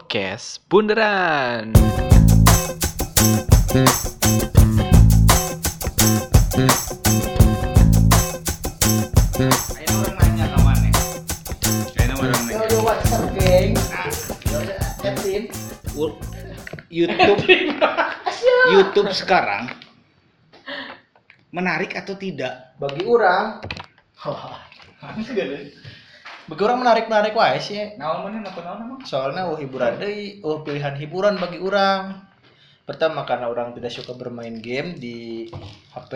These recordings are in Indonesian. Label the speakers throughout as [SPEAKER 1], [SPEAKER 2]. [SPEAKER 1] podcast Bunderan.
[SPEAKER 2] Ayo orang nanya kawan ya. Ayo orang nanya.
[SPEAKER 3] Yo yo what's up geng? Yo yo Edwin.
[SPEAKER 2] Ur- YouTube YouTube sekarang menarik atau tidak?
[SPEAKER 3] Bagi orang, bagi orang menarik-menarik wae sih.
[SPEAKER 2] Naon mana nonton naon emang?
[SPEAKER 3] Soalnya oh hiburan deui, oh pilihan hiburan bagi orang. Pertama karena orang tidak suka bermain game di HP.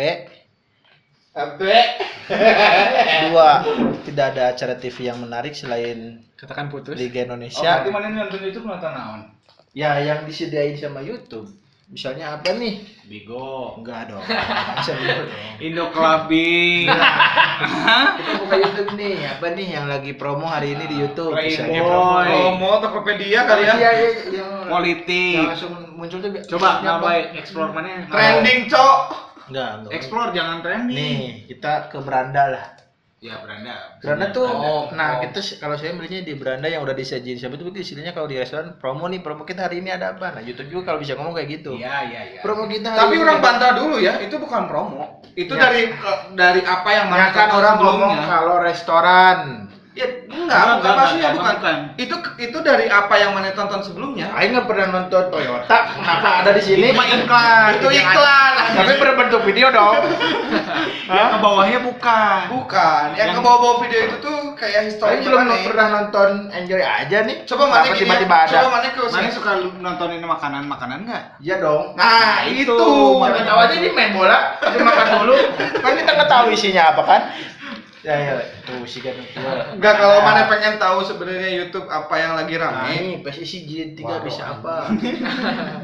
[SPEAKER 3] HP. Dua, tidak ada acara TV yang menarik selain
[SPEAKER 1] Katakan putus.
[SPEAKER 3] Liga
[SPEAKER 2] Oh,
[SPEAKER 3] Indonesia.
[SPEAKER 2] berarti mana nonton YouTube nonton naon?
[SPEAKER 3] Ya yang disediain sama YouTube. Misalnya apa nih?
[SPEAKER 2] Bigo.
[SPEAKER 3] Oh, Enggak dong. Bisa dulu dong.
[SPEAKER 1] Indo Clubbing.
[SPEAKER 3] Kita buka YouTube nih, apa nih yang lagi promo hari ini di YouTube?
[SPEAKER 1] Playboy.
[SPEAKER 3] Misalnya.
[SPEAKER 2] Promo Tokopedia kali ya.
[SPEAKER 3] Iya, iya, yang yang
[SPEAKER 1] Politik.
[SPEAKER 3] langsung muncul tuh. Yang
[SPEAKER 1] Coba
[SPEAKER 3] apa?
[SPEAKER 1] ngapain explore mana?
[SPEAKER 2] Trending, Cok.
[SPEAKER 3] Enggak, enggak.
[SPEAKER 2] Explore jangan trending.
[SPEAKER 3] Nih, kita ke beranda lah.
[SPEAKER 2] Ya, beranda.
[SPEAKER 3] Beranda tuh,
[SPEAKER 2] Oh,
[SPEAKER 3] nah
[SPEAKER 2] oh.
[SPEAKER 3] kita se- kalau saya belinya di beranda yang udah disajiin siapa itu istilahnya kalau di restoran promo nih promo kita hari ini ada apa? Nah YouTube juga kalau bisa ngomong kayak gitu.
[SPEAKER 2] Iya,
[SPEAKER 1] Ya,
[SPEAKER 2] iya, iya.
[SPEAKER 3] Promo kita. hari
[SPEAKER 2] Tapi
[SPEAKER 3] ini
[SPEAKER 2] orang
[SPEAKER 3] ada-
[SPEAKER 2] bantah dulu ya, itu bukan promo. Itu
[SPEAKER 3] Ya.
[SPEAKER 2] dari eh, dari apa yang
[SPEAKER 3] Ya kan orang ngomong
[SPEAKER 2] sebelumnya.
[SPEAKER 3] kalau restoran.
[SPEAKER 2] Ya enggak,
[SPEAKER 1] Enggak,
[SPEAKER 2] bukan
[SPEAKER 1] enggak,
[SPEAKER 2] maksudnya
[SPEAKER 1] enggak,
[SPEAKER 2] bukan.
[SPEAKER 1] bukan.
[SPEAKER 2] Itu itu dari apa yang mana tonton sebelumnya.
[SPEAKER 3] Aing nggak pernah nonton Toyota, kenapa ada di sini?
[SPEAKER 1] Itu mah iklan.
[SPEAKER 2] Itu iklan.
[SPEAKER 3] Tapi berbentuk video dong.
[SPEAKER 1] Yang ke bawahnya bukan.
[SPEAKER 2] Bukan, yang,
[SPEAKER 1] Yang-
[SPEAKER 2] ke bawah-bawah video itu tuh
[SPEAKER 3] Saya
[SPEAKER 2] kayak historinya
[SPEAKER 3] belum
[SPEAKER 2] mana.
[SPEAKER 3] pernah nonton Enjoy aja nih.
[SPEAKER 2] Coba mana
[SPEAKER 3] Kenapa
[SPEAKER 2] gini.
[SPEAKER 3] tiba-tiba ada.
[SPEAKER 2] Coba mana ke
[SPEAKER 1] Mana suka nontonin makanan-makanan enggak?
[SPEAKER 3] Iya dong.
[SPEAKER 2] Nah,
[SPEAKER 1] Nah,
[SPEAKER 2] itu.
[SPEAKER 1] itu.
[SPEAKER 3] Mana tahu aja ini main bola, kita makan dulu. Kan kita nggak tahu isinya apa kan? Ya ya. Tuh sih kan.
[SPEAKER 2] Enggak kalau mana pengen tahu sebenarnya YouTube apa yang lagi
[SPEAKER 3] Nah,
[SPEAKER 2] rame.
[SPEAKER 3] ini PSSI jilid
[SPEAKER 2] Waduh,
[SPEAKER 3] tiga bisa apa?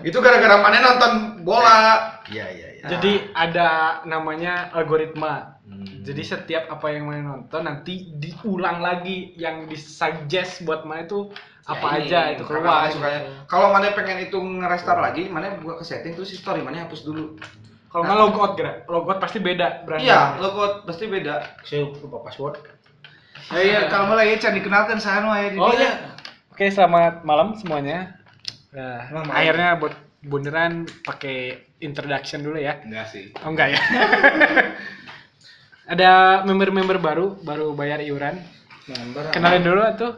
[SPEAKER 2] Itu gara-gara mana nonton bola.
[SPEAKER 3] Iya iya iya.
[SPEAKER 4] Jadi
[SPEAKER 2] ah.
[SPEAKER 4] ada namanya algoritma.
[SPEAKER 3] Hmm.
[SPEAKER 4] Jadi setiap apa yang mana nonton nanti diulang lagi yang disuggest buat mana itu apa
[SPEAKER 1] ini,
[SPEAKER 4] aja itu
[SPEAKER 2] Ya Karena
[SPEAKER 4] keluar.
[SPEAKER 2] mana sukanya. Kalau mana pengen itu ngerestart lagi, mana buka ke setting terus history mana hapus dulu.
[SPEAKER 4] Kalau nggak logout gerak, logout pasti beda berarti.
[SPEAKER 2] Iya, logo pasti beda.
[SPEAKER 3] saya lupa password.
[SPEAKER 2] Ya,
[SPEAKER 1] Eh,
[SPEAKER 2] iya, kalau mulai can dikenalkan saya
[SPEAKER 3] ya,
[SPEAKER 2] nu aya di
[SPEAKER 4] Oh
[SPEAKER 2] dieu.
[SPEAKER 4] iya. Oke, selamat malam semuanya. Nah,
[SPEAKER 2] Selamat malam.
[SPEAKER 4] akhirnya buat bunderan pakai introduction dulu ya.
[SPEAKER 2] Enggak sih.
[SPEAKER 4] Oh enggak ya. ada member-member baru baru bayar iuran. Kenalin dulu tuh.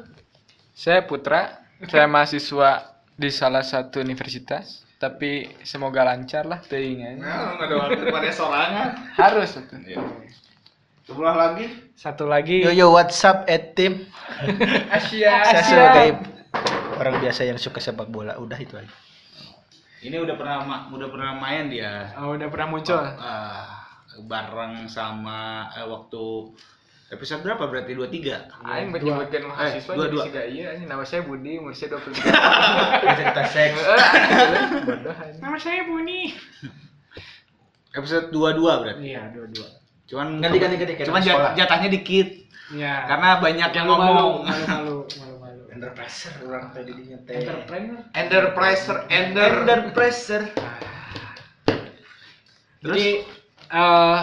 [SPEAKER 5] Saya Putra, saya mahasiswa di salah satu universitas, tapi semoga lancar lah teuingnya.
[SPEAKER 2] Nah, ada waktu pada sorangan.
[SPEAKER 5] Harus atuh.
[SPEAKER 1] Iya.
[SPEAKER 2] Sebelah lagi.
[SPEAKER 4] Satu lagi.
[SPEAKER 3] Yo yo WhatsApp at team.
[SPEAKER 5] Asia.
[SPEAKER 3] Saya
[SPEAKER 4] Asyik.
[SPEAKER 3] sebagai orang biasa yang suka sepak bola. Udah itu aja.
[SPEAKER 2] Ini udah pernah ma- udah pernah main dia.
[SPEAKER 4] Oh, udah pernah muncul.
[SPEAKER 2] Ah, bareng sama eh, waktu episode berapa berarti 23.
[SPEAKER 5] Aing buat nyebutin mahasiswa
[SPEAKER 2] Iya, Eh, dua,
[SPEAKER 5] jadi
[SPEAKER 2] dua.
[SPEAKER 5] siga iya, anjing. nama saya Budi, umur saya 20.
[SPEAKER 3] Cerita seks.
[SPEAKER 4] Nama saya Buni.
[SPEAKER 2] Episode 22 berarti.
[SPEAKER 4] Iya, dua-dua.
[SPEAKER 2] Cuman
[SPEAKER 3] Ganti ganti ganti. kayak
[SPEAKER 2] Cuman
[SPEAKER 3] di
[SPEAKER 2] jat-
[SPEAKER 3] sekolah.
[SPEAKER 2] jatahnya dikit
[SPEAKER 4] Iya.
[SPEAKER 2] karena banyak yang
[SPEAKER 4] malu-malu,
[SPEAKER 2] ngomong. Eh.
[SPEAKER 4] malu-malu, malu-malu.
[SPEAKER 3] Enterpriser orang tadi nyetel.
[SPEAKER 4] Entrepreneur.
[SPEAKER 2] Enterpriser, ender.
[SPEAKER 3] Enterpriser.
[SPEAKER 4] Jadi eh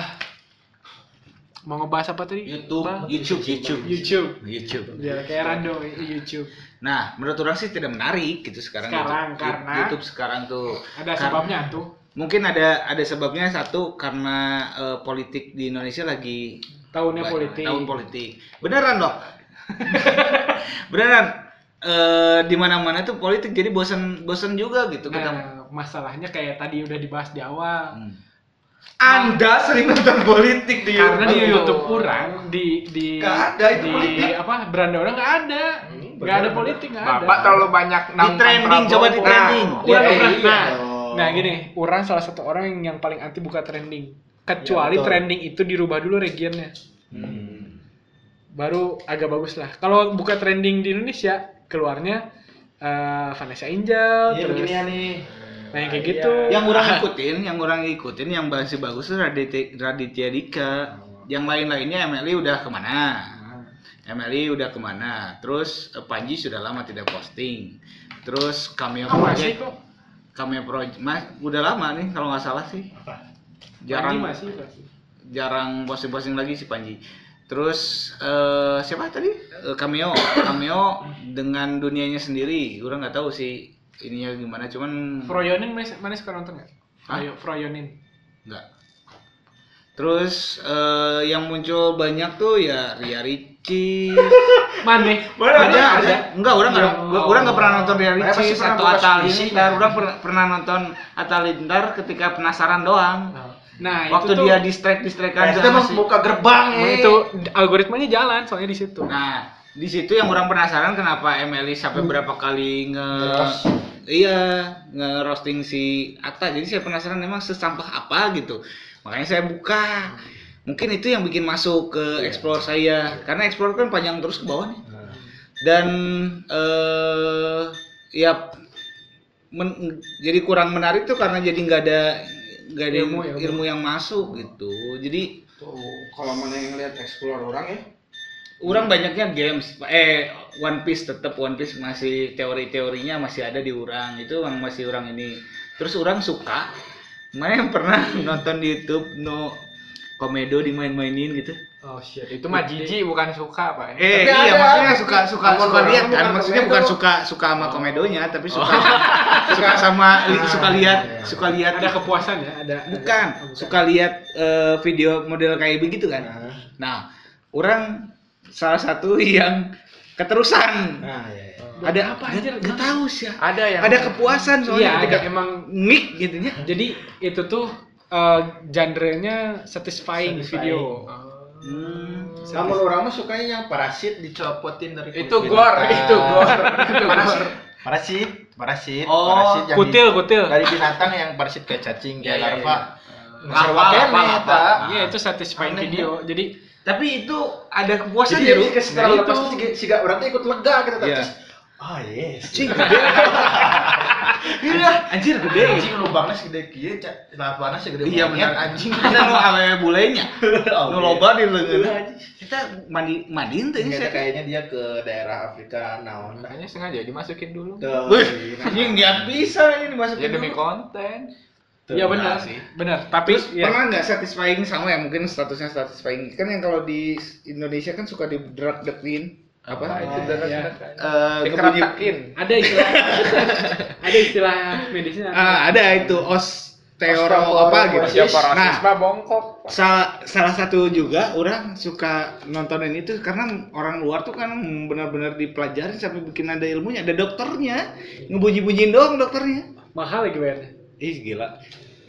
[SPEAKER 4] mau ngebahas apa tadi?
[SPEAKER 2] YouTube,
[SPEAKER 4] Apa?
[SPEAKER 2] YouTube, YouTube,
[SPEAKER 4] YouTube.
[SPEAKER 2] YouTube.
[SPEAKER 4] Biar kayak Rando YouTube.
[SPEAKER 2] Nah, menurut orang sih tidak menarik gitu sekarang.
[SPEAKER 4] Sekarang,
[SPEAKER 2] YouTube,
[SPEAKER 4] karena-
[SPEAKER 2] YouTube sekarang tuh
[SPEAKER 4] Ada
[SPEAKER 2] Karena-
[SPEAKER 4] sebabnya tuh.
[SPEAKER 2] Mungkin ada ada sebabnya satu karena eh, politik di Indonesia lagi
[SPEAKER 4] Tahunnya politik.
[SPEAKER 2] tahun politik. Beneran loh. Beneran eh di mana-mana tuh politik jadi bosan bosan juga gitu
[SPEAKER 4] Nah,
[SPEAKER 2] kita.
[SPEAKER 4] masalahnya kayak tadi udah dibahas di awal.
[SPEAKER 2] Hmm. Anda sering nonton politik di
[SPEAKER 4] Karena di
[SPEAKER 2] YouTube.
[SPEAKER 4] YouTube kurang di di
[SPEAKER 2] Iya, Nggak ada itu
[SPEAKER 4] di
[SPEAKER 2] politik.
[SPEAKER 4] apa beranda orang nggak ada nggak ada politik nggak ada
[SPEAKER 5] Bapak terlalu banyak
[SPEAKER 2] Di trending coba di trending.
[SPEAKER 4] Iya,
[SPEAKER 3] Iya,
[SPEAKER 4] pernah.
[SPEAKER 3] iya
[SPEAKER 4] nah,
[SPEAKER 3] dong.
[SPEAKER 4] nah gini, orang salah satu orang yang, yang paling anti buka trending. Kecuali
[SPEAKER 3] Ya, betul.
[SPEAKER 4] trending itu dirubah dulu regionnya.
[SPEAKER 2] Hmm.
[SPEAKER 4] Baru agak bagus lah. Kalau buka trending di Indonesia, keluarnya eh, Vanessa Angel,
[SPEAKER 3] Iya
[SPEAKER 4] terus
[SPEAKER 3] beginian nih. Iya.
[SPEAKER 4] nah yang kayak gitu.
[SPEAKER 2] yang orang ikutin yang orang ikutin yang masih bagus itu Raditya, Raditya Dika yang lain-lainnya Emily udah kemana Emily udah kemana terus eh, Panji sudah lama tidak posting terus cameo
[SPEAKER 4] Ah, masih
[SPEAKER 2] project
[SPEAKER 4] kok.
[SPEAKER 2] cameo project mas udah lama nih kalau nggak salah sih
[SPEAKER 3] Apa?
[SPEAKER 4] Jarang
[SPEAKER 2] jarang
[SPEAKER 4] masih. masih.
[SPEAKER 2] jarang posting-posting lagi si Panji Terus eh, siapa tadi? Eh, cameo, cameo dengan dunianya sendiri. Orang nggak tahu sih ininya gimana, cuman
[SPEAKER 4] Froyonin mana, mana suka nonton nggak? Froyo, Froyonin.
[SPEAKER 2] nggak. Terus eh, yang muncul banyak tuh ya Ria Ricis.
[SPEAKER 4] Mana?
[SPEAKER 2] ada, ada. Enggak, orang nggak,
[SPEAKER 4] Ya
[SPEAKER 2] gua- orang nggak pernah nonton Ria
[SPEAKER 3] Saya pasti
[SPEAKER 2] Ricis
[SPEAKER 3] pernah
[SPEAKER 2] atau
[SPEAKER 3] buka
[SPEAKER 2] Atta
[SPEAKER 3] sendiri.
[SPEAKER 2] Halilintar. Orang per- pernah nonton Atta Halilintar ketika penasaran doang.
[SPEAKER 4] Nah,
[SPEAKER 2] Waktu
[SPEAKER 4] itu tuh,
[SPEAKER 2] dia distract distrakan
[SPEAKER 3] Kita mau buka gerbang eh.
[SPEAKER 4] itu algoritmanya jalan soalnya di situ.
[SPEAKER 2] Nah, di situ yang orang penasaran kenapa Emily sampai berapa kali nge iya nge-roasting si Atta. Jadi saya penasaran memang sesampah apa gitu. Makanya saya buka. Mungkin itu yang bikin masuk ke explore saya. Karena explore kan panjang terus ke bawah nih.
[SPEAKER 3] Nah,
[SPEAKER 2] Dan eh ya men- jadi kurang menarik tuh karena jadi nggak ada nggak ada ilmu,
[SPEAKER 4] Ilmu, ilmu.
[SPEAKER 2] yang masuk gitu. Jadi
[SPEAKER 3] Tuh, kalau mana yang lihat explore orang ya.
[SPEAKER 2] Orang banyaknya games, eh One Piece tetap One Piece masih teori-teorinya masih ada di orang itu yang masih orang ini. Terus orang suka, mana yang pernah nonton di YouTube no komedo dimain-mainin gitu?
[SPEAKER 4] Oh shit,
[SPEAKER 1] Itu mah jijik bukan suka, Pak.
[SPEAKER 2] Eh
[SPEAKER 3] Tapi
[SPEAKER 2] iya
[SPEAKER 3] ada.
[SPEAKER 2] maksudnya suka suka
[SPEAKER 3] Bukan
[SPEAKER 2] suka
[SPEAKER 3] suka,
[SPEAKER 2] lihat
[SPEAKER 3] bukan
[SPEAKER 2] kan maksudnya bukan
[SPEAKER 3] komedo. Oh.
[SPEAKER 2] suka suka sama komedonya tapi suka suka sama
[SPEAKER 3] Ah.
[SPEAKER 2] suka lihat
[SPEAKER 3] Iya.
[SPEAKER 2] suka lihat
[SPEAKER 4] Ada kepuasan ya, ada.
[SPEAKER 2] bukan suka lihat eh, video model kayak begitu kan.
[SPEAKER 3] Ah.
[SPEAKER 2] Nah, orang salah satu yang keterusan.
[SPEAKER 3] Nah, ya.
[SPEAKER 2] ada
[SPEAKER 4] apa
[SPEAKER 2] apa
[SPEAKER 4] aja?
[SPEAKER 2] aja? Gak tahu sih. ya.
[SPEAKER 1] Ada yang
[SPEAKER 2] Ada kepuasan
[SPEAKER 4] Iya,
[SPEAKER 2] soalnya
[SPEAKER 4] ada,
[SPEAKER 2] ketika
[SPEAKER 4] emang
[SPEAKER 2] ngik gitu ya.
[SPEAKER 4] Jadi itu tuh eh, genre-nya satisfying, video.
[SPEAKER 2] Oh. Hmm.
[SPEAKER 3] Namun orang mah sukanya yang parasit dicopotin dari
[SPEAKER 1] Itu
[SPEAKER 3] kulit
[SPEAKER 1] gor,
[SPEAKER 3] binatang.
[SPEAKER 1] itu gor. Itu gor.
[SPEAKER 3] Parasit, parasit,
[SPEAKER 2] Oh,
[SPEAKER 3] parasit yang
[SPEAKER 4] Kutil, kutil.
[SPEAKER 3] di- dari binatang yang parasit kayak cacing, kayak
[SPEAKER 2] Iya, iya,
[SPEAKER 3] larva.
[SPEAKER 2] iya.
[SPEAKER 3] Ngeser
[SPEAKER 2] Larva,
[SPEAKER 3] wakene,
[SPEAKER 2] larva, larva.
[SPEAKER 3] eta.
[SPEAKER 4] Iya, itu satisfying
[SPEAKER 3] Aneh,
[SPEAKER 4] video. Jadi
[SPEAKER 2] Tapi itu ada kepuasan
[SPEAKER 3] Jadi
[SPEAKER 2] ya, Ru?
[SPEAKER 3] jadi setelah
[SPEAKER 2] Nah,
[SPEAKER 3] lepas
[SPEAKER 2] itu.
[SPEAKER 3] itu siga- siga orang tuh ikut lega gitu
[SPEAKER 2] Iya.
[SPEAKER 3] terus. Ah, yes.
[SPEAKER 2] Cing, gede. Iya, anjir gede.
[SPEAKER 3] anjing lubangnya segede kieu, cak. Larvana segede
[SPEAKER 2] Iya
[SPEAKER 3] monyet,
[SPEAKER 2] benar
[SPEAKER 3] anjing.
[SPEAKER 2] anjing. Kita nu awe bulenya.
[SPEAKER 3] Oh,
[SPEAKER 2] Nu
[SPEAKER 3] iya.
[SPEAKER 2] loba di leungeunna.
[SPEAKER 3] Anjing.
[SPEAKER 2] Kita mandi mandiin teh
[SPEAKER 3] Ternyata
[SPEAKER 2] saya.
[SPEAKER 3] kayaknya dia ke daerah Afrika naon.
[SPEAKER 1] makanya sengaja dimasukin dulu.
[SPEAKER 2] Wih,
[SPEAKER 3] Tuh.
[SPEAKER 2] anjing dia bisa ini dimasukin.
[SPEAKER 1] Ya demi
[SPEAKER 2] dulu.
[SPEAKER 1] konten.
[SPEAKER 4] ya benar
[SPEAKER 1] sih.
[SPEAKER 4] Benar, tapi
[SPEAKER 2] Terus
[SPEAKER 4] ya,
[SPEAKER 2] pernah nggak satisfying sama ya mungkin statusnya satisfying kan yang kalau di Indonesia kan suka di drag dekin apa
[SPEAKER 1] Nah,
[SPEAKER 2] itu
[SPEAKER 6] Iya,
[SPEAKER 1] itu
[SPEAKER 2] drag
[SPEAKER 1] ya.
[SPEAKER 2] Eh, kebunyi-
[SPEAKER 1] Dikeratakin.
[SPEAKER 4] ada istilah ada istilah medisnya.
[SPEAKER 2] Ah, ada itu osteo
[SPEAKER 3] Osteoporosis.
[SPEAKER 2] apa
[SPEAKER 6] Iya.
[SPEAKER 2] gitu.
[SPEAKER 1] Osteoporosis
[SPEAKER 2] Nah,
[SPEAKER 1] mah bongkok.
[SPEAKER 2] salah salah satu juga orang suka nontonin itu karena orang luar tuh kan benar-benar dipelajarin sampai bikin ada ilmunya, ada dokternya. Ngebunyi-bunyiin doang dokternya.
[SPEAKER 4] Mahal lagi bayarnya.
[SPEAKER 2] Ih, gila.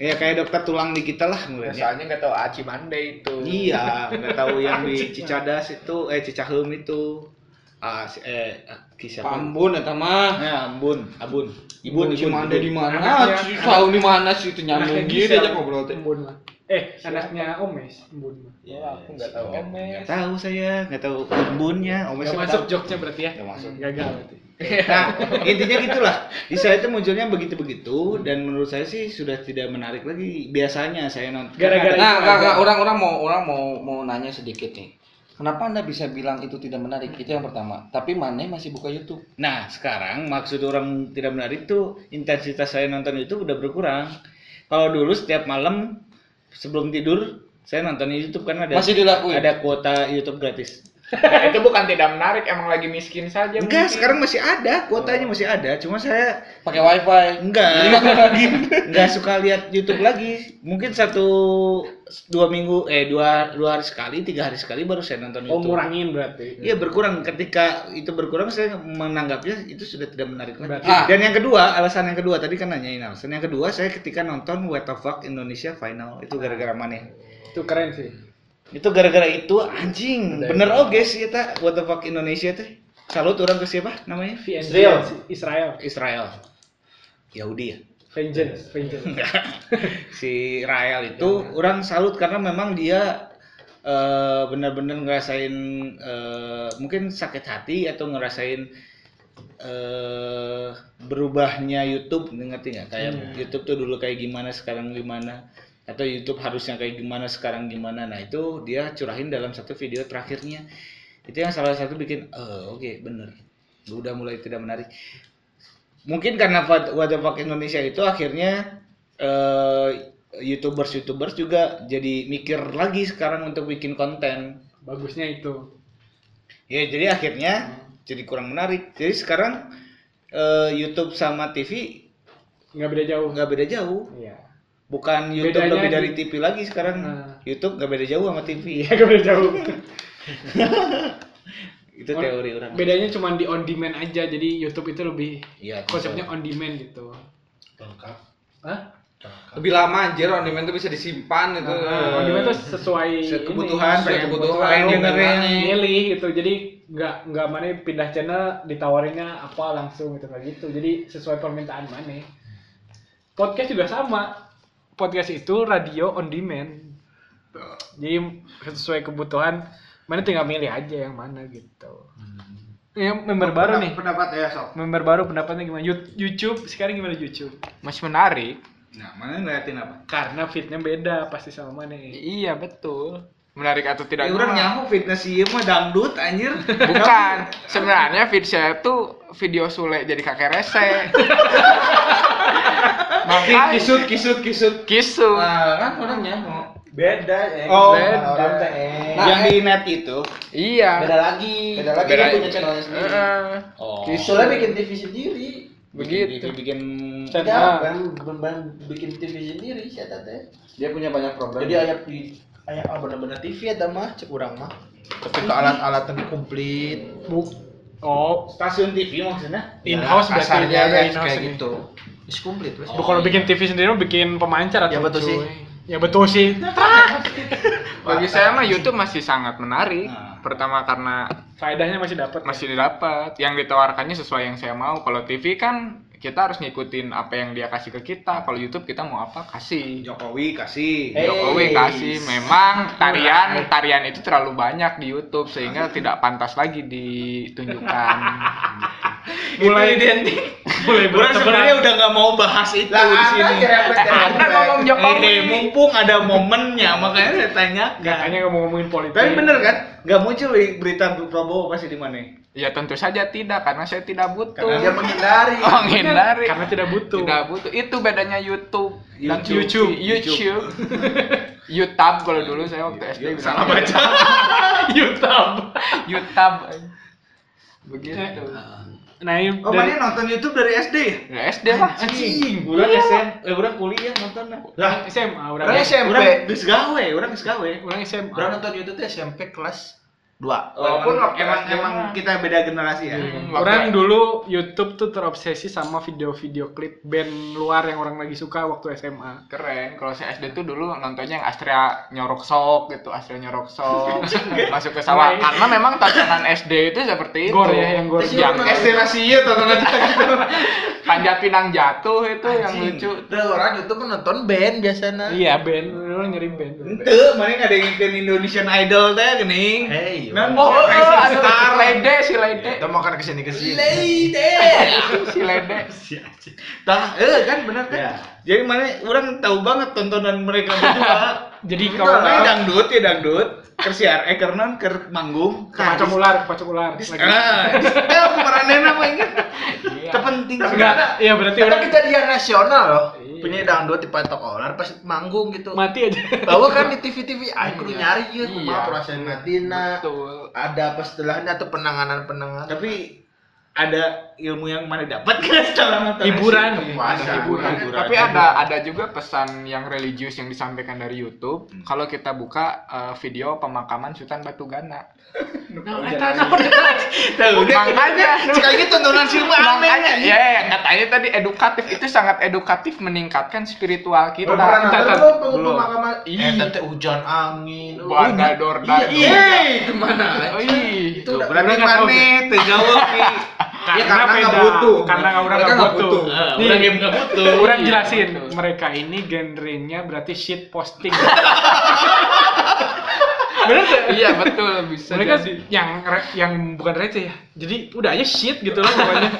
[SPEAKER 2] Ya kayak dokter tulang di kita lah
[SPEAKER 6] Iya.
[SPEAKER 2] mulainya.
[SPEAKER 1] Soalnya nggak tahu Aci Mande itu.
[SPEAKER 2] Iya, nggak tahu yang di Cicadas itu eh Cicaheum itu. Ah, si- eh kisah
[SPEAKER 6] Ambon eta mah.
[SPEAKER 2] Ya, Ambun, Abun.
[SPEAKER 6] Ibu cuma ada di mana?
[SPEAKER 4] Anaknya.
[SPEAKER 6] Tahu di mana sih itu nyambung
[SPEAKER 4] Anaknya
[SPEAKER 6] gitu
[SPEAKER 4] Gisel.
[SPEAKER 6] aja ngobrol teh.
[SPEAKER 4] Embun mah. Eh, anaknya Omes, Embun mah.
[SPEAKER 1] Ya, aku nggak tahu
[SPEAKER 6] Iya.
[SPEAKER 1] Iya. Omes.
[SPEAKER 2] Tahu saya, nggak tahu Ambunnya,
[SPEAKER 4] Gak
[SPEAKER 2] Omesnya nggak
[SPEAKER 4] masuk
[SPEAKER 2] tahu.
[SPEAKER 4] joknya berarti ya.
[SPEAKER 2] Nggak masuk.
[SPEAKER 4] Gagal berarti.
[SPEAKER 2] Nah, intinya gitulah. Di saya itu munculnya begitu-begitu dan menurut saya sih sudah tidak menarik lagi. Biasanya saya nonton
[SPEAKER 6] Nah,
[SPEAKER 4] Gara-gara itu
[SPEAKER 6] enggak, enggak.
[SPEAKER 4] ada.
[SPEAKER 6] orang-orang mau orang mau mau nanya sedikit nih. Kenapa Anda bisa bilang itu tidak menarik? Itu yang pertama. Tapi Mane masih buka YouTube.
[SPEAKER 2] Nah, sekarang maksud orang tidak menarik tuh intensitas saya nonton itu udah berkurang. Kalau dulu setiap malam sebelum tidur saya nonton YouTube karena ada
[SPEAKER 6] Masih dilakuin?
[SPEAKER 2] ada kuota YouTube gratis.
[SPEAKER 1] Nah, itu bukan tidak menarik, emang lagi miskin saja.
[SPEAKER 4] Ya
[SPEAKER 2] enggak,
[SPEAKER 1] mungkin.
[SPEAKER 2] sekarang masih ada, kuotanya masih ada. Cuma saya
[SPEAKER 6] Pakai WiFi.
[SPEAKER 2] enggak enggak suka lihat YouTube lagi. Mungkin satu dua minggu eh dua dua hari sekali, tiga hari sekali baru saya nonton
[SPEAKER 4] Oh,
[SPEAKER 2] YouTube.
[SPEAKER 4] ngurangin berarti.
[SPEAKER 2] Iya berkurang ketika itu berkurang saya menanggapnya itu sudah tidak menarik lagi.
[SPEAKER 6] Berarti-
[SPEAKER 2] Dan yang kedua alasan yang kedua tadi kan nanyain alasan yang kedua saya ketika nonton What the Fuck Indonesia Final itu gara-gara mana?
[SPEAKER 4] Itu keren sih.
[SPEAKER 2] Itu gara-gara itu anjing bener oh, iya, oke sih eta What the Fuck Indonesia teh. Salut orang ke siapa namanya?
[SPEAKER 4] VNC
[SPEAKER 3] Israel.
[SPEAKER 4] Israel.
[SPEAKER 2] Israel. Yahudi ya.
[SPEAKER 4] Vengeance, vengeance.
[SPEAKER 2] si Rael itu orang salut karena memang dia eh, benar-benar ngerasain eh, mungkin sakit hati atau ngerasain eh berubahnya YouTube ngerti nggak kayak YouTube tuh dulu kayak gimana sekarang gimana atau YouTube harusnya kayak gimana sekarang gimana nah itu dia curahin dalam satu video terakhirnya itu yang salah satu bikin eh oke bener udah mulai tidak menarik mungkin karena What What the Fuck Indonesia itu akhirnya eh youtubers youtubers juga jadi mikir lagi sekarang untuk bikin konten
[SPEAKER 4] bagusnya itu
[SPEAKER 2] Ya jadi akhirnya jadi kurang menarik. Jadi sekarang eh, YouTube sama TV
[SPEAKER 4] nggak beda jauh
[SPEAKER 2] nggak beda jauh.
[SPEAKER 4] iya
[SPEAKER 2] Bukan YouTube
[SPEAKER 4] Bedanya
[SPEAKER 2] lebih dari
[SPEAKER 4] di-
[SPEAKER 2] TV lagi sekarang.
[SPEAKER 4] Nah. Iya.
[SPEAKER 2] YouTube nggak beda jauh sama TV.
[SPEAKER 4] nggak beda jauh
[SPEAKER 2] Itu teori orang.
[SPEAKER 4] bedanya cuma di on demand aja jadi YouTube itu lebih
[SPEAKER 2] Iya.
[SPEAKER 4] konsepnya on demand gitu
[SPEAKER 3] lengkap
[SPEAKER 4] Hah?
[SPEAKER 6] Lebih lama anjir on demand tuh bisa disimpan itu.
[SPEAKER 4] Nah, on demand tuh sesuai
[SPEAKER 6] Sesuai
[SPEAKER 4] ini,
[SPEAKER 6] kebutuhan,
[SPEAKER 4] sesuai
[SPEAKER 6] pengen
[SPEAKER 4] Iya, kebutuhan,
[SPEAKER 6] kebutuhan,
[SPEAKER 4] pengen
[SPEAKER 6] dengerin.
[SPEAKER 4] milih gitu jadi nggak nggak mana pindah channel ditawarinnya apa langsung gitu kayak gitu jadi sesuai permintaan mana podcast juga sama podcast itu radio on demand jadi sesuai kebutuhan mana tinggal milih aja yang mana gitu
[SPEAKER 6] Hmm.
[SPEAKER 4] ya member baru nih
[SPEAKER 3] Pendapat ya sok.
[SPEAKER 4] member baru pendapatnya gimana Yout- YouTube sekarang gimana YouTube
[SPEAKER 1] Masih menarik.
[SPEAKER 2] Nah mana ngeliatin apa?
[SPEAKER 4] karena fitnya beda pasti sama mana ya.
[SPEAKER 1] Iya betul. Menarik atau
[SPEAKER 2] Ya
[SPEAKER 1] tidak?
[SPEAKER 2] orang
[SPEAKER 1] mah.
[SPEAKER 2] nyaho fitness iya mah dangdut anjir.
[SPEAKER 1] Bukan. Sebenarnya feed saya tuh video Sule jadi kakek rese. Makanya
[SPEAKER 6] Kisut, kisut, kisut.
[SPEAKER 1] kisu.
[SPEAKER 6] Nah, kan orangnya mau.
[SPEAKER 7] Beda ya.
[SPEAKER 2] Oh,
[SPEAKER 7] Sama orang
[SPEAKER 1] beda.
[SPEAKER 7] teh. eh.
[SPEAKER 6] Nah,
[SPEAKER 2] yang di net itu.
[SPEAKER 1] Iya.
[SPEAKER 7] Beda lagi. Beda lagi
[SPEAKER 1] Beda
[SPEAKER 7] dia
[SPEAKER 1] lagi.
[SPEAKER 7] punya channelnya sendiri.
[SPEAKER 1] Heeh.
[SPEAKER 2] Oh.
[SPEAKER 3] Gitu.
[SPEAKER 7] Soalnya bikin TV sendiri.
[SPEAKER 1] Begitu.
[SPEAKER 2] Bikin, bikin
[SPEAKER 4] Channel.
[SPEAKER 7] Ya,
[SPEAKER 6] Iya.
[SPEAKER 7] kan beban bikin TV sendiri sih eta teh.
[SPEAKER 6] Dia punya banyak program.
[SPEAKER 7] Jadi ayah di ayah ah bener-bener TV eta mah cek urang mah.
[SPEAKER 6] ketika alat-alat itu komplit.
[SPEAKER 4] Oh,
[SPEAKER 2] stasiun TV maksudnya.
[SPEAKER 4] in house berarti
[SPEAKER 6] Ya, kasarnya
[SPEAKER 4] ada Oh.
[SPEAKER 6] ya,
[SPEAKER 4] in house
[SPEAKER 6] kayak
[SPEAKER 4] gitu.
[SPEAKER 6] gitu.
[SPEAKER 7] Wis komplit wis.
[SPEAKER 2] Oh,
[SPEAKER 4] kalau bikin
[SPEAKER 2] iya.
[SPEAKER 4] TV sendiri mah bikin pemancar atau
[SPEAKER 7] Ya, betul sih.
[SPEAKER 4] Ya betul sih.
[SPEAKER 1] Bagi saya mah YouTube masih sangat menarik.
[SPEAKER 2] Nah.
[SPEAKER 1] Pertama karena
[SPEAKER 4] Faedahnya masih dapat.
[SPEAKER 1] masih didapat. Yang ditawarkannya sesuai yang saya mau. Kalau TV kan kita harus ngikutin apa yang dia kasih ke kita. Kalau YouTube kita mau apa kasih.
[SPEAKER 2] Jokowi kasih.
[SPEAKER 7] Eh.
[SPEAKER 1] Jokowi kasih memang tarian tarian itu terlalu banyak di YouTube sehingga tidak pantas lagi ditunjukkan.
[SPEAKER 4] mulai mulai
[SPEAKER 2] Orang sebenarnya
[SPEAKER 4] berteman.
[SPEAKER 2] udah nggak mau bahas itu
[SPEAKER 7] Lah
[SPEAKER 2] di
[SPEAKER 7] apa
[SPEAKER 2] sini.
[SPEAKER 7] ya.
[SPEAKER 1] Anda ngomong
[SPEAKER 2] Eh,
[SPEAKER 1] Jokowi.
[SPEAKER 2] mumpung ada momennya makanya saya tanya.
[SPEAKER 4] Kayaknya nggak mau ngomongin politik.
[SPEAKER 2] Tapi bener kan? Nggak muncul berita Prabowo pasti di mana?
[SPEAKER 1] Ya tentu saja tidak karena saya tidak butuh.
[SPEAKER 2] Karena
[SPEAKER 7] Iya.
[SPEAKER 2] dia
[SPEAKER 1] menghindari. Oh, menghindari.
[SPEAKER 4] Karena tidak butuh.
[SPEAKER 1] Tidak butuh. Itu bedanya YouTube dan
[SPEAKER 2] YouTube.
[SPEAKER 1] YouTube. YouTube. YouTube kalau dulu saya waktu SD
[SPEAKER 2] Dia
[SPEAKER 1] bilang
[SPEAKER 2] salah baca.
[SPEAKER 4] YouTube.
[SPEAKER 1] YouTube. Begitu.
[SPEAKER 4] Nah, ini
[SPEAKER 2] Oh,
[SPEAKER 4] dari-
[SPEAKER 2] makanya nonton YouTube dari SD ya?
[SPEAKER 1] Ya, SD lah.
[SPEAKER 2] Anjing, orang
[SPEAKER 4] Iya.
[SPEAKER 2] SM, eh orang kuliah nonton lah.
[SPEAKER 7] Lah,
[SPEAKER 4] SMA udah.
[SPEAKER 7] Orang SMP.
[SPEAKER 2] Orang geus gawe, orang geus gawe.
[SPEAKER 4] Orang SMA.
[SPEAKER 7] urang nonton YouTube teh SMP kelas 2.
[SPEAKER 2] Walaupun
[SPEAKER 1] Walaupun waktu
[SPEAKER 2] emang
[SPEAKER 1] SD
[SPEAKER 2] emang
[SPEAKER 1] mah.
[SPEAKER 2] kita beda generasi ya.
[SPEAKER 1] Hmm, waktu-
[SPEAKER 4] Orang dulu YouTube tuh terobsesi sama video-video klip band luar yang orang lagi suka waktu SMA.
[SPEAKER 1] keren kalau saya SD tuh dulu nontonnya yang Astrea nyorok sok gitu Astrea nyorok sok masuk ke sawah
[SPEAKER 4] Mulai.
[SPEAKER 1] karena memang tontonan SD itu seperti itu
[SPEAKER 4] Gor ya, yang gor.
[SPEAKER 1] yang
[SPEAKER 6] SD
[SPEAKER 2] iya,
[SPEAKER 6] rahasia tontonan kita gitu.
[SPEAKER 1] panjat pinang jatuh itu yang lucu
[SPEAKER 7] Udah orang YouTube nonton band biasanya.
[SPEAKER 4] Iya band, orang nyari band.
[SPEAKER 2] Ente, mana nggak ada yang ngikutin Indonesian Idol teh gening.
[SPEAKER 7] Hey,
[SPEAKER 2] Nang
[SPEAKER 1] oh, oh, oh
[SPEAKER 2] Rising
[SPEAKER 1] aduh,
[SPEAKER 2] Star.
[SPEAKER 1] si lede si lede
[SPEAKER 4] Iya,
[SPEAKER 7] kita makan kesini kesini.
[SPEAKER 1] si lede
[SPEAKER 2] Tah, eh kan bener kan? Jadi mana orang tahu banget tontonan mereka berdua.
[SPEAKER 4] Jadi
[SPEAKER 2] Kalau
[SPEAKER 4] kalau
[SPEAKER 2] mana dangdut ya dangdut, ker siar eh ker non ker manggung.
[SPEAKER 4] kepacok ular, kepacok ular. Lagi.
[SPEAKER 2] Ah, di- eh peranena mah inget.
[SPEAKER 1] Iya.
[SPEAKER 2] Terpenting
[SPEAKER 4] Enggak,
[SPEAKER 2] sebenarnya.
[SPEAKER 4] iya berarti
[SPEAKER 7] Tapi
[SPEAKER 4] orang
[SPEAKER 7] kejadian nasional loh.
[SPEAKER 4] Iya.
[SPEAKER 7] Penyanyi dangdut dipatok orang pas manggung gitu.
[SPEAKER 4] mati aja.
[SPEAKER 7] Bahwa kan di TV-TV ah kudu nyari ya
[SPEAKER 1] Iya.
[SPEAKER 7] kumaha perasaan
[SPEAKER 1] Nah.
[SPEAKER 7] matina.
[SPEAKER 1] betul
[SPEAKER 7] Ada apa setelahnya atau penanganan-penanganan.
[SPEAKER 2] Tapi ada ilmu yang mana dapat kan setelah nonton
[SPEAKER 4] Hiburan. Iya,
[SPEAKER 2] Puasa.
[SPEAKER 7] Hiburan.
[SPEAKER 1] tapi ada ada juga pesan yang religius yang disampaikan dari YouTube
[SPEAKER 4] Hmm.
[SPEAKER 1] kalau kita buka eh, video pemakaman Sultan Batu Gana nah, eta
[SPEAKER 2] Tahu deh.
[SPEAKER 1] makanya
[SPEAKER 2] Sekali lagi tontonan Silma
[SPEAKER 1] Makanya,
[SPEAKER 2] aneh.
[SPEAKER 1] ya, yang katanya tadi edukatif itu sangat edukatif meningkatkan spiritual kita.
[SPEAKER 7] Pernah
[SPEAKER 1] Kita-
[SPEAKER 7] nonton
[SPEAKER 1] kita-
[SPEAKER 7] belum pengumuman
[SPEAKER 2] Belum.
[SPEAKER 7] pemakaman?
[SPEAKER 1] Ih.
[SPEAKER 7] Eh, tete hujan angin.
[SPEAKER 1] Buada
[SPEAKER 3] Iya,
[SPEAKER 1] dordar.
[SPEAKER 2] Hei, kemana?
[SPEAKER 1] Oh, ih.
[SPEAKER 7] Itu udah
[SPEAKER 2] Berarti
[SPEAKER 4] nggak tahu
[SPEAKER 2] mana tegawa ki.
[SPEAKER 4] Iya, Karena,
[SPEAKER 7] karena nggak
[SPEAKER 4] beda,
[SPEAKER 7] butuh.
[SPEAKER 4] karena orang
[SPEAKER 7] Mereka
[SPEAKER 4] nggak
[SPEAKER 7] nggak
[SPEAKER 4] butuh.
[SPEAKER 7] butuh.
[SPEAKER 2] Ah,
[SPEAKER 4] Nih,
[SPEAKER 2] orang yang nggak butuh.
[SPEAKER 4] Orang
[SPEAKER 1] Iya,
[SPEAKER 4] jelasin,
[SPEAKER 1] betul.
[SPEAKER 4] mereka ini genrenya berarti shit posting. Bener tuh?
[SPEAKER 1] Iya betul bisa
[SPEAKER 4] mereka
[SPEAKER 1] jadi.
[SPEAKER 4] yang re- yang bukan receh ya. Jadi udah aja shit gitu loh pokoknya.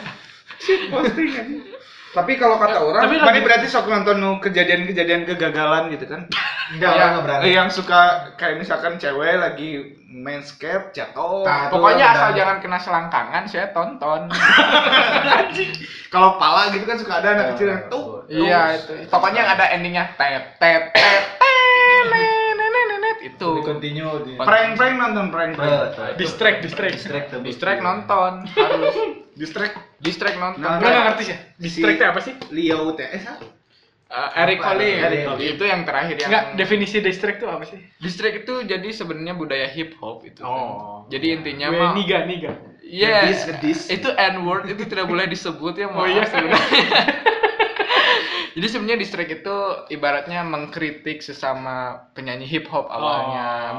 [SPEAKER 6] Tapi kalau kata orang,
[SPEAKER 4] Tapi
[SPEAKER 2] Mana
[SPEAKER 4] lagi-
[SPEAKER 2] berarti sok nonton nu kejadian-kejadian kegagalan gitu kan?
[SPEAKER 7] Enggak, orang nggak berani.
[SPEAKER 2] Eh, yang suka kayak misalkan cewek lagi manscape jatuh.
[SPEAKER 7] Tak.
[SPEAKER 1] Pokoknya
[SPEAKER 7] Aduh,
[SPEAKER 1] asal
[SPEAKER 7] udah.
[SPEAKER 1] jangan kena selangkangan, saya tonton.
[SPEAKER 2] Kalau pala gitu kan suka ada anak kecil yang tuh.
[SPEAKER 1] iya itu. Pokoknya yang ada endingnya tet tet tet telet, nenet, nenet, itu. itu.
[SPEAKER 8] continue di
[SPEAKER 2] Prank-prank nonton prank-prank.
[SPEAKER 4] Distract, distract.
[SPEAKER 8] distract tuh.
[SPEAKER 1] Distract nonton harus.
[SPEAKER 2] Distract
[SPEAKER 1] Distract nonton.
[SPEAKER 2] Nah,
[SPEAKER 4] Gue nggak ngerti sih. Distract
[SPEAKER 2] Si-
[SPEAKER 4] itu apa sih?
[SPEAKER 2] Leo UTS apa?
[SPEAKER 1] Eh, Eric
[SPEAKER 8] Apa?
[SPEAKER 1] Olim.
[SPEAKER 8] Eric Olim.
[SPEAKER 1] Itu yang terakhir yang
[SPEAKER 4] Enggak, definisi distract itu apa sih?
[SPEAKER 1] Distract itu jadi sebenarnya budaya hip hop itu. kan.
[SPEAKER 4] Oh.
[SPEAKER 1] Jadi intinya
[SPEAKER 4] Gue
[SPEAKER 1] mah
[SPEAKER 4] niga, niga.
[SPEAKER 1] Iya.
[SPEAKER 2] Ngedis, ngedis.
[SPEAKER 1] Itu N word itu tidak boleh disebut ya maaf
[SPEAKER 4] Oh iya.
[SPEAKER 1] sebenarnya. Jadi sebenarnya distract itu ibaratnya mengkritik sesama penyanyi hip hop awalnya.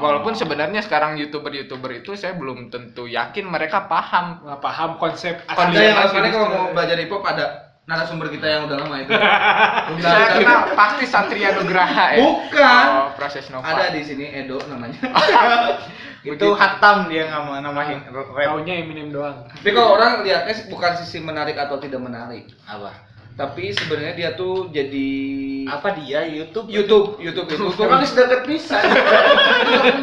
[SPEAKER 4] Oh.
[SPEAKER 1] Walaupun sebenarnya sekarang youtuber-youtuber itu saya belum tentu yakin mereka paham.
[SPEAKER 4] Nggak paham konsep
[SPEAKER 1] Konsep
[SPEAKER 4] asli.
[SPEAKER 3] Ada yang
[SPEAKER 1] Asli,
[SPEAKER 3] asalnya
[SPEAKER 1] asli,
[SPEAKER 3] kalau
[SPEAKER 1] asli.
[SPEAKER 3] mau belajar hip hop ada narasumber kita yang udah lama itu.
[SPEAKER 2] Nah,
[SPEAKER 1] Saya kenal pasti Satria Nugraha ya.
[SPEAKER 3] Bukan.
[SPEAKER 1] Oh, proses Nova.
[SPEAKER 3] Ada di sini Edo namanya.
[SPEAKER 2] Itu Hatam dia nama namain rap.
[SPEAKER 4] Taunya Eminem doang.
[SPEAKER 3] Tapi kalau orang lihatnya sih bukan sisi menarik atau tidak menarik,
[SPEAKER 2] Apa?
[SPEAKER 3] tapi sebenarnya dia tuh jadi
[SPEAKER 2] Apa dia YouTube?
[SPEAKER 3] YouTube, YouTube itu tuh
[SPEAKER 2] Emang sudah terpisah.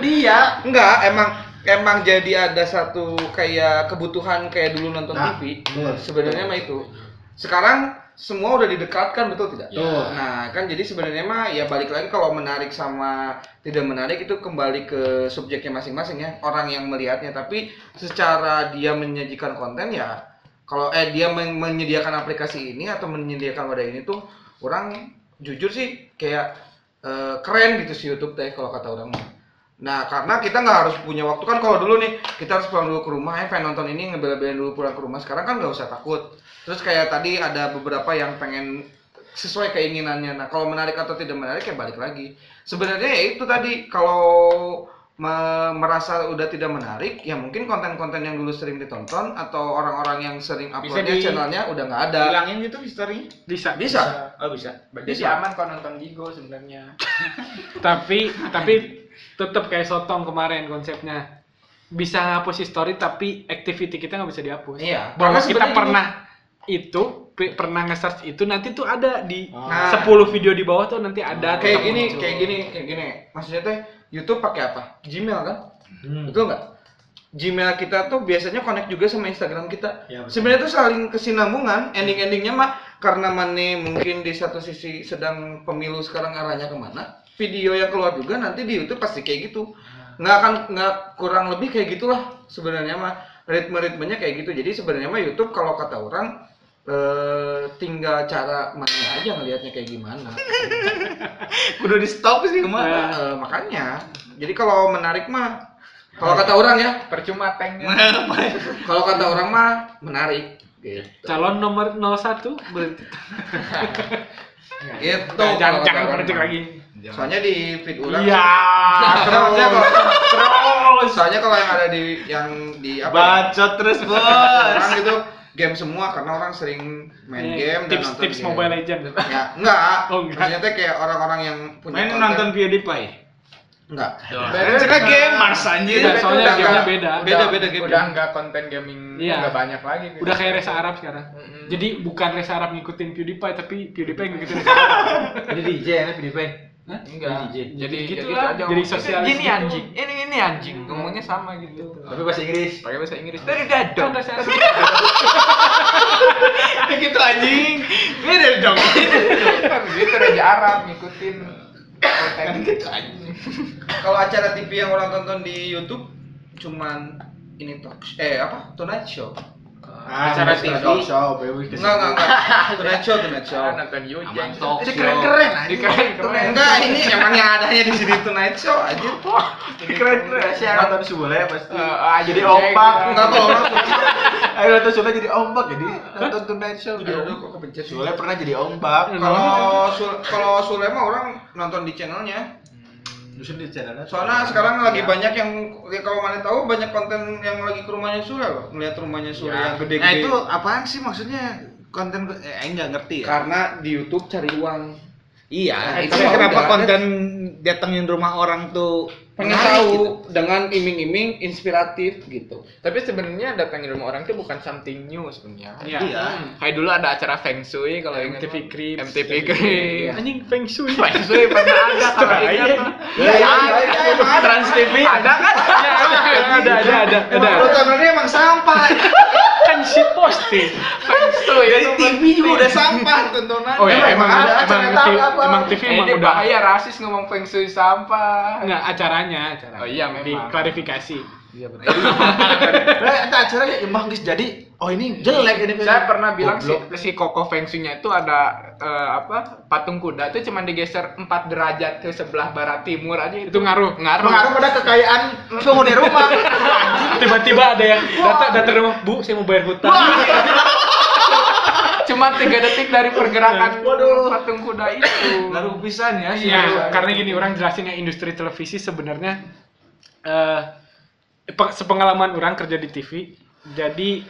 [SPEAKER 2] dia.
[SPEAKER 3] enggak emang emang jadi ada satu kayak kebutuhan kayak dulu nonton
[SPEAKER 8] Nah,
[SPEAKER 3] TV.
[SPEAKER 8] betul.
[SPEAKER 3] Sebenarnya mah itu. Sekarang semua udah didekatkan betul tidak?
[SPEAKER 2] Betul.
[SPEAKER 3] Nah, kan jadi sebenarnya mah ya balik lagi kalau menarik sama tidak menarik itu kembali ke subjeknya masing-masing ya, orang yang melihatnya. Tapi secara dia menyajikan konten ya kalau eh dia men- menyediakan aplikasi ini atau menyediakan wadah ini tuh orang jujur sih kayak eh, keren gitu si YouTube teh kalau kata orang mah. Nah, karena kita nggak harus punya waktu kan kalau dulu nih kita harus pulang dulu ke rumah, eh pengen nonton ini ngebela-belain dulu pulang ke rumah. Sekarang kan nggak usah takut. Terus kayak tadi ada beberapa yang pengen sesuai keinginannya. Nah, kalau menarik atau tidak menarik ya balik lagi. Sebenarnya ya itu tadi kalau me- merasa udah tidak menarik, ya mungkin konten-konten yang dulu sering ditonton atau orang-orang yang sering uploadnya
[SPEAKER 4] di-
[SPEAKER 3] channelnya udah nggak ada.
[SPEAKER 2] Hilangin gitu historinya.
[SPEAKER 4] Bisa.
[SPEAKER 3] Bisa.
[SPEAKER 2] Oh bisa.
[SPEAKER 1] Jadi aman kalau nonton Gigo sebenarnya.
[SPEAKER 4] tapi tapi tetap kayak sotong kemarin konsepnya bisa ngapus history tapi activity kita nggak bisa dihapus
[SPEAKER 3] Iya.
[SPEAKER 4] bahwa
[SPEAKER 3] Karena
[SPEAKER 4] kita
[SPEAKER 3] sebenarnya
[SPEAKER 4] pernah itu pe- pernah nge-search itu nanti tuh ada di
[SPEAKER 3] Nah.
[SPEAKER 4] 10 video di bawah tuh nanti ada
[SPEAKER 3] kayak
[SPEAKER 4] tetap
[SPEAKER 3] gini,
[SPEAKER 4] muncul.
[SPEAKER 3] kayak gini, kayak gini. Maksudnya teh YouTube pakai apa? Gmail kan?
[SPEAKER 4] Hmm.
[SPEAKER 3] Betul nggak? Gmail kita tuh biasanya connect juga sama Instagram kita.
[SPEAKER 4] Iya.
[SPEAKER 8] Ya, betul.
[SPEAKER 3] Sebenarnya tuh saling kesinambungan. Kan, Ending-endingnya mah karena mana mungkin di satu sisi sedang pemilu sekarang arahnya kemana. Video yang keluar juga nanti di YouTube pasti kayak gitu. Nggak akan nggak kurang lebih kayak gitulah sebenarnya mah ritme-ritmenya kayak gitu. Jadi sebenarnya mah YouTube kalau kata orang eh, tinggal cara mana aja ngelihatnya kayak gimana.
[SPEAKER 2] Kudu di stop sih kemarin.
[SPEAKER 4] Nah,
[SPEAKER 3] Eh, makanya. Jadi kalau menarik mah kalau kata orang ya
[SPEAKER 1] Percuma tanknya.
[SPEAKER 3] kalau kata orang mah menarik gitu
[SPEAKER 4] calon nomor 01 berhenti
[SPEAKER 3] gitu
[SPEAKER 4] Nah, jangan
[SPEAKER 3] kalau
[SPEAKER 4] jangan
[SPEAKER 3] kata orang
[SPEAKER 4] project
[SPEAKER 3] mah.
[SPEAKER 4] lagi
[SPEAKER 3] soalnya di feed orang
[SPEAKER 4] iya
[SPEAKER 3] Nah, soalnya kalau
[SPEAKER 4] terus
[SPEAKER 3] soalnya kalau yang ada di yang di apa ya,
[SPEAKER 2] Bacot terus bos.
[SPEAKER 3] orang gitu game semua karena orang sering main game
[SPEAKER 4] Iya,
[SPEAKER 3] dan
[SPEAKER 4] tips
[SPEAKER 3] nonton
[SPEAKER 4] tips
[SPEAKER 3] game.
[SPEAKER 4] mobile legend
[SPEAKER 3] ya enggak
[SPEAKER 4] Oh, enggak.
[SPEAKER 3] maksudnya teh kayak orang-orang yang punya
[SPEAKER 2] Main
[SPEAKER 3] konten-
[SPEAKER 2] nonton PewDiePie.
[SPEAKER 3] enggak
[SPEAKER 2] Cek game Mars anjir.
[SPEAKER 4] Iya, soalnya
[SPEAKER 3] udah
[SPEAKER 4] gamenya
[SPEAKER 3] nggak-
[SPEAKER 4] beda.
[SPEAKER 3] beda beda gitu. game
[SPEAKER 1] udah nggak konten gaming
[SPEAKER 4] Iya.
[SPEAKER 1] udah banyak lagi gitu.
[SPEAKER 4] udah kayak Reza Arab sekarang
[SPEAKER 1] Mm-mm.
[SPEAKER 4] jadi bukan Reza Arab ngikutin PewDiePie tapi PewDiePie yang ngikutin Reza Arab
[SPEAKER 8] Jadi DJ ya PewDiePie.
[SPEAKER 1] enggak
[SPEAKER 8] Jadi-
[SPEAKER 1] jadi
[SPEAKER 4] jadi
[SPEAKER 1] jadi
[SPEAKER 4] gitu
[SPEAKER 1] gitu
[SPEAKER 4] lah,
[SPEAKER 1] aja
[SPEAKER 4] jadi
[SPEAKER 1] ngomong.
[SPEAKER 4] sosialis
[SPEAKER 1] gini
[SPEAKER 4] gitu. Iya.
[SPEAKER 1] anjing ini ini anjing ngomongnya sama gitu
[SPEAKER 8] Tapi bahasa Inggris.
[SPEAKER 1] pakai bahasa Inggris dari dadong
[SPEAKER 4] Kan Reza Arab
[SPEAKER 2] Gitu anjing. Ini dari dong.
[SPEAKER 1] gitu raja Arab ngikutin
[SPEAKER 4] Iya.
[SPEAKER 1] konten
[SPEAKER 4] Kan
[SPEAKER 1] gitu anjing
[SPEAKER 3] kalau acara TV yang orang tonton di YouTube cuman ini talk eh apa Tonight Show
[SPEAKER 8] Ah,
[SPEAKER 2] Acara
[SPEAKER 8] Mr.
[SPEAKER 2] TV.
[SPEAKER 8] Dog Show, Baby
[SPEAKER 3] enggak
[SPEAKER 8] Kiss.
[SPEAKER 3] enggak enggak Tonight Show Tonight Show
[SPEAKER 1] Cara nonton Yujang
[SPEAKER 2] Aman talk
[SPEAKER 1] Ini
[SPEAKER 2] show.
[SPEAKER 1] keren
[SPEAKER 8] Keren
[SPEAKER 1] ini
[SPEAKER 8] anjing.
[SPEAKER 1] keren keren
[SPEAKER 3] enggak ini emang yang adanya di sini Tonight Show aja
[SPEAKER 1] ini keren keren
[SPEAKER 8] Saya nonton Sule pasti.
[SPEAKER 1] Eh, ah,
[SPEAKER 8] jadi
[SPEAKER 1] jadi
[SPEAKER 8] ombak.
[SPEAKER 1] Jack.
[SPEAKER 3] enggak kalau orang
[SPEAKER 8] Ayo nonton Sule jadi ombak jadi nonton Tonight Show.
[SPEAKER 3] aduh kok Ya kepencet sih.
[SPEAKER 8] Sule pernah jadi ombak.
[SPEAKER 4] Iya,
[SPEAKER 3] kalau Sul- kalau Sule mah orang nonton di channelnya
[SPEAKER 8] Justru di channelnya.
[SPEAKER 3] soalnya sekarang lagi banyak yang ya kalau mana tahu banyak konten yang lagi ke rumahnya Sule loh melihat rumahnya
[SPEAKER 4] Iya.
[SPEAKER 3] Sule
[SPEAKER 1] Ya,
[SPEAKER 3] yang
[SPEAKER 2] Nah
[SPEAKER 3] gede-gede
[SPEAKER 2] itu apaan sih maksudnya konten eh enggak ngerti ya.
[SPEAKER 3] karena di YouTube cari uang
[SPEAKER 2] Iya,
[SPEAKER 3] Eh,
[SPEAKER 2] itu
[SPEAKER 3] tapi
[SPEAKER 2] kenapa
[SPEAKER 3] udah.
[SPEAKER 2] konten datengin rumah orang tuh
[SPEAKER 3] pengen
[SPEAKER 2] menarik
[SPEAKER 3] tahu
[SPEAKER 2] gitu?
[SPEAKER 3] dengan iming-iming inspiratif gitu.
[SPEAKER 1] tapi sebenarnya datangin rumah orang itu bukan something new sebenarnya
[SPEAKER 4] Iya.
[SPEAKER 2] Iya.
[SPEAKER 1] kayak dulu ada acara Feng Shui kalau ingat
[SPEAKER 4] MTV Cribs.
[SPEAKER 1] MTV Cribs
[SPEAKER 4] Iya. Anjing Feng Shui.
[SPEAKER 1] Feng Shui pernah ada kalau
[SPEAKER 4] Iya,
[SPEAKER 1] ingat kan? mah.
[SPEAKER 8] Iya, iya, iya, iya, iya.
[SPEAKER 4] Trans TV.
[SPEAKER 1] ada kan
[SPEAKER 4] Ada ada ada ada ada.
[SPEAKER 8] Emang tontonannya emang sampah.
[SPEAKER 4] Kan kan shit posting.
[SPEAKER 3] Dari TV juga udah sampah tontonan.
[SPEAKER 4] Oh ya emang
[SPEAKER 3] ada
[SPEAKER 4] emang,
[SPEAKER 3] acara
[SPEAKER 4] TV,
[SPEAKER 3] tahu apa.
[SPEAKER 4] emang TV
[SPEAKER 1] Ini
[SPEAKER 4] emang udah
[SPEAKER 1] bahaya rasis ngomong feng shui sampah.
[SPEAKER 4] enggak acaranya acara.
[SPEAKER 1] Oh iya, memang.
[SPEAKER 4] Diklarifikasi.
[SPEAKER 7] Nah, itu
[SPEAKER 3] ya,
[SPEAKER 7] acaranya emang guys jadi oh ini jelek ini.
[SPEAKER 1] Saya pernah bilang si,
[SPEAKER 7] Goblok.
[SPEAKER 1] si kokoh feng shui-nya itu ada eh, apa patung kuda itu cuma digeser 4 derajat ke sebelah barat timur aja itu,
[SPEAKER 4] Itu ngaruh.
[SPEAKER 1] ngaruh.
[SPEAKER 3] Pengaruh pada kekayaan penghuni rumah.
[SPEAKER 4] Tiba-tiba ada yang datang datang rumah, "Bu, saya mau bayar hutang."
[SPEAKER 1] Cuma 3 detik dari pergerakan patung kuda itu.
[SPEAKER 7] Ngaruh pisan ya sih.
[SPEAKER 4] Iya, karena gini orang jelasin ya industri televisi sebenarnya eh pe- sepengalaman orang kerja di TV. Jadi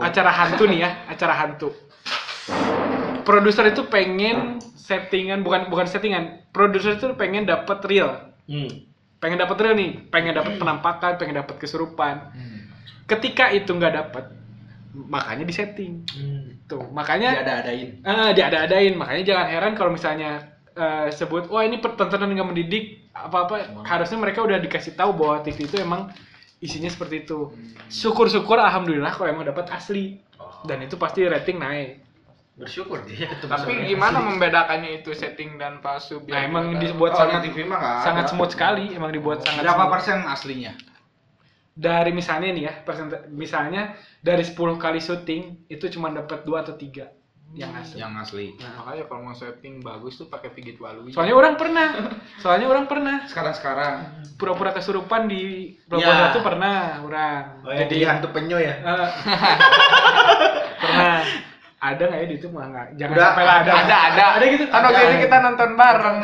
[SPEAKER 4] acara hantu nih ya, acara hantu. Produser itu pengen settingan bukan bukan settingan. Produser itu pengen dapat real.
[SPEAKER 7] Hmm.
[SPEAKER 4] Pengen dapat real nih, pengen dapat penampakan, pengen dapat kesurupan. Ketika itu nggak dapat, makanya disetting. Tuh, makanya
[SPEAKER 7] Ada-adain.
[SPEAKER 4] Ah, diada-adain. Makanya jangan heran kalau misalnya eh, sebut, wah ini pertontonan nggak mendidik apa-apa. Harusnya mereka udah dikasih tahu bahwa TV itu emang isinya seperti itu.
[SPEAKER 6] Hmm.
[SPEAKER 4] Syukur-syukur, alhamdulillah kalau emang dapat asli.
[SPEAKER 6] Oh.
[SPEAKER 4] Dan itu pasti rating naik.
[SPEAKER 3] Bersyukur dia ketemu
[SPEAKER 1] Tapi
[SPEAKER 3] sama yang
[SPEAKER 1] gimana
[SPEAKER 3] asli.
[SPEAKER 1] membedakannya itu setting dan palsu?
[SPEAKER 4] Nah,
[SPEAKER 1] biar
[SPEAKER 4] emang
[SPEAKER 1] kita
[SPEAKER 4] dibuat
[SPEAKER 2] Oh,
[SPEAKER 1] tahu?
[SPEAKER 6] Iya, Kalau
[SPEAKER 2] iya.
[SPEAKER 4] sangat
[SPEAKER 6] di TV mah nggak
[SPEAKER 4] sangat
[SPEAKER 6] ada.
[SPEAKER 4] smooth sekali, emang dibuat sangat
[SPEAKER 2] Berapa
[SPEAKER 4] smooth.
[SPEAKER 2] persen aslinya?
[SPEAKER 4] Dari misalnya nih ya, persenta- misalnya dari 10 kali syuting itu cuma dapat 2 atau 3 yang asli.
[SPEAKER 2] Yang asli.
[SPEAKER 1] Nah, makanya kalau mau setting bagus tuh pakai pigit walui.
[SPEAKER 4] Soalnya orang pernah, soalnya orang pernah
[SPEAKER 6] Sekarang-sekarang.
[SPEAKER 4] pura-pura kesurupan di pura-pura
[SPEAKER 3] Ya.
[SPEAKER 4] satu pernah orang
[SPEAKER 3] Oh,
[SPEAKER 4] Iya.
[SPEAKER 3] yang jadi hantu penyu ya.
[SPEAKER 4] eh, pernah ada nggak ya di itu mah nggak jangan
[SPEAKER 3] Udah,
[SPEAKER 4] sampai lah ada
[SPEAKER 1] ada ada
[SPEAKER 4] ada gitu
[SPEAKER 1] kan waktu itu kita nonton bareng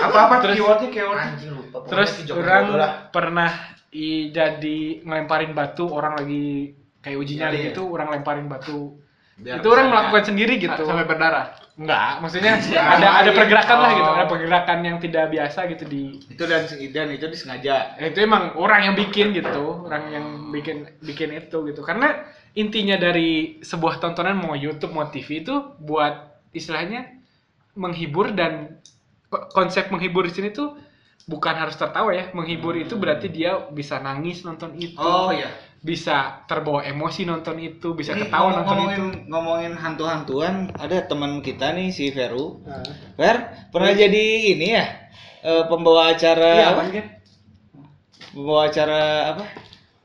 [SPEAKER 4] Nah,
[SPEAKER 6] Apa-apa keywordnya keyword.
[SPEAKER 3] Anjing lupa.
[SPEAKER 4] terus
[SPEAKER 3] Pokoknya si Joko
[SPEAKER 4] orang
[SPEAKER 3] Widodo lah.
[SPEAKER 4] pernah i, jadi ngelemparin batu orang lagi kayak uji
[SPEAKER 3] Iya,
[SPEAKER 4] nyali
[SPEAKER 3] iya.
[SPEAKER 4] gitu orang lemparin batu
[SPEAKER 2] Biar
[SPEAKER 4] itu orang
[SPEAKER 2] misalnya-
[SPEAKER 4] melakukan sendiri gitu
[SPEAKER 1] sampai berdarah.
[SPEAKER 4] enggak maksudnya ada ada pergerakan lah gitu
[SPEAKER 1] Oh.
[SPEAKER 4] ada pergerakan yang tidak biasa gitu di
[SPEAKER 2] Itu dan dan itu disengaja.
[SPEAKER 4] Ya, itu emang orang yang bikin gitu orang yang bikin bikin itu gitu karena intinya dari sebuah tontonan mau YouTube mau TV itu buat istilahnya menghibur dan ko- konsep menghibur di sini tuh bukan harus tertawa ya menghibur itu berarti dia bisa nangis nonton itu
[SPEAKER 3] Oh iya.
[SPEAKER 4] bisa terbawa emosi nonton itu bisa
[SPEAKER 2] Ini
[SPEAKER 4] ketawa
[SPEAKER 2] ngomong-
[SPEAKER 4] nonton
[SPEAKER 2] ngomongin,
[SPEAKER 4] itu
[SPEAKER 2] ngomongin hantu-hantuan, ada teman kita nih si Veru.
[SPEAKER 4] Nah.
[SPEAKER 2] Ver, pernah jadi ini ya? eh, pembawa acara
[SPEAKER 4] Iya,
[SPEAKER 2] apa?
[SPEAKER 4] apaan, Ken?
[SPEAKER 2] Pembawa acara apa?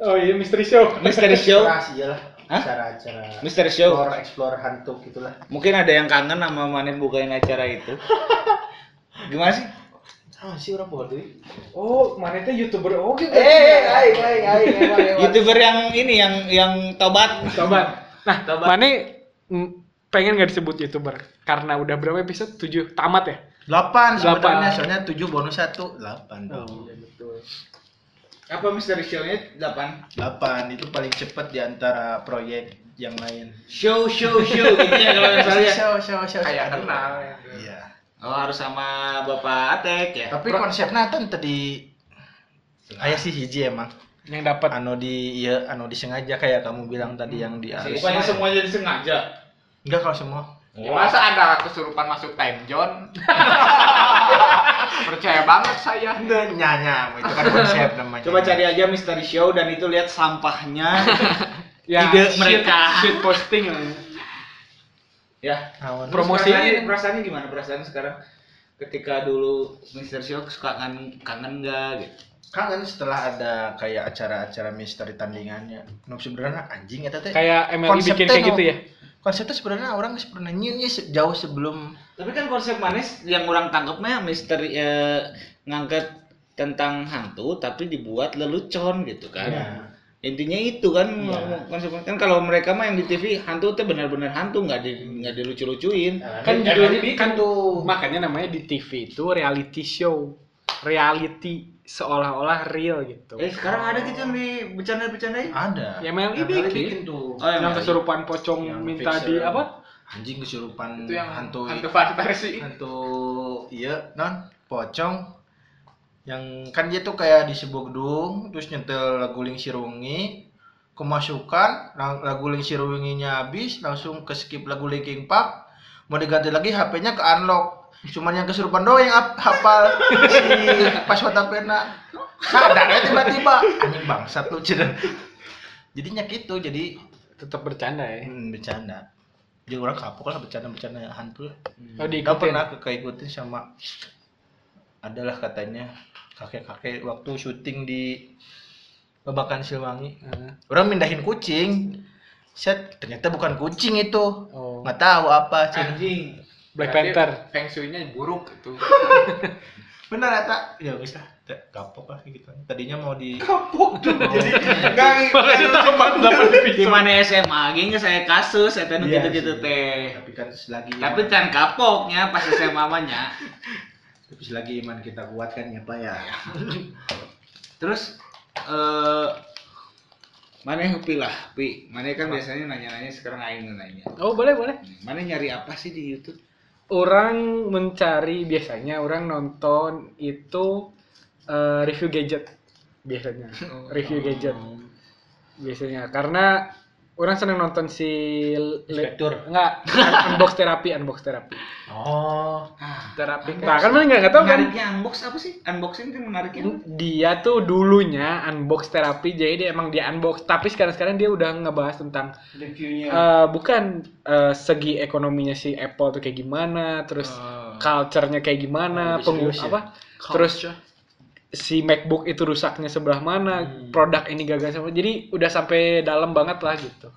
[SPEAKER 4] oh iya mystery show
[SPEAKER 2] Misteri show.
[SPEAKER 3] Keras iyalah.
[SPEAKER 2] Hah?
[SPEAKER 3] Acara-acara
[SPEAKER 2] Misteri show.
[SPEAKER 3] explore explore hantu gitulah.
[SPEAKER 2] Mungkin ada yang kangen sama Manen bukain acara itu. Gimana sih?
[SPEAKER 3] Ah sih orang bawa duit.
[SPEAKER 4] oh gitu. mana itu youtuber oke
[SPEAKER 3] Eh, eh, aing aing aing emang emang.
[SPEAKER 2] YouTuber yang ini yang yang tobat.
[SPEAKER 4] Tobat. Nah, Mane mm, pengen nggak disebut youtuber karena udah berapa episode? 7 tamat ya. Delapan.
[SPEAKER 3] 8 sebenarnya soalnya 7 bonus 1 8.
[SPEAKER 2] Apa misteri show-nya 8?
[SPEAKER 3] 8 itu paling cepat di antara proyek yang lain.
[SPEAKER 2] Show show show gitu ya kalau yang saya.
[SPEAKER 3] Show, show, show,
[SPEAKER 1] Kayak
[SPEAKER 4] Gitu.
[SPEAKER 3] show.
[SPEAKER 1] kenal.
[SPEAKER 3] Iya.
[SPEAKER 2] Oh, harus sama Bapak Atek ya.
[SPEAKER 3] Tapi konsepnya kan tadi Ayah sih hiji emang.
[SPEAKER 4] Yang dapat
[SPEAKER 3] Anu di iya anu disengaja kayak kamu bilang tadi yang di arus.
[SPEAKER 2] Bukannya Iya, semuanya disengaja.
[SPEAKER 3] Enggak kalau semua.
[SPEAKER 2] Iya.
[SPEAKER 1] Ya, Masa ada kesurupan masuk time zone? Percaya banget saya.
[SPEAKER 3] Nyanya itu kan konsep namanya.
[SPEAKER 2] Coba cari aja misteri show dan itu lihat sampahnya.
[SPEAKER 4] ya,
[SPEAKER 2] Ide
[SPEAKER 4] shit-
[SPEAKER 2] mereka.
[SPEAKER 4] shit posting.
[SPEAKER 2] ya.
[SPEAKER 3] Awan.
[SPEAKER 4] Promosi.
[SPEAKER 2] Perasaannya, perasaannya gimana perasaan sekarang? Ketika dulu Mister Show suka kangen kangen nggak gitu?
[SPEAKER 3] Kangen setelah ada kayak acara-acara misteri tandingannya. Nu sebenarnya anjing eta teh.
[SPEAKER 4] Kayak MLI
[SPEAKER 3] Konsepnya
[SPEAKER 4] bikin kayak
[SPEAKER 3] no.
[SPEAKER 4] gitu ya.
[SPEAKER 3] Konsepnya sebenarnya orang sebenarnya nyinyir se- jauh sebelum
[SPEAKER 2] Tapi kan konsep manis yang orang tangkapnya misteri eh, ngangkat tentang hantu tapi dibuat lelucon gitu kan.
[SPEAKER 3] Iya.
[SPEAKER 2] Intinya itu kan
[SPEAKER 4] Iya.
[SPEAKER 2] konsep kan kalau mereka mah yang di TV hantu teh benar-benar hantu nggak di nggak dilucu-lucuin.
[SPEAKER 4] Kan judulnya kan
[SPEAKER 3] tuh.
[SPEAKER 4] makanya namanya di TV itu reality show. Reality seolah-olah real gitu.
[SPEAKER 2] Eh sekarang ada gitu yang di bercanda-bercandain.
[SPEAKER 3] Ada.
[SPEAKER 4] Ya, MLI bikin.
[SPEAKER 3] tuh.
[SPEAKER 2] Oh, yang
[SPEAKER 4] yang kesurupan pocong
[SPEAKER 3] Yang
[SPEAKER 4] minta
[SPEAKER 3] fixer.
[SPEAKER 4] di apa?
[SPEAKER 3] Anjing kesurupan
[SPEAKER 1] Itu yang
[SPEAKER 3] hantu
[SPEAKER 1] hantu fantasi.
[SPEAKER 3] hantu iya non pocong yang kan dia tuh kayak di sebuah gedung terus nyetel lagu Ling Sirungi kemasukan la- lagu Ling Sirunginya habis langsung ke skip lagu Linkin Park mau diganti lagi HP-nya ke unlock cuman yang kesurupan doang yang hap- hafal si password HP-na sadar ya tiba-tiba anjing bangsat lu cedera jadinya gitu jadi
[SPEAKER 4] tetap bercanda ya.
[SPEAKER 3] Hmm, bercanda. Jadi orang kapok lah bercanda-bercanda hantu. lah.
[SPEAKER 4] Oh,
[SPEAKER 3] Gak
[SPEAKER 4] diikutin.
[SPEAKER 3] pernah keikutin sama adalah katanya kakek-kakek waktu syuting di Babakan Silwangi.
[SPEAKER 4] Heeh.
[SPEAKER 3] Orang mindahin kucing. Set, ternyata bukan kucing itu.
[SPEAKER 4] Oh.
[SPEAKER 3] Nggak tahu apa sih.
[SPEAKER 1] Anjing.
[SPEAKER 4] Black
[SPEAKER 1] Berarti
[SPEAKER 4] Panther.
[SPEAKER 1] Feng Shui-nya buruk itu.
[SPEAKER 3] Bener ya, tak? Ya wis lah, tak kapok lah kayak gitu. Tadinya mau di
[SPEAKER 2] Di mana SMA gini saya kasus eta nu
[SPEAKER 3] Iya sih.
[SPEAKER 2] gitu-gitu teh.
[SPEAKER 3] tapi kan selagi
[SPEAKER 2] Tapi kan kapoknya pas SMA nya.
[SPEAKER 3] tapi selagi iman kita kuat kan ya Pak ya.
[SPEAKER 2] Terus eh mana Pi lah, Pi. Mana kan biasanya nanya-nanya sekarang aing nanya.
[SPEAKER 4] Oh, boleh, boleh.
[SPEAKER 2] Mana nyari apa sih di YouTube?
[SPEAKER 4] Orang mencari biasanya orang nonton itu eh, review gadget biasanya. review gadget. Biasanya karena orang senang nonton si Inspektur. Enggak, unbox terapi, unbox terapi.
[SPEAKER 3] Oh,
[SPEAKER 4] Terapi. Nah, kan mana enggak enggak tahu kan
[SPEAKER 2] Ah. Menariknya unbox apa sih? Unboxing kan menariknya. apa?
[SPEAKER 4] dia tuh dulunya unbox terapi jadi dia emang dia unbox tapi sekarang sekarang dia udah ngebahas tentang eh, bukan eh, segi ekonominya si Apple tuh kayak gimana terus culture-nya kayak gimana penggu- apa terus si MacBook itu rusaknya sebelah mana produk ini gagal sama jadi udah sampai dalam banget lah gitu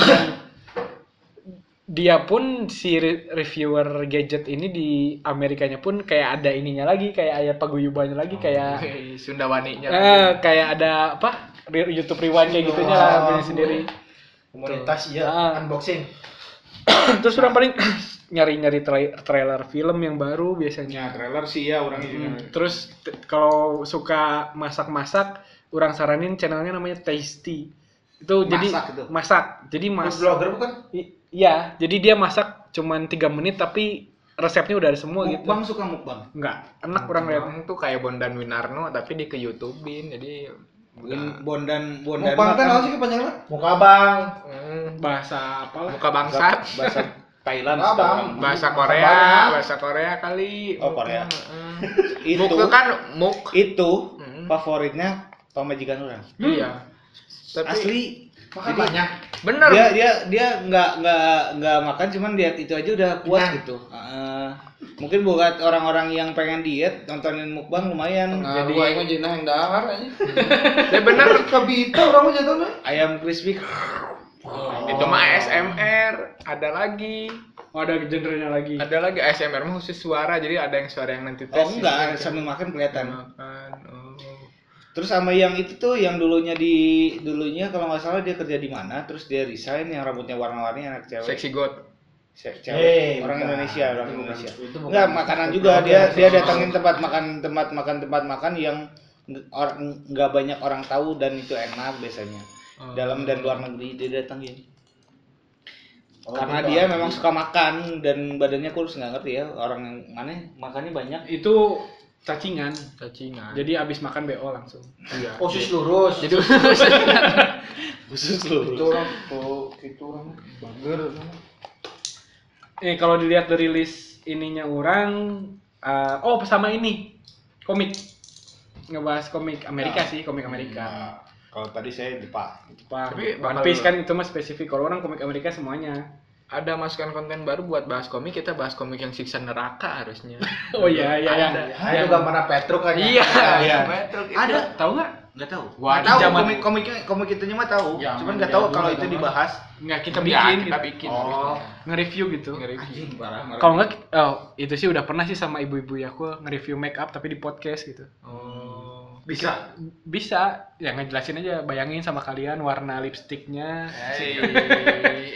[SPEAKER 4] Dan dia pun si re- reviewer gadget ini di Amerikanya pun kayak ada ininya lagi kayak ada paguyubannya lagi kayak
[SPEAKER 1] Hei, Sundawaninya.
[SPEAKER 4] Iya. Eh, kayak ada apa? Re- YouTube Rewind kayak gitunya lah
[SPEAKER 2] Iya.
[SPEAKER 4] punya sendiri.
[SPEAKER 3] komunitas ya
[SPEAKER 4] Ah.
[SPEAKER 3] unboxing.
[SPEAKER 4] Terus orang paling nyari-nyari tra- trailer film yang baru biasanya. Hmm.
[SPEAKER 2] Ya, trailer sih ya orangnya juga.
[SPEAKER 3] Hmm.
[SPEAKER 4] Terus t- kalau suka masak-masak, orang saranin channelnya namanya Tasty. Itu jadi
[SPEAKER 2] Masak itu?
[SPEAKER 4] masak. Jadi masak.
[SPEAKER 3] Blogger bukan?
[SPEAKER 4] I- Iya, jadi dia masak cuman tiga menit tapi resepnya udah ada semua gitu.
[SPEAKER 2] Mukbang suka mukbang.
[SPEAKER 4] Enggak, enak orang lihat.
[SPEAKER 1] Orang tuh kayak Bondan Winarno tapi di ke YouTubein jadi udah
[SPEAKER 2] Mungkin Bondan Bondan.
[SPEAKER 6] Mukbang kan
[SPEAKER 2] makan.
[SPEAKER 6] apa sih kepanjangan?
[SPEAKER 3] Muka Bang.
[SPEAKER 1] Hmm,
[SPEAKER 4] Bahasa apa lah?
[SPEAKER 1] muka bangsat
[SPEAKER 2] bahasa Thailand
[SPEAKER 3] Nggak,
[SPEAKER 2] sekarang.
[SPEAKER 3] Bang.
[SPEAKER 1] bahasa
[SPEAKER 3] Korea.
[SPEAKER 1] Korea bahasa Korea kali
[SPEAKER 2] Oh, Korea.
[SPEAKER 1] Heeh.
[SPEAKER 2] Itu
[SPEAKER 1] muk kan muk
[SPEAKER 2] itu
[SPEAKER 1] Hmm.
[SPEAKER 2] favoritnya pemajikan orang.
[SPEAKER 1] iya tapi
[SPEAKER 2] Asli
[SPEAKER 3] Makan banyak.
[SPEAKER 1] bener
[SPEAKER 2] dia dia dia nggak nggak nggak makan cuman diet itu aja udah puas gitu Heeh. mungkin buat orang-orang yang pengen diet nontonin mukbang lumayan
[SPEAKER 6] Nah, jadi gua ingat jenah yang dahar aja.
[SPEAKER 1] ya bener
[SPEAKER 6] Kebita orang mah jatuhnya.
[SPEAKER 2] ayam crispy
[SPEAKER 1] itu mah ASMR ada lagi
[SPEAKER 4] Oh, ada genrenya lagi.
[SPEAKER 1] ada lagi ASMR mah khusus suara jadi ada yang suara yang nanti
[SPEAKER 2] oh
[SPEAKER 1] tes
[SPEAKER 2] enggak
[SPEAKER 1] gitu.
[SPEAKER 2] sambil makan kelihatan
[SPEAKER 1] makan oh.
[SPEAKER 2] terus sama yang itu tuh yang dulunya di dulunya kalau nggak salah dia kerja di mana terus dia resign yang rambutnya warna-warni anak cewek
[SPEAKER 1] seksi god
[SPEAKER 2] Se-
[SPEAKER 3] Hey,
[SPEAKER 2] cewek orang
[SPEAKER 3] Eh, bukan.
[SPEAKER 2] Indonesia orang
[SPEAKER 3] Itu bukan.
[SPEAKER 2] Indonesia
[SPEAKER 3] Itu bukan.
[SPEAKER 2] enggak makanan juga dia dia datangin tempat makan tempat makan tempat makan yang nge- or- nggak banyak orang tahu dan itu enak biasanya
[SPEAKER 3] Oh.
[SPEAKER 2] dalam dan luar negeri dia datangin karena dia memang suka makan dan badannya kurus nggak ngerti ya orang yang mana makannya banyak
[SPEAKER 4] Itu cacingan.
[SPEAKER 1] cacingan
[SPEAKER 4] Jadi abis makan BO langsung.
[SPEAKER 1] nah. iya
[SPEAKER 3] Usus lurus. Jadi
[SPEAKER 2] khusus lu
[SPEAKER 6] orang tuh itu orang bager.
[SPEAKER 4] Eh kalau dilihat dari list ininya orang, eh, oh sama ini komik ngebahas komik Amerika sih komik Amerika
[SPEAKER 2] Nah, kalau tadi saya Jepang
[SPEAKER 4] Jepang
[SPEAKER 1] Tapi
[SPEAKER 4] One
[SPEAKER 1] bakal-
[SPEAKER 4] Piece kan itu mah spesifik kalau orang komik Amerika semuanya
[SPEAKER 1] ada masukan konten baru buat bahas komik kita bahas komik yang siksa neraka harusnya
[SPEAKER 4] oh iya iya yang
[SPEAKER 3] Ada gambar Petro kan ya?
[SPEAKER 1] iya
[SPEAKER 2] iya.
[SPEAKER 1] betul itu.
[SPEAKER 6] Ada
[SPEAKER 4] tahu nggak
[SPEAKER 6] enggak tahu.
[SPEAKER 1] Wah,
[SPEAKER 6] Nggak tahu
[SPEAKER 1] zaman-
[SPEAKER 6] komik komiknya komik itunya mah tahu.
[SPEAKER 1] Zaman
[SPEAKER 6] Cuman nggak
[SPEAKER 1] dia
[SPEAKER 6] tahu
[SPEAKER 1] dulu,
[SPEAKER 6] kalau itu
[SPEAKER 1] zaman.
[SPEAKER 6] dibahas.
[SPEAKER 4] nggak kita
[SPEAKER 1] Ya,
[SPEAKER 4] bikin
[SPEAKER 1] kita
[SPEAKER 4] gitu.
[SPEAKER 1] bikin
[SPEAKER 6] Oh.
[SPEAKER 4] nge-review gitu
[SPEAKER 1] Ngeri.
[SPEAKER 4] kalau nggak oh itu sih udah pernah sih sama ibu-ibu ya aku nge-review make up tapi di podcast gitu
[SPEAKER 1] Oh.
[SPEAKER 6] Bisa.
[SPEAKER 4] bisa ya ngejelasin aja bayangin sama kalian warna lipstiknya
[SPEAKER 1] Hey,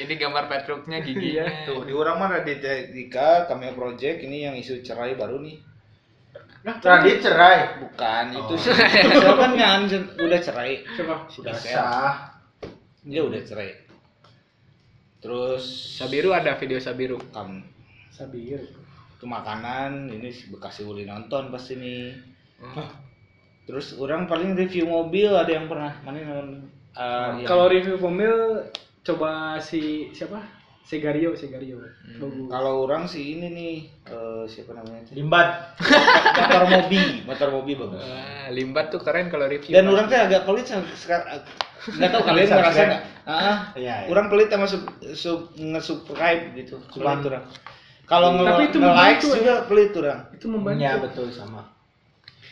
[SPEAKER 1] ini gambar Petruknya
[SPEAKER 4] Iya,
[SPEAKER 1] giginya.
[SPEAKER 2] tuh di orang mah Raditya Dika Cameo Project ini yang isu cerai baru nih
[SPEAKER 4] Ah,
[SPEAKER 3] Nah, dia cerai.
[SPEAKER 2] bukan itu sih siapa kan yang udah cerai
[SPEAKER 4] coba
[SPEAKER 3] Sudah
[SPEAKER 2] Bisa.
[SPEAKER 3] sah.
[SPEAKER 2] dia udah cerai terus
[SPEAKER 1] Sabiru ada video Sabiru.
[SPEAKER 2] kan
[SPEAKER 4] sabir
[SPEAKER 2] itu makanan ini si bekas si Uli nonton pas ini terus orang paling review mobil ada yang pernah mana yang nonton Eh, yang-
[SPEAKER 4] Kalau review pemil coba si siapa? Segario, Segario. Bagus.
[SPEAKER 2] kalau orang sih ini nih eh, siapa namanya tuh?
[SPEAKER 3] Limbat.
[SPEAKER 2] motor mobil motor mobil bagus
[SPEAKER 1] Wah, Limbat tuh keren kalau review.
[SPEAKER 2] dan orang tuh agak pelit sama- sekar- nggak tahu kalian ngerasa nggak ah
[SPEAKER 3] Iya, iya.
[SPEAKER 2] orang pelit sama sub, sub nge-subscribe gitu
[SPEAKER 3] Cuman-
[SPEAKER 2] pelit orang kalau nge,
[SPEAKER 4] Tapi itu
[SPEAKER 2] nge-likes
[SPEAKER 4] membantu, ya?
[SPEAKER 2] juga pelit orang
[SPEAKER 4] itu membantu
[SPEAKER 3] Iya betul sama.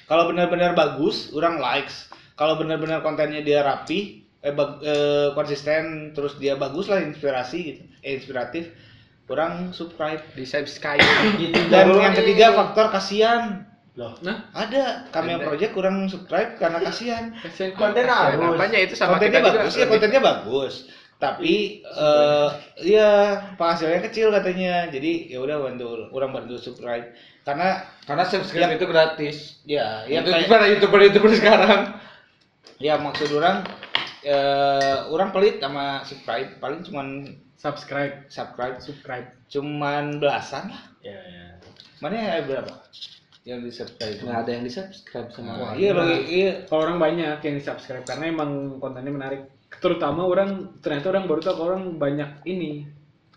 [SPEAKER 2] kalau benar-benar bagus orang likes kalau benar-benar kontennya dia rapi eh, bag- eh, konsisten terus dia bagus lah inspirasi gitu eh, inspiratif orang subscribe
[SPEAKER 1] Di subscribe.
[SPEAKER 3] Gitu
[SPEAKER 2] dan
[SPEAKER 3] Jago.
[SPEAKER 2] yang ketiga faktor kasihan
[SPEAKER 3] Loh.
[SPEAKER 4] Nah.
[SPEAKER 2] ada kami yang
[SPEAKER 1] Ada.
[SPEAKER 2] project kurang subscribe karena kasihan
[SPEAKER 4] Kasihan
[SPEAKER 3] konten
[SPEAKER 1] Kasihan.
[SPEAKER 3] harus.
[SPEAKER 1] Apanya itu sama
[SPEAKER 2] kontennya
[SPEAKER 1] kita juga
[SPEAKER 2] bagus ya
[SPEAKER 1] lebih-
[SPEAKER 2] kontennya bagus tapi eh iya penghasilannya kecil katanya jadi ya udah bantu orang bantu subscribe karena
[SPEAKER 6] Karena subscribe
[SPEAKER 3] Iya.
[SPEAKER 2] Yang-
[SPEAKER 6] itu gratis.
[SPEAKER 2] ya yang
[SPEAKER 6] Itu
[SPEAKER 2] kayak-
[SPEAKER 6] para youtuber-youtuber sekarang.
[SPEAKER 2] ya maksud orang eh orang pelit sama subscribe paling cuman
[SPEAKER 4] subscribe
[SPEAKER 2] subscribe
[SPEAKER 4] subscribe
[SPEAKER 2] cuman belasan lah
[SPEAKER 3] Iya, iya.
[SPEAKER 2] mana ya berapa yang di subscribe
[SPEAKER 1] Nah,
[SPEAKER 6] Nggak ada yang di-subscribe sama.
[SPEAKER 2] iya loh iya
[SPEAKER 4] kalau orang banyak yang di subscribe karena emang kontennya menarik terutama orang ternyata orang baru tahu kalau orang banyak ini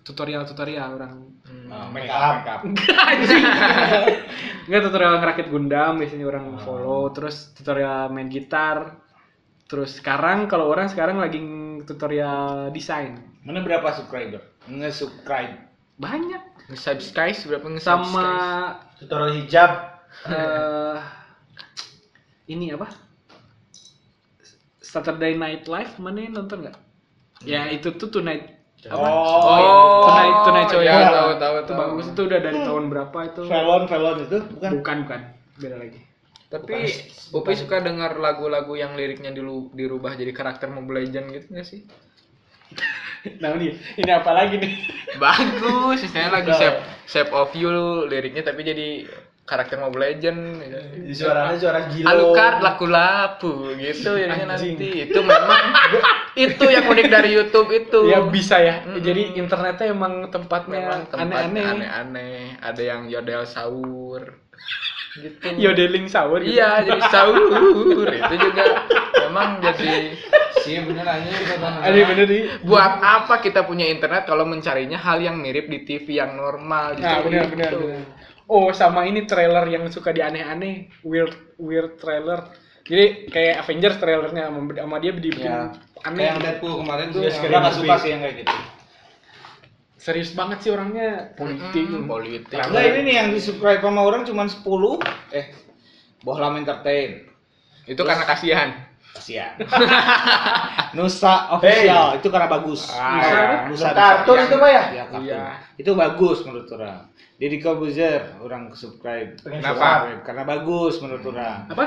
[SPEAKER 4] tutorial tutorial orang
[SPEAKER 6] Oh,
[SPEAKER 2] make up, make up.
[SPEAKER 4] nggak tutorial ngerakit Gundam biasanya orang follow terus tutorial main gitar terus sekarang kalau orang sekarang lagi tutorial desain
[SPEAKER 2] mana berapa subscriber nge subscribe
[SPEAKER 4] banyak
[SPEAKER 1] Nge-subscribe berapa nge-subscribe?
[SPEAKER 4] sama
[SPEAKER 3] Tutorial hijab.
[SPEAKER 4] eh ini apa Saturday Night Live mana yang nonton nggak ya itu tuh Tonight
[SPEAKER 2] oh,
[SPEAKER 1] Oh,
[SPEAKER 4] Tunai tunai coy.
[SPEAKER 1] ya, tahu tahu
[SPEAKER 4] itu
[SPEAKER 1] tahu.
[SPEAKER 4] bagus itu udah dari tahun berapa itu?
[SPEAKER 2] felon felon itu bukan
[SPEAKER 4] Bukan bukan. Beda lagi.
[SPEAKER 1] Tapi Upi suka dengar lagu-lagu yang liriknya dilu- dirubah jadi karakter Mobile Legend gitu nggak sih?
[SPEAKER 4] Nah ini ini apa lagi nih?
[SPEAKER 1] Bagus, misalnya lagu Shape, Shape of You liriknya tapi jadi karakter Mobile Legend gitu.
[SPEAKER 3] Di suaranya suara gila.
[SPEAKER 1] Alucard laku-lapu gitu jadinya nanti itu memang itu yang unik dari YouTube itu.
[SPEAKER 4] Ya bisa ya.
[SPEAKER 1] Gitu. Mm-mm.
[SPEAKER 4] Jadi internetnya emang tempatnya
[SPEAKER 1] memang tempatnya
[SPEAKER 4] Iya, aneh-aneh.
[SPEAKER 1] aneh-aneh. Ada yang yodel sahur. Gitu.
[SPEAKER 4] Yodeling sahur gitu.
[SPEAKER 1] Iya, jadi sahur itu juga memang jadi
[SPEAKER 3] Iya,
[SPEAKER 6] Sih bener aja
[SPEAKER 4] Ada bener nih.
[SPEAKER 1] buat apa kita punya internet kalau mencarinya hal yang mirip di TV yang normal gitu.
[SPEAKER 4] Nah benar
[SPEAKER 1] Gitu.
[SPEAKER 4] benar. benar. Oh sama ini trailer yang suka di aneh-aneh, weird weird trailer. Jadi kayak Avengers trailernya sama, sama dia dibikin
[SPEAKER 6] Ya. Kayak
[SPEAKER 4] aneh.
[SPEAKER 6] yang Deadpool kemarin tuh.
[SPEAKER 4] Iya,
[SPEAKER 6] yang-
[SPEAKER 4] scary
[SPEAKER 2] orang nggak
[SPEAKER 4] movie.
[SPEAKER 2] suka sih yang kayak gitu
[SPEAKER 4] Serius banget sih orangnya politik.
[SPEAKER 1] Mm, politik.
[SPEAKER 2] Enggak Nah, ini nih yang di subscribe sama orang cuman 10 eh Bohlam Entertain
[SPEAKER 1] Itu karena kasihan.
[SPEAKER 2] kasihan Nusa official itu karena bagus
[SPEAKER 1] Ah,
[SPEAKER 2] Nusa
[SPEAKER 3] Kartun itu mah ya?
[SPEAKER 2] ya kartun.
[SPEAKER 1] Iya.
[SPEAKER 2] itu bagus menurut orang Deddy Corbuzier orang subscribe
[SPEAKER 1] Kenapa?
[SPEAKER 2] Subscribe, karena bagus menurut orang
[SPEAKER 4] Apa?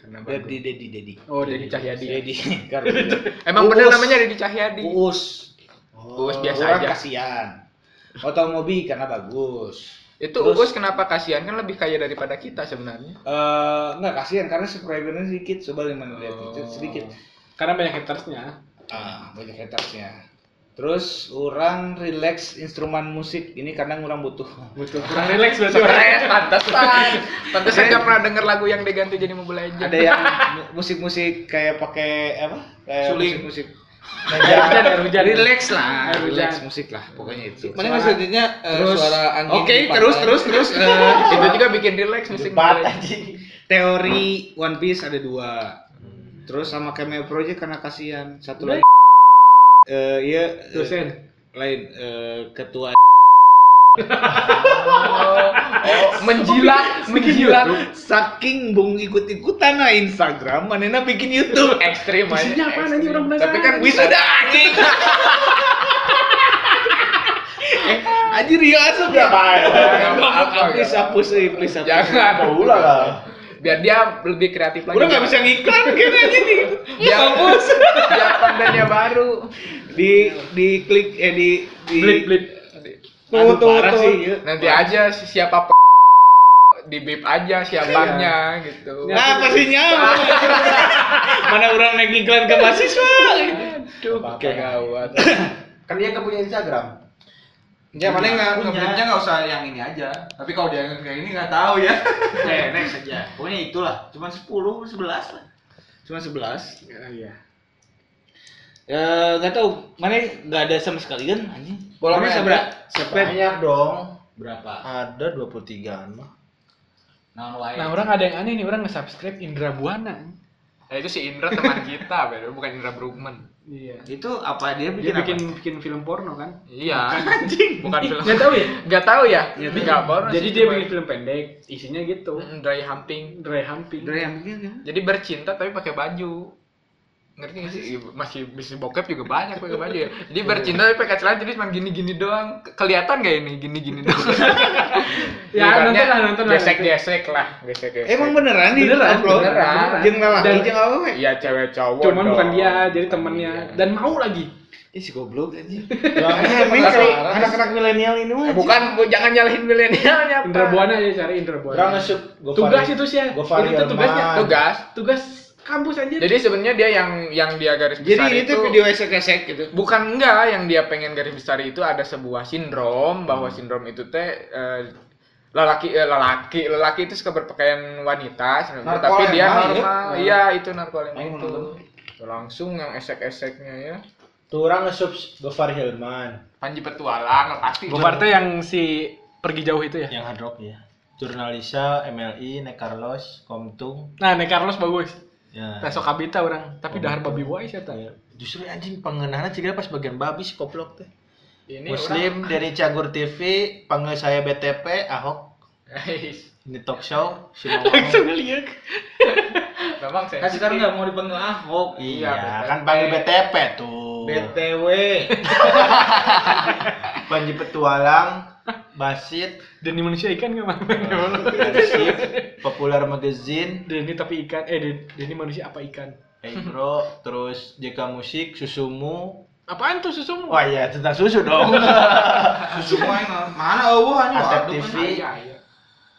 [SPEAKER 1] Karena bagus.
[SPEAKER 2] Deddy Deddy Deddy
[SPEAKER 4] Oh Deddy Cahyadi.
[SPEAKER 2] Deddy Corbuzier
[SPEAKER 1] iya, Emang
[SPEAKER 2] Uus.
[SPEAKER 1] benar namanya Deddy Cahyadi.
[SPEAKER 2] Uus
[SPEAKER 1] Uus biasa
[SPEAKER 2] Oh, orang
[SPEAKER 1] aja.
[SPEAKER 2] kasihan Otomobi karena bagus
[SPEAKER 1] Itu
[SPEAKER 2] Terus-
[SPEAKER 1] Uus kenapa kasihan kan lebih kaya daripada kita sebenarnya.
[SPEAKER 2] Eh, enggak kasihan karena subscribernya sedikit coba lima lihat itu
[SPEAKER 1] Oh.
[SPEAKER 2] sedikit
[SPEAKER 4] Karena banyak hatersnya.
[SPEAKER 2] Ah, banyak hatersnya. Terus orang relax instrumen musik ini kadang orang butuh.
[SPEAKER 4] Butuh kurang relax berarti orang.
[SPEAKER 1] Stres, pantesan. Pantesan gak pernah denger lagu yang diganti jadi Mobile Legends.
[SPEAKER 2] Ada yang mu- musik-musik kayak pakai apa? Kayak
[SPEAKER 6] Suling.
[SPEAKER 2] musik-musik.
[SPEAKER 4] Air hujan, air hujan.
[SPEAKER 2] Relax lah,
[SPEAKER 4] Air hujan.
[SPEAKER 2] relax musik
[SPEAKER 6] Iya,
[SPEAKER 2] lah pokoknya itu.
[SPEAKER 6] Mana nggak sedihnya eh, suara angin.
[SPEAKER 2] Oke,
[SPEAKER 6] di pantai.
[SPEAKER 2] terus terus terus eh,
[SPEAKER 1] itu juga bikin relax musik Mobile Legends.
[SPEAKER 2] teori One Piece ada dua. Terus sama Cameo Project karena kasihan. Satu lagi eh iya eh,
[SPEAKER 4] Dosen.
[SPEAKER 2] lain eh, ketua
[SPEAKER 1] Oh, oh, menjilat, menjilat.
[SPEAKER 2] saking bung ikut-ikutan lah Instagram, manena bikin YouTube.
[SPEAKER 1] Ekstrim aja.
[SPEAKER 4] Isinya apaan aja
[SPEAKER 1] ekstrim.
[SPEAKER 4] Nah, orang penasaran.
[SPEAKER 1] Tapi kan bisa
[SPEAKER 2] Wisuda anjing. eh, aji Rio asup ya. Please hapus sih, please hapus.
[SPEAKER 1] Jangan.
[SPEAKER 3] Ulah lah.
[SPEAKER 1] Biar dia lebih kreatif lagi.
[SPEAKER 2] Udah nggak bisa ngiklan kayaknya jadi.
[SPEAKER 1] Biar Biar kontennya baru.
[SPEAKER 2] Di di klik eh di di
[SPEAKER 4] Blip blip.
[SPEAKER 2] Aduh, parah sih. iya.
[SPEAKER 1] Nanti aja si- siapa p di bip aja siapanya gitu.
[SPEAKER 2] Nah, apa sih nyam? Mana orang naik iklan ke mahasiswa?
[SPEAKER 1] Aduh, gawat.
[SPEAKER 3] Kan dia nggak punya Instagram.
[SPEAKER 6] Ya paling nggak ngebelumnya nggak usah yang ini aja. Tapi kalau dia yang kayak ini nggak tahu ya.
[SPEAKER 2] Eh, next aja. Pokoknya itulah, cuman 10, 11 lah. Cuma 11.
[SPEAKER 4] Iya.
[SPEAKER 2] Ya, nggak tahu. Mana nggak ada sama sekali kan anjing.
[SPEAKER 6] Bola main
[SPEAKER 2] Mana sabra? Sepet
[SPEAKER 3] Banyak dong.
[SPEAKER 2] berapa?
[SPEAKER 3] Ada 23 an mah.
[SPEAKER 2] Naon wae.
[SPEAKER 4] Nah orang ada yang aneh nih orang nge-subscribe Indra Buana.
[SPEAKER 1] Ya, itu si Indra teman kita, bro. bukan Indra Brugman.
[SPEAKER 4] Iya.
[SPEAKER 2] Itu apa dia bikin
[SPEAKER 4] Dia bikin
[SPEAKER 2] apa?
[SPEAKER 4] bikin film porno kan?
[SPEAKER 1] Iya,
[SPEAKER 2] Anjing.
[SPEAKER 1] bukan film.
[SPEAKER 4] Nggak tahu ya.
[SPEAKER 1] Gak tahu ya? Tapi nggak baru
[SPEAKER 4] Jadi
[SPEAKER 1] sih,
[SPEAKER 4] dia
[SPEAKER 1] cuma-
[SPEAKER 4] bikin film pendek, isinya gitu.
[SPEAKER 1] Mm, dry humping.
[SPEAKER 4] Dry humping.
[SPEAKER 2] Dari yang bikin kan?
[SPEAKER 1] Jadi bercinta tapi pakai baju. Ngerti gak sih? Iya, Masih bisnis bokep juga banyak pakai baju ya. Jadi bercinta tapi pakai celana jadi cuma gini-gini doang. Ke- Kelihatan gak ini gini-gini doang?
[SPEAKER 4] Ya,
[SPEAKER 1] Ibaratnya
[SPEAKER 4] nonton lah, nonton lah,
[SPEAKER 1] Gesek-gesek lah, gesek-gesek.
[SPEAKER 2] Emang beneran di
[SPEAKER 4] Beneran,
[SPEAKER 2] upload?
[SPEAKER 1] beneran.
[SPEAKER 2] Jangan lelaki,
[SPEAKER 4] Dan-
[SPEAKER 2] jangan apa
[SPEAKER 1] Iya cewek cowok.
[SPEAKER 4] Cuman bukan
[SPEAKER 1] dong. Iya.
[SPEAKER 4] dia, jadi temennya dan mau lagi.
[SPEAKER 2] Ih si goblok anjing.
[SPEAKER 7] Emang kalau anak-anak milenial ini
[SPEAKER 1] Eh,
[SPEAKER 7] wajib.
[SPEAKER 1] bukan bu- jangan nyalahin milenialnya. Pak.
[SPEAKER 4] Indra Buana aja cari Indra
[SPEAKER 3] Orang
[SPEAKER 4] Buana.
[SPEAKER 3] ngesuk
[SPEAKER 4] Tugas itu sih. ya.
[SPEAKER 7] Gofari
[SPEAKER 4] Itu tugasnya.
[SPEAKER 7] Herman.
[SPEAKER 1] Tugas.
[SPEAKER 4] Tugas kampus anjir.
[SPEAKER 1] Jadi sebenarnya dia yang yang dia garis
[SPEAKER 2] Jadi
[SPEAKER 1] besar
[SPEAKER 2] itu video esek-esek gitu.
[SPEAKER 1] bukan enggak yang dia pengen garis besar itu ada sebuah sindrom bahwa sindrom itu teh eh, lelaki eh, lelaki lelaki itu suka berpakaian wanita sindrom itu,
[SPEAKER 6] Narko
[SPEAKER 1] tapi dia
[SPEAKER 6] lemah,
[SPEAKER 1] normal
[SPEAKER 6] ya?
[SPEAKER 1] iya itu narkolema
[SPEAKER 6] Ayo,
[SPEAKER 1] itu
[SPEAKER 6] nonton.
[SPEAKER 1] langsung yang esek-eseknya ya
[SPEAKER 3] Tuh orang ngesuk Gofar Hilman
[SPEAKER 1] Panji petualang pasti
[SPEAKER 4] Gofar tuh yang si pergi jauh itu ya.
[SPEAKER 3] yang hard rock ya. Jurnalisa, MLI, Nek Carlos, Komtung.
[SPEAKER 4] Nah, Nek Carlos bagus.
[SPEAKER 3] Ya.
[SPEAKER 4] Nah, sok kabita orang, tapi dahar babi wise ya tah.
[SPEAKER 3] Ya. Justru anjing pengenalan sih pas bagian babi si koplok teh.
[SPEAKER 1] ini
[SPEAKER 3] Muslim dari Cagur TV, panggil saya BTP, Ahok.
[SPEAKER 1] orang-
[SPEAKER 3] Ini talk show, si
[SPEAKER 6] Iya,
[SPEAKER 3] Momong.
[SPEAKER 1] memang saya
[SPEAKER 2] Kan sekarang nggak mau dipanggil Ahok.
[SPEAKER 3] Iya,
[SPEAKER 1] Iya,
[SPEAKER 3] kan panggil BTP tuh.
[SPEAKER 2] BTW.
[SPEAKER 3] Panji Petualang, Basit,
[SPEAKER 4] Dan di manusia ikan enggak mah.
[SPEAKER 3] Arsip, Popular Magazine,
[SPEAKER 4] Denny tapi ikan, eh Den- Denny manusia apa ikan?
[SPEAKER 3] Ebro, terus JK Musik, Susumu.
[SPEAKER 4] Apaan tuh susumu?
[SPEAKER 3] Wah iya, tentang susu dong.
[SPEAKER 6] Semua yang mana eueuh anjing
[SPEAKER 3] Atep
[SPEAKER 6] waduh,
[SPEAKER 3] TV.
[SPEAKER 6] kan.
[SPEAKER 2] Iya,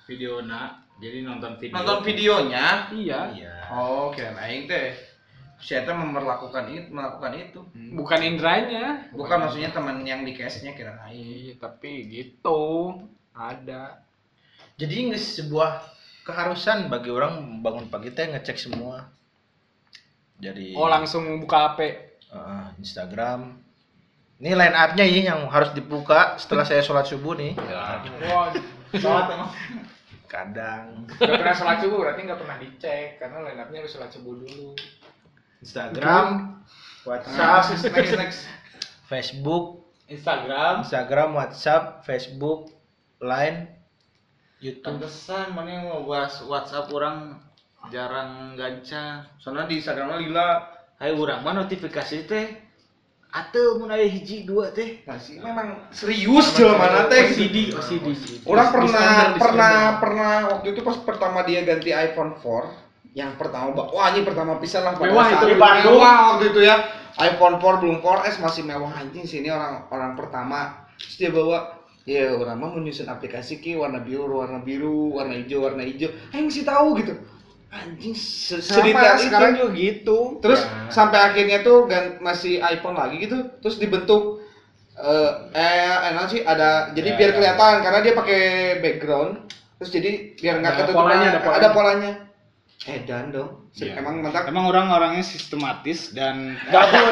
[SPEAKER 2] Video nak. Jadi nonton video.
[SPEAKER 6] Nonton videonya.
[SPEAKER 4] Iya.
[SPEAKER 3] Iya.
[SPEAKER 6] Oh, kirain aing teh. Siapa memperlakukan itu, melakukan itu.
[SPEAKER 2] Hmm.
[SPEAKER 4] Bukan Indranya.
[SPEAKER 6] Bukan maksudnya teman yang di case-nya kirain aing.
[SPEAKER 1] Iya, tapi gitu ada
[SPEAKER 3] Jadi ini sebuah keharusan bagi orang bangun pagi teh ngecek semua. Jadi
[SPEAKER 4] Oh, langsung buka HP.
[SPEAKER 3] Ah, Instagram. Ini line up-nya ya yang harus dibuka setelah saya sholat subuh nih.
[SPEAKER 1] Wah,
[SPEAKER 6] Sholat emang.
[SPEAKER 3] Kadang
[SPEAKER 1] nggak pernah sholat subuh berarti nggak pernah dicek karena line up-nya harus sholat subuh dulu
[SPEAKER 3] Instagram,
[SPEAKER 6] Nah,
[SPEAKER 3] WhatsApp,
[SPEAKER 6] next next.
[SPEAKER 3] Facebook,
[SPEAKER 2] Instagram.
[SPEAKER 3] Instagram, WhatsApp, Facebook, Line, YouTube.
[SPEAKER 2] Pantesan mana yang mau bahas WhatsApp orang jarang ganca.
[SPEAKER 6] Soalnya di Instagramnya lila.
[SPEAKER 2] Hai urang mah notifikasi teh ateu mun aya hiji dua teh.
[SPEAKER 6] Masih memang serius jelema mana teh.
[SPEAKER 4] OCD, OCD.
[SPEAKER 6] Orang pernah
[SPEAKER 4] Disclaimer, disclaimer.
[SPEAKER 6] pernah pernah waktu itu pas pertama dia ganti iPhone 4 yang pertama bak- wah ini pertama pisan lah pada
[SPEAKER 4] Mewah
[SPEAKER 6] saat
[SPEAKER 4] itu di
[SPEAKER 6] itu
[SPEAKER 4] Bandung.
[SPEAKER 6] mewah waktu itu ya iPhone 4 belum 4S masih mewah anjing sini orang orang pertama terus dia bawa ya orang mah menyusun aplikasi ki warna biru warna biru warna hijau warna hijau eh masih tahu gitu anjing se- sedetail itu
[SPEAKER 7] sekarang juga gitu.
[SPEAKER 6] terus
[SPEAKER 2] Ya.
[SPEAKER 4] Ya.
[SPEAKER 6] sampai akhirnya tuh gan- masih iPhone lagi gitu terus dibentuk eh eh enak sih ada
[SPEAKER 4] Ya,
[SPEAKER 6] jadi biar kelihatan karena dia pakai background terus jadi biar nggak
[SPEAKER 4] Ada
[SPEAKER 6] ketutupan
[SPEAKER 4] polanya, ada
[SPEAKER 6] ada
[SPEAKER 4] polanya.
[SPEAKER 6] polanya, Eh dan dong Se-
[SPEAKER 2] Iya.
[SPEAKER 6] emang mantap
[SPEAKER 2] Emang orang-orangnya sistematis dan eh,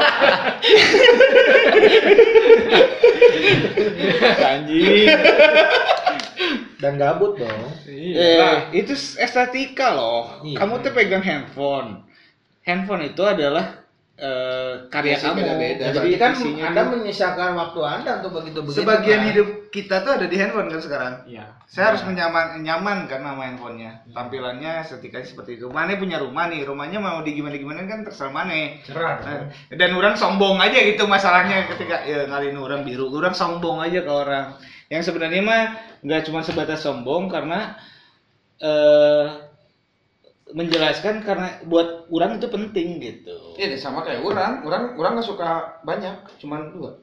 [SPEAKER 3] Dan gabut dong.
[SPEAKER 4] iya.
[SPEAKER 2] eh, itu estetika loh.
[SPEAKER 3] Iya.
[SPEAKER 2] Kamu tuh pegang handphone. Handphone itu adalah eh, karya
[SPEAKER 6] Versi
[SPEAKER 2] kamu.
[SPEAKER 6] beda-beda.
[SPEAKER 2] Jadi
[SPEAKER 3] Jadi
[SPEAKER 2] kan
[SPEAKER 3] kan Anda menyisakan waktu Anda untuk begitu-begitu.
[SPEAKER 2] sebagian
[SPEAKER 3] kan?
[SPEAKER 2] hidup kita tuh ada di handphone kan sekarang.
[SPEAKER 4] Iya.
[SPEAKER 2] Saya harus menyaman nyaman kan sama handphonenya. Tampilannya estetikanya seperti itu. Mane punya rumah nih, rumahnya mau di gimana gimana kan terserah Mane. Nah, dan orang sombong aja gitu masalahnya ketika ya ngalin orang biru, orang sombong aja ke orang. Yang sebenarnya mah nggak cuma sebatas sombong karena eh menjelaskan karena buat orang itu penting gitu.
[SPEAKER 6] Iya deh, sama kayak orang, orang orang nggak suka banyak, cuman dua.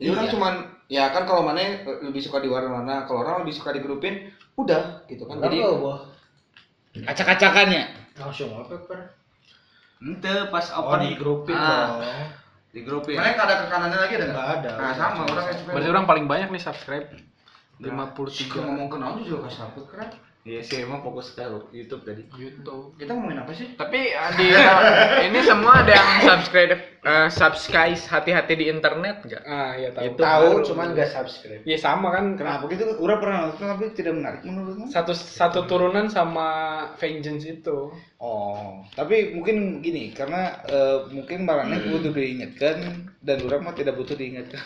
[SPEAKER 6] Jadi orang
[SPEAKER 2] Iya.
[SPEAKER 6] cuman ya kan kalau mana eh, lebih suka di warna mana, kalau orang lebih suka di grupin, udah gitu kan. Jadi
[SPEAKER 2] Acak-acakannya.
[SPEAKER 3] langsung apa per?
[SPEAKER 2] Ente pas
[SPEAKER 3] Oh,
[SPEAKER 2] open
[SPEAKER 3] di grupin dong.
[SPEAKER 2] Ah, di grupin.
[SPEAKER 6] mana ada ke kanannya lagi ada nggak?
[SPEAKER 3] Nggak ada.
[SPEAKER 6] Nah sama orang yang suka.
[SPEAKER 4] Berarti orang paling banyak nih subscribe. 53.
[SPEAKER 3] Nah,
[SPEAKER 6] Suka ngomong ke naon juga gak sanggup, keren.
[SPEAKER 2] Iya sih emang fokus ke YouTube tadi.
[SPEAKER 1] YouTube.
[SPEAKER 6] Kita ngomongin apa sih?
[SPEAKER 1] Tapi eh, di eh, ini semua ada yang subscribe eh, subscribe hati-hati di internet enggak?
[SPEAKER 4] ah iya tahu
[SPEAKER 1] Itu
[SPEAKER 7] Tahu cuman gak subscribe.
[SPEAKER 4] ya sama kan
[SPEAKER 2] Kenapa gitu? Ura pernah nonton tapi tidak menarik menurutmu?
[SPEAKER 4] satu satu turunan sama vengeance itu
[SPEAKER 2] Oh, tapi mungkin gini karena eh, mungkin barangnya butuh diingatkan dan orang mah tidak butuh diingatkan.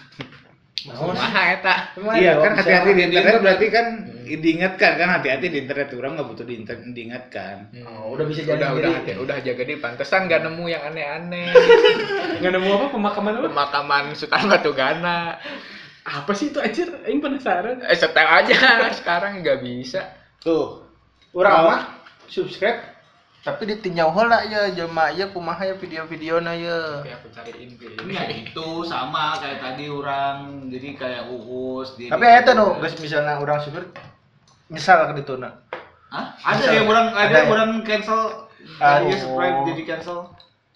[SPEAKER 1] Kumaha eta?
[SPEAKER 2] Iya kan hati-hati di internet berarti kan diingatkan kan hati-hati di internet orang nggak butuh di internet diingatkan.
[SPEAKER 7] Hmm, udah bisa jalan
[SPEAKER 1] udah,
[SPEAKER 7] sendiri.
[SPEAKER 1] udah, hati- udah jaga diri pantesan gak nemu yang aneh-aneh
[SPEAKER 4] nggak nemu apa pemakaman apa
[SPEAKER 1] pemakaman Sultan Batugana
[SPEAKER 4] apa sih itu anjir aing penasaran
[SPEAKER 1] eh setel aja sekarang nggak bisa
[SPEAKER 2] Tuh,
[SPEAKER 7] Urang mah subscribe tapi ditinjau heula ya jelema ieu kumaha ya video-videona
[SPEAKER 6] nah,
[SPEAKER 7] ya.
[SPEAKER 1] Oke, aku cariin dulu.
[SPEAKER 2] ya itu sama kayak tadi orang jadi kayak uus. jadi
[SPEAKER 7] Tapi
[SPEAKER 2] kayak-
[SPEAKER 7] eta nu geus misalna urang subscribe nyesal ke dituna.
[SPEAKER 2] Hah? Ada yang orang ada,
[SPEAKER 7] Ada
[SPEAKER 2] yang
[SPEAKER 7] ya?
[SPEAKER 2] orang cancel
[SPEAKER 7] Aduh.
[SPEAKER 2] tadinya subscribe jadi cancel.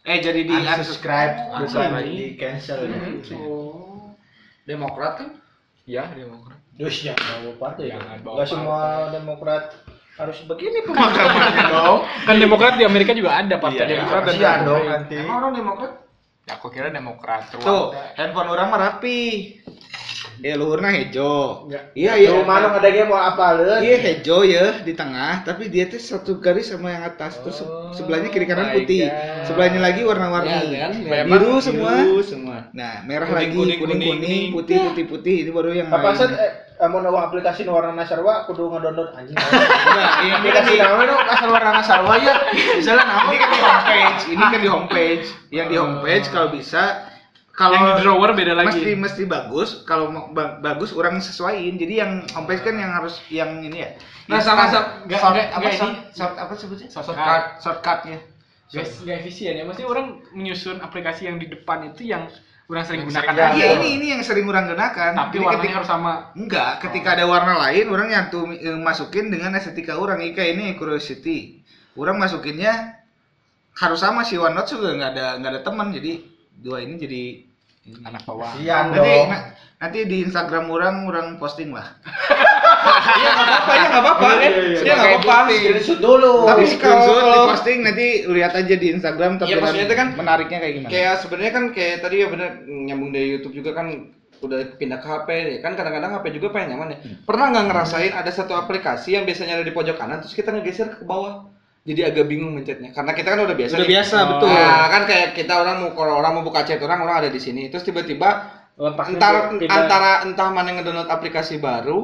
[SPEAKER 2] Eh jadi di
[SPEAKER 7] Unsubscribe bukan
[SPEAKER 2] Unsubscribe.
[SPEAKER 7] di cancel.
[SPEAKER 6] Hmm.
[SPEAKER 3] Iya.
[SPEAKER 4] oh
[SPEAKER 6] Demokrat kan?
[SPEAKER 1] ya demokrat
[SPEAKER 7] Dus jangan bawa partai.
[SPEAKER 1] Jangan bawa
[SPEAKER 7] Enggak semua demokrat harus begini
[SPEAKER 1] pemakamannya dong
[SPEAKER 4] kan demokrat di Amerika juga ada partai
[SPEAKER 7] Iya,
[SPEAKER 4] demokrat dan
[SPEAKER 7] kasihan dong
[SPEAKER 4] Republik.
[SPEAKER 7] nanti.
[SPEAKER 6] Emang orang Demokrat?
[SPEAKER 1] Ya, aku kira demokrat
[SPEAKER 2] Tuh,
[SPEAKER 1] Ruanda.
[SPEAKER 2] handphone orang mah rapi. Ya luhurna hejo.
[SPEAKER 4] Nggak.
[SPEAKER 2] Iya,
[SPEAKER 7] Iya, mana ada ge mau apaleun.
[SPEAKER 2] Iya hejo ya di tengah, tapi dia tuh satu garis sama yang atas tuh se-
[SPEAKER 1] Oh
[SPEAKER 2] sebelahnya kiri kanan
[SPEAKER 1] my
[SPEAKER 7] ya.
[SPEAKER 2] putih,
[SPEAKER 1] God.
[SPEAKER 2] sebelahnya lagi warna-warni,
[SPEAKER 1] Iya kan? Memang
[SPEAKER 2] biru semua.
[SPEAKER 7] Biru semua.
[SPEAKER 2] Nah merah
[SPEAKER 1] Kuning-kuning,
[SPEAKER 2] lagi kuning kuning,
[SPEAKER 1] kuning-kuning.
[SPEAKER 2] putih putih putih Nah, ini baru yang
[SPEAKER 7] Apa sih
[SPEAKER 2] lain.
[SPEAKER 7] eh, mau nawa aplikasi nu warna nasarwa kudu ngedownload anjing.
[SPEAKER 2] Enggak, ini kan di
[SPEAKER 7] Aplikasi
[SPEAKER 2] dong asal warna sarwa ya. Misalnya apa? Ini kan di homepage, ini kan di homepage. Yang di homepage kalau bisa kalau
[SPEAKER 4] yang di drawer beda lagi
[SPEAKER 2] mesti mesti bagus kalau mau ba- bagus orang sesuaiin jadi yang homepage kan yang harus yang ini ya
[SPEAKER 6] Nah,
[SPEAKER 2] Instan.
[SPEAKER 6] sama sama
[SPEAKER 1] Nggak,
[SPEAKER 2] Short-
[SPEAKER 1] nggak,
[SPEAKER 2] apa
[SPEAKER 1] nggak,
[SPEAKER 2] short-
[SPEAKER 1] ini.
[SPEAKER 2] short- apa sebutnya
[SPEAKER 1] Shortcut.
[SPEAKER 2] shortcutnya
[SPEAKER 4] guys nggak efisien ya mesti orang menyusun aplikasi yang di depan itu yang orang sering
[SPEAKER 1] Yang
[SPEAKER 4] gunakan
[SPEAKER 1] sering
[SPEAKER 4] aja.
[SPEAKER 2] iya ini ini yang sering orang gunakan
[SPEAKER 4] tapi
[SPEAKER 2] Jadi
[SPEAKER 4] warnanya
[SPEAKER 2] ketika-
[SPEAKER 4] harus sama
[SPEAKER 2] enggak ketika ada warna lain orang yang tuh eh, masukin dengan estetika orang Ika ini curiosity orang masukinnya harus sama si OneNote juga nggak ada nggak ada teman jadi dua ini jadi
[SPEAKER 1] anak bawah
[SPEAKER 7] Sian
[SPEAKER 3] Ya,
[SPEAKER 2] nanti
[SPEAKER 7] dong.
[SPEAKER 2] na- nanti di Instagram orang orang posting lah
[SPEAKER 6] Apanya nggak apa-apa
[SPEAKER 7] Iya,
[SPEAKER 4] Iya,
[SPEAKER 6] kan?
[SPEAKER 3] Iya,
[SPEAKER 2] ya nggak apa-apa
[SPEAKER 7] Screenshot
[SPEAKER 4] Oh,
[SPEAKER 7] dulu.
[SPEAKER 2] tapi kalau
[SPEAKER 6] screenshot,
[SPEAKER 2] kalau posting nanti lihat aja di Instagram
[SPEAKER 6] Iya,
[SPEAKER 2] tampilan
[SPEAKER 6] maksudnya itu kan-
[SPEAKER 2] menariknya kayak gimana
[SPEAKER 6] Kayak sebenarnya kan kayak tadi ya bener nyambung dari YouTube juga kan udah pindah ke HP ya kan kadang-kadang HP juga pengen nyaman ya. Pernah nggak ngerasain ada satu aplikasi yang biasanya ada di pojok kanan terus kita ngegeser ke bawah. Jadi agak bingung mencetnya karena kita kan udah biasa.
[SPEAKER 2] sudah
[SPEAKER 6] nih.
[SPEAKER 2] biasa
[SPEAKER 7] Oh.
[SPEAKER 2] betul
[SPEAKER 6] Nah, kan kayak kita orang mau kalau orang mau buka chat orang orang ada di sini terus tiba-tiba
[SPEAKER 4] letaknya
[SPEAKER 6] entar
[SPEAKER 4] beda.
[SPEAKER 6] antara entah mana yang ngedownload aplikasi baru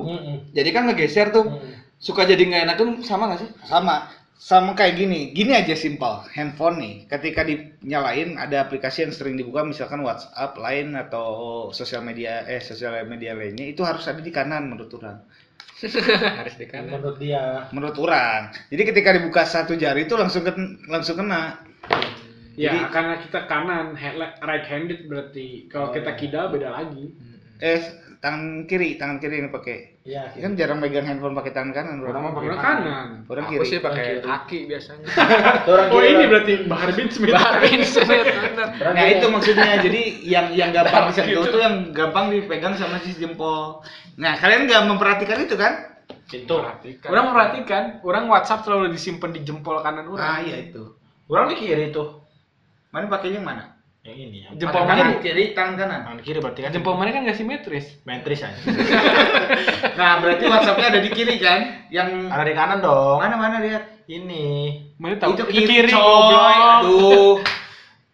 [SPEAKER 6] jadi kan ngegeser tuh suka jadi nggak enak tuh sama nggak sih?
[SPEAKER 2] sama sama kayak gini gini aja simpel handphone nih ketika dinyalain ada aplikasi yang sering dibuka misalkan WhatsApp lain atau sosial media eh sosial media lainnya itu harus ada di kanan menurut orang
[SPEAKER 1] harus di kanan
[SPEAKER 7] Menurut dia
[SPEAKER 2] menurut orang jadi ketika dibuka satu jari itu langsung ke- langsung kena
[SPEAKER 4] ya
[SPEAKER 2] Jadi-
[SPEAKER 4] karena kita kanan right handed berarti kalau kita kidal beda lagi
[SPEAKER 2] eh tangan kiri tangan kiri yang pakai
[SPEAKER 7] ya
[SPEAKER 2] kan jarang megang handphone pakai tangan kanan
[SPEAKER 6] Orang
[SPEAKER 2] orang
[SPEAKER 6] mah pakai
[SPEAKER 4] orang kanan
[SPEAKER 2] orang
[SPEAKER 1] aku
[SPEAKER 2] kiri
[SPEAKER 1] sih pakai kaki biasanya
[SPEAKER 7] orang
[SPEAKER 4] oh ini
[SPEAKER 7] kira-
[SPEAKER 4] berarti Bahar bin Smith
[SPEAKER 1] Barbin Smith bener
[SPEAKER 7] orang
[SPEAKER 2] Nah
[SPEAKER 7] kira-
[SPEAKER 2] itu maksudnya jadi yang yang
[SPEAKER 4] Nah,
[SPEAKER 2] gampang disentuh
[SPEAKER 4] gitu.
[SPEAKER 2] tuh yang gampang dipegang sama si jempol. Nah kalian nggak memperhatikan itu kan?
[SPEAKER 1] itu
[SPEAKER 4] orang memperhatikan orang WhatsApp selalu disimpan di jempol kanan
[SPEAKER 2] Ah
[SPEAKER 4] orang
[SPEAKER 2] iya itu.
[SPEAKER 7] orang kiri tuh
[SPEAKER 2] Mana pakainya yang mana?
[SPEAKER 7] yang ini ya.
[SPEAKER 4] jempol
[SPEAKER 2] Tangan
[SPEAKER 4] mana
[SPEAKER 2] kiri, tangan kanan.
[SPEAKER 7] Tangan kiri berarti kan
[SPEAKER 4] jempol mana kan nggak simetris
[SPEAKER 7] mentris aja.
[SPEAKER 2] Nah berarti WhatsAppnya ada di kiri kan? Yang
[SPEAKER 7] Ada di kanan dong.
[SPEAKER 2] mana mana lihat?
[SPEAKER 7] Ini.
[SPEAKER 4] mana tahu
[SPEAKER 2] Itu
[SPEAKER 4] Itu
[SPEAKER 2] kiri,
[SPEAKER 4] goblok.
[SPEAKER 2] coy. Aduh.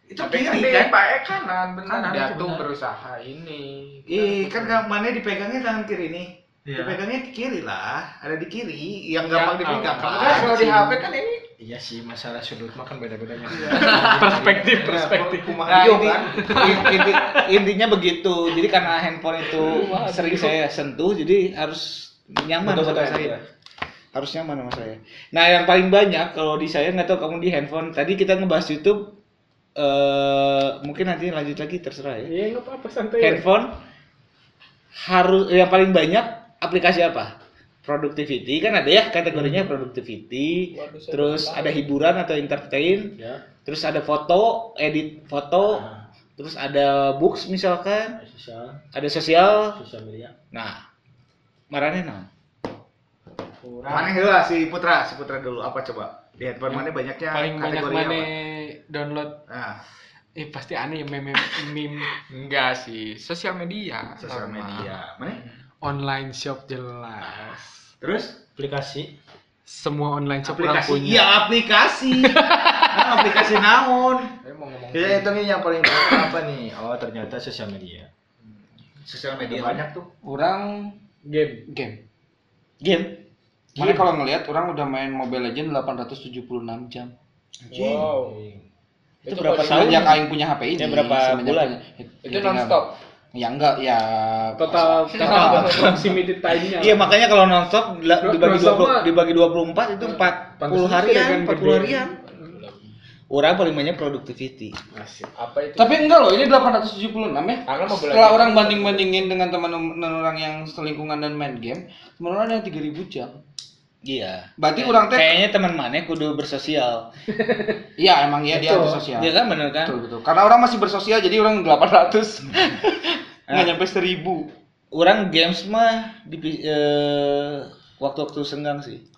[SPEAKER 2] Itu
[SPEAKER 1] tapi kan
[SPEAKER 2] kiri
[SPEAKER 1] dia
[SPEAKER 2] kan?
[SPEAKER 1] pakai kanan benar
[SPEAKER 2] Kanan,
[SPEAKER 1] dia
[SPEAKER 2] itu
[SPEAKER 1] tuh
[SPEAKER 2] benar.
[SPEAKER 1] Kan berusaha ini
[SPEAKER 2] Ih kan nggak- mana dipegangnya tangan kiri nih?
[SPEAKER 7] Iya.
[SPEAKER 2] Dipegangnya di kiri lah, ada di kiri yang
[SPEAKER 4] Ya,
[SPEAKER 2] gampang dipegang.
[SPEAKER 1] Kamu
[SPEAKER 2] Kan
[SPEAKER 1] kan kalau di HP kan ini
[SPEAKER 7] Iya sih masalah sudut makan
[SPEAKER 3] kan
[SPEAKER 7] beda-beda.
[SPEAKER 9] Iya.
[SPEAKER 4] perspektif
[SPEAKER 3] Iya.
[SPEAKER 4] perspektif
[SPEAKER 2] Nah, inti-
[SPEAKER 3] kan?
[SPEAKER 7] kan?
[SPEAKER 2] in- inti- intinya begitu. Jadi karena handphone itu sering saya sentuh, jadi harus nyaman
[SPEAKER 7] Betul,
[SPEAKER 2] sama
[SPEAKER 7] betul, iya.
[SPEAKER 2] saya.
[SPEAKER 7] betul.
[SPEAKER 2] Harus nyaman sama saya. Nah, yang paling banyak kalau di saya nggak tahu kamu di handphone. Tadi kita ngebahas YouTube, eh mungkin nanti lanjut lagi terserah ya.
[SPEAKER 4] iya nggak apa-apa santai
[SPEAKER 2] Handphone harus yang paling banyak aplikasi apa? Productivity kan ada ya kategorinya productivity.
[SPEAKER 1] Waduh, saya
[SPEAKER 2] terus
[SPEAKER 1] baru tahu.
[SPEAKER 2] ada hiburan atau entertain.
[SPEAKER 7] Ya.
[SPEAKER 2] Terus ada foto, edit foto,
[SPEAKER 7] Nah,
[SPEAKER 2] terus ada books misalkan,
[SPEAKER 7] sosial
[SPEAKER 2] ada sosial.
[SPEAKER 7] sosial media.
[SPEAKER 2] Nah, marane naon?
[SPEAKER 4] kurang
[SPEAKER 9] Mana heula si Putra, si Putra dulu apa coba? Di handphone mana banyaknya
[SPEAKER 4] paling banyak
[SPEAKER 9] kategorinya
[SPEAKER 4] mana
[SPEAKER 9] apa?
[SPEAKER 4] download
[SPEAKER 9] Nah,
[SPEAKER 4] eh pasti aneh ya meme meme
[SPEAKER 1] Enggak sih, sosial media.
[SPEAKER 9] sosial
[SPEAKER 1] sama.
[SPEAKER 9] media. Mana?
[SPEAKER 4] online shop jelas
[SPEAKER 9] Terus
[SPEAKER 3] aplikasi
[SPEAKER 4] semua online shop orang
[SPEAKER 9] aplikasi.
[SPEAKER 4] punya
[SPEAKER 9] Iya, aplikasi. Nah, aplikasi naon?
[SPEAKER 1] Saya mau ngomong.
[SPEAKER 3] ya
[SPEAKER 9] Iya,
[SPEAKER 3] itu nih yang paling banyak apa nih oh ternyata sosial media
[SPEAKER 9] Hmm. Sosial
[SPEAKER 3] ada
[SPEAKER 9] media
[SPEAKER 3] banyak tuh
[SPEAKER 10] Orang
[SPEAKER 4] game
[SPEAKER 10] game.
[SPEAKER 2] game
[SPEAKER 10] Mana kalau ngelihat orang udah main Mobile Legend 876 jam.
[SPEAKER 4] wow
[SPEAKER 2] itu berapa tahun
[SPEAKER 10] Semenjak aing punya HP ini.
[SPEAKER 2] Ya, berapa
[SPEAKER 10] semenjak
[SPEAKER 2] bulan?
[SPEAKER 10] punya-
[SPEAKER 1] Itu
[SPEAKER 10] ya,
[SPEAKER 1] nonstop.
[SPEAKER 10] tinggal- Ya enggak, ya
[SPEAKER 4] total total proximity time-nya
[SPEAKER 2] Iya makanya kalau nonstop dila-
[SPEAKER 4] Non-
[SPEAKER 2] dibagi
[SPEAKER 4] nonstop mah-
[SPEAKER 2] 20, dibagi 24 itu 40
[SPEAKER 4] Pantesan
[SPEAKER 2] harian,
[SPEAKER 4] kan
[SPEAKER 2] 40
[SPEAKER 4] gede.
[SPEAKER 2] harian. Orang paling banyak productivity.
[SPEAKER 1] Apa itu?
[SPEAKER 10] Tapi enggak loh, ini 876 ya.
[SPEAKER 1] Karena mau
[SPEAKER 10] Setelah
[SPEAKER 1] belajar.
[SPEAKER 10] orang banding-bandingin dengan teman-teman orang yang selingkungan dan main game, teman orang ada yang 3000 jam.
[SPEAKER 2] Iya.
[SPEAKER 10] Berarti orang teh
[SPEAKER 2] Kayaknya teman mana kudu bersosial.
[SPEAKER 10] Iya, emang iya dia bersosial.
[SPEAKER 2] Iya kan bener kan?
[SPEAKER 10] Betul, betul. Karena orang masih bersosial jadi orang 800. Nggak nyampe 1000.
[SPEAKER 2] Nah, Orang games mah di eh, waktu-waktu senggang sih.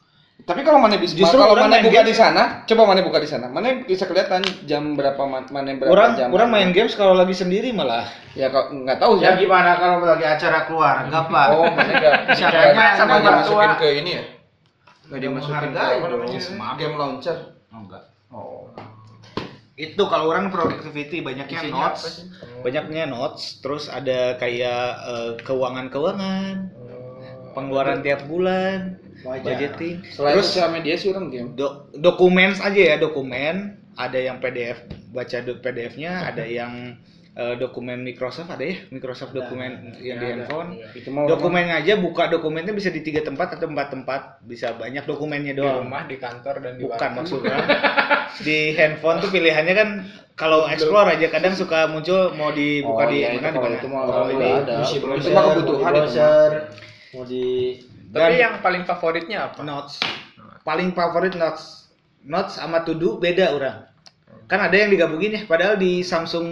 [SPEAKER 10] Tapi kalau mana bisa
[SPEAKER 2] Justru
[SPEAKER 10] kalau
[SPEAKER 2] orang
[SPEAKER 10] mana
[SPEAKER 2] main
[SPEAKER 10] buka
[SPEAKER 2] game- ya?
[SPEAKER 10] di sana, coba mana buka di sana. Mana bisa kelihatan jam berapa man- mana berapa
[SPEAKER 2] Orang
[SPEAKER 10] jam.
[SPEAKER 2] orang main games kalau lagi sendiri malah.
[SPEAKER 10] Ya kalau nggak tahu
[SPEAKER 3] ya
[SPEAKER 10] ya.
[SPEAKER 3] gimana kalau lagi acara keluarga pak
[SPEAKER 10] Oh, mana enggak bisa
[SPEAKER 3] Siapa yang main sama orang
[SPEAKER 10] dimasukin
[SPEAKER 3] tua?
[SPEAKER 10] ke ini ya. Enggak dimasukin ke
[SPEAKER 3] menghargai
[SPEAKER 10] apa namanya?
[SPEAKER 3] dong.
[SPEAKER 10] Smart. Game launcher.
[SPEAKER 9] Oh, enggak.
[SPEAKER 10] Oh.
[SPEAKER 9] Itu kalau orang productivity banyaknya notes.
[SPEAKER 2] Banyaknya notes, terus ada kayak eh, keuangan-keuangan, pengeluaran tiap bulan, budgeting.
[SPEAKER 10] Selain
[SPEAKER 2] Terus
[SPEAKER 10] sosial media sih orang game.
[SPEAKER 2] do dokumen aja ya dokumen ada yang PDF baca do- PDF-nya ada yang eh, dokumen Microsoft ada ya Microsoft dokumen
[SPEAKER 10] Iya,
[SPEAKER 2] yang di handphone
[SPEAKER 4] Iya,
[SPEAKER 10] Itu mau
[SPEAKER 2] dokumen aja buka dokumennya bisa di tiga tempat atau empat tempat bisa banyak
[SPEAKER 4] Iya.
[SPEAKER 2] dokumennya
[SPEAKER 1] di
[SPEAKER 2] doang
[SPEAKER 1] rumah, di kantor dan di
[SPEAKER 2] bukan maksudnya di handphone tuh pilihannya kan kalau explore aja kadang suka muncul mau dibuka
[SPEAKER 10] Oh,
[SPEAKER 2] di
[SPEAKER 10] iya, itu
[SPEAKER 2] mana di
[SPEAKER 10] kalau
[SPEAKER 2] mana
[SPEAKER 10] itu mau-
[SPEAKER 2] Kalau
[SPEAKER 10] kalau
[SPEAKER 2] ini
[SPEAKER 10] udah ada.
[SPEAKER 3] Isi
[SPEAKER 10] Itu mah
[SPEAKER 3] browser,
[SPEAKER 10] kebutuhan
[SPEAKER 3] mau di
[SPEAKER 10] itu mah.
[SPEAKER 3] browser, mau di
[SPEAKER 1] Tapi
[SPEAKER 2] Dan-
[SPEAKER 1] yang paling favoritnya
[SPEAKER 4] Nah,
[SPEAKER 1] apa?
[SPEAKER 2] notes paling favorit notes notes sama to do beda orang kan ada yang digabungin ya padahal di Samsung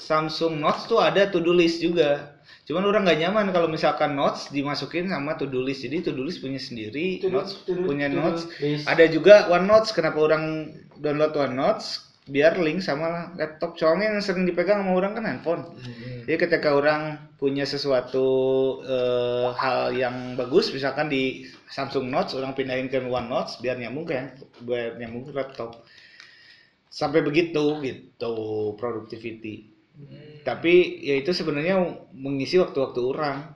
[SPEAKER 2] Samsung Notes tuh ada to do list juga cuman orang nggak nyaman kalau misalkan notes dimasukin sama to do list jadi to do list punya sendiri notes punya notes ada juga OneNotes kenapa orang download OneNotes biar link sama laptop soalnya yang sering dipegang sama orang kan handphone jadi ketika orang punya sesuatu eh, hal yang bagus misalkan di Samsung Notes orang pindahin ke OneNotes biar nyambung ke hand- biar nyambung ke laptop sampai begitu gitu productivity tapi ya itu sebenarnya mengisi waktu-waktu orang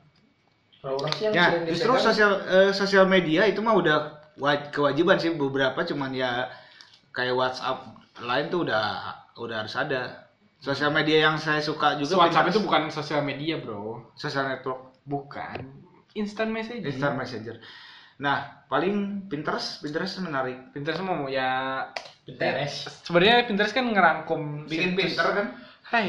[SPEAKER 3] kalau orang sih yang
[SPEAKER 2] ya
[SPEAKER 3] sering
[SPEAKER 2] justru
[SPEAKER 3] dipegang,
[SPEAKER 2] sosial eh, sosial media itu mah udah wa- kewajiban sih beberapa cuman ya kayak WhatsApp lain tuh udah udah harus ada sosial media yang saya suka juga
[SPEAKER 4] WhatsApp itu
[SPEAKER 2] pinter-
[SPEAKER 4] bukan sosial media bro
[SPEAKER 2] sosial network
[SPEAKER 4] bukan instant message
[SPEAKER 2] instant messenger nah paling Pinterest Pinterest menarik
[SPEAKER 4] Pinterest mau ya
[SPEAKER 3] Pinterest.
[SPEAKER 4] sebenarnya Pinterest kan ngerangkum
[SPEAKER 9] Bikin
[SPEAKER 4] situs.
[SPEAKER 9] pinter kan?
[SPEAKER 4] Hai.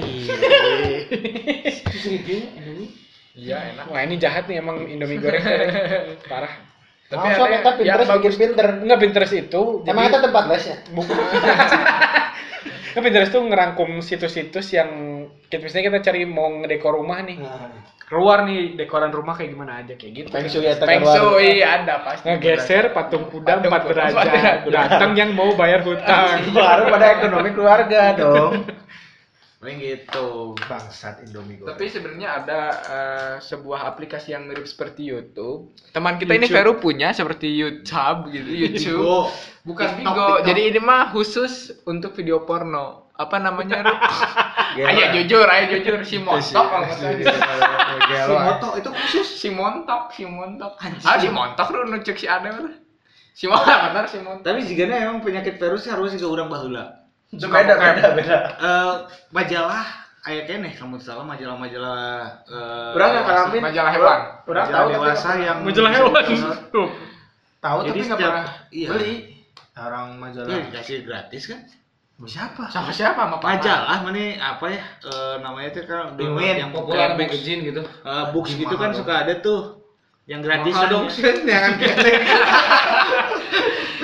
[SPEAKER 1] Iya, enak.
[SPEAKER 4] Wah ini jahat nih emang Indomie goreng goreng. parah.
[SPEAKER 1] Tapi
[SPEAKER 3] Masa
[SPEAKER 1] ada
[SPEAKER 3] kita
[SPEAKER 1] yang ya,
[SPEAKER 3] Pinterest bikin
[SPEAKER 1] bagus.
[SPEAKER 3] pinter
[SPEAKER 4] Enggak Pinterest itu
[SPEAKER 3] emang
[SPEAKER 4] jadi-
[SPEAKER 3] itu tempat
[SPEAKER 10] ya?
[SPEAKER 3] lesnya
[SPEAKER 4] Kan Pinterest tuh ngerangkum situs-situs yang kita misalnya kita cari mau ngedekor rumah nih.
[SPEAKER 3] Nah.
[SPEAKER 4] Keluar nih dekoran rumah kayak gimana aja kayak gitu.
[SPEAKER 3] Feng Shui ya
[SPEAKER 1] Feng Shui ada pasti.
[SPEAKER 4] Ngegeser patung kuda
[SPEAKER 1] Patung
[SPEAKER 4] empat
[SPEAKER 1] kuda empat
[SPEAKER 4] derajat.
[SPEAKER 1] derajat.
[SPEAKER 4] Datang yang mau bayar hutang.
[SPEAKER 3] baru pada ekonomi keluarga dong
[SPEAKER 9] Paling gitu.
[SPEAKER 3] bangsat Indomie goreng.
[SPEAKER 1] Tapi sebenarnya ada eh, sebuah aplikasi yang mirip seperti YouTube. Teman kita ini
[SPEAKER 4] YouTube.
[SPEAKER 1] Vero punya seperti YouTube gitu, YouTube.
[SPEAKER 9] Go.
[SPEAKER 1] Bukan
[SPEAKER 9] TikTok,
[SPEAKER 1] Bigo.
[SPEAKER 9] TikTok.
[SPEAKER 1] Jadi ini mah khusus untuk video porno. Apa namanya, Ru?
[SPEAKER 3] Ya.
[SPEAKER 1] ayo jujur, ayo jujur si montok kalau nggak
[SPEAKER 9] Si
[SPEAKER 1] salah.
[SPEAKER 2] eh.
[SPEAKER 9] moto itu khusus.
[SPEAKER 1] Si montok, si montok. Ah, si montok lu nucuk si Ade bener. Si montok bener si montok.
[SPEAKER 9] Tapi jika emang penyakit virus harus ke orang bahula.
[SPEAKER 3] beda beda beda
[SPEAKER 9] Eh majalah ayat keneh kamu salah majalah-majalah eh
[SPEAKER 3] Orang nggak ngalamin
[SPEAKER 1] Majalah hewan.
[SPEAKER 3] orang
[SPEAKER 9] majalah
[SPEAKER 3] tahu tapi
[SPEAKER 9] dewasa yang
[SPEAKER 4] Majalah hewan. Tuh.
[SPEAKER 3] tahu
[SPEAKER 9] Jadi
[SPEAKER 3] tapi nggak
[SPEAKER 9] setiap-
[SPEAKER 3] pernah
[SPEAKER 9] iya.
[SPEAKER 3] beli orang majalah
[SPEAKER 9] Iya, dikasih gratis kan?
[SPEAKER 3] Mau siapa
[SPEAKER 1] Sama siapa? Sama Papa.
[SPEAKER 9] Majalah mana apa ya? eh, namanya itu kan
[SPEAKER 3] Penguin.
[SPEAKER 9] yang
[SPEAKER 1] Popular
[SPEAKER 9] kayak books,
[SPEAKER 1] magazine gitu.
[SPEAKER 9] eh, books gitu kan
[SPEAKER 3] Mahal
[SPEAKER 9] suka ada tuh yang gratis kan?
[SPEAKER 1] Mahal dong,
[SPEAKER 9] jangan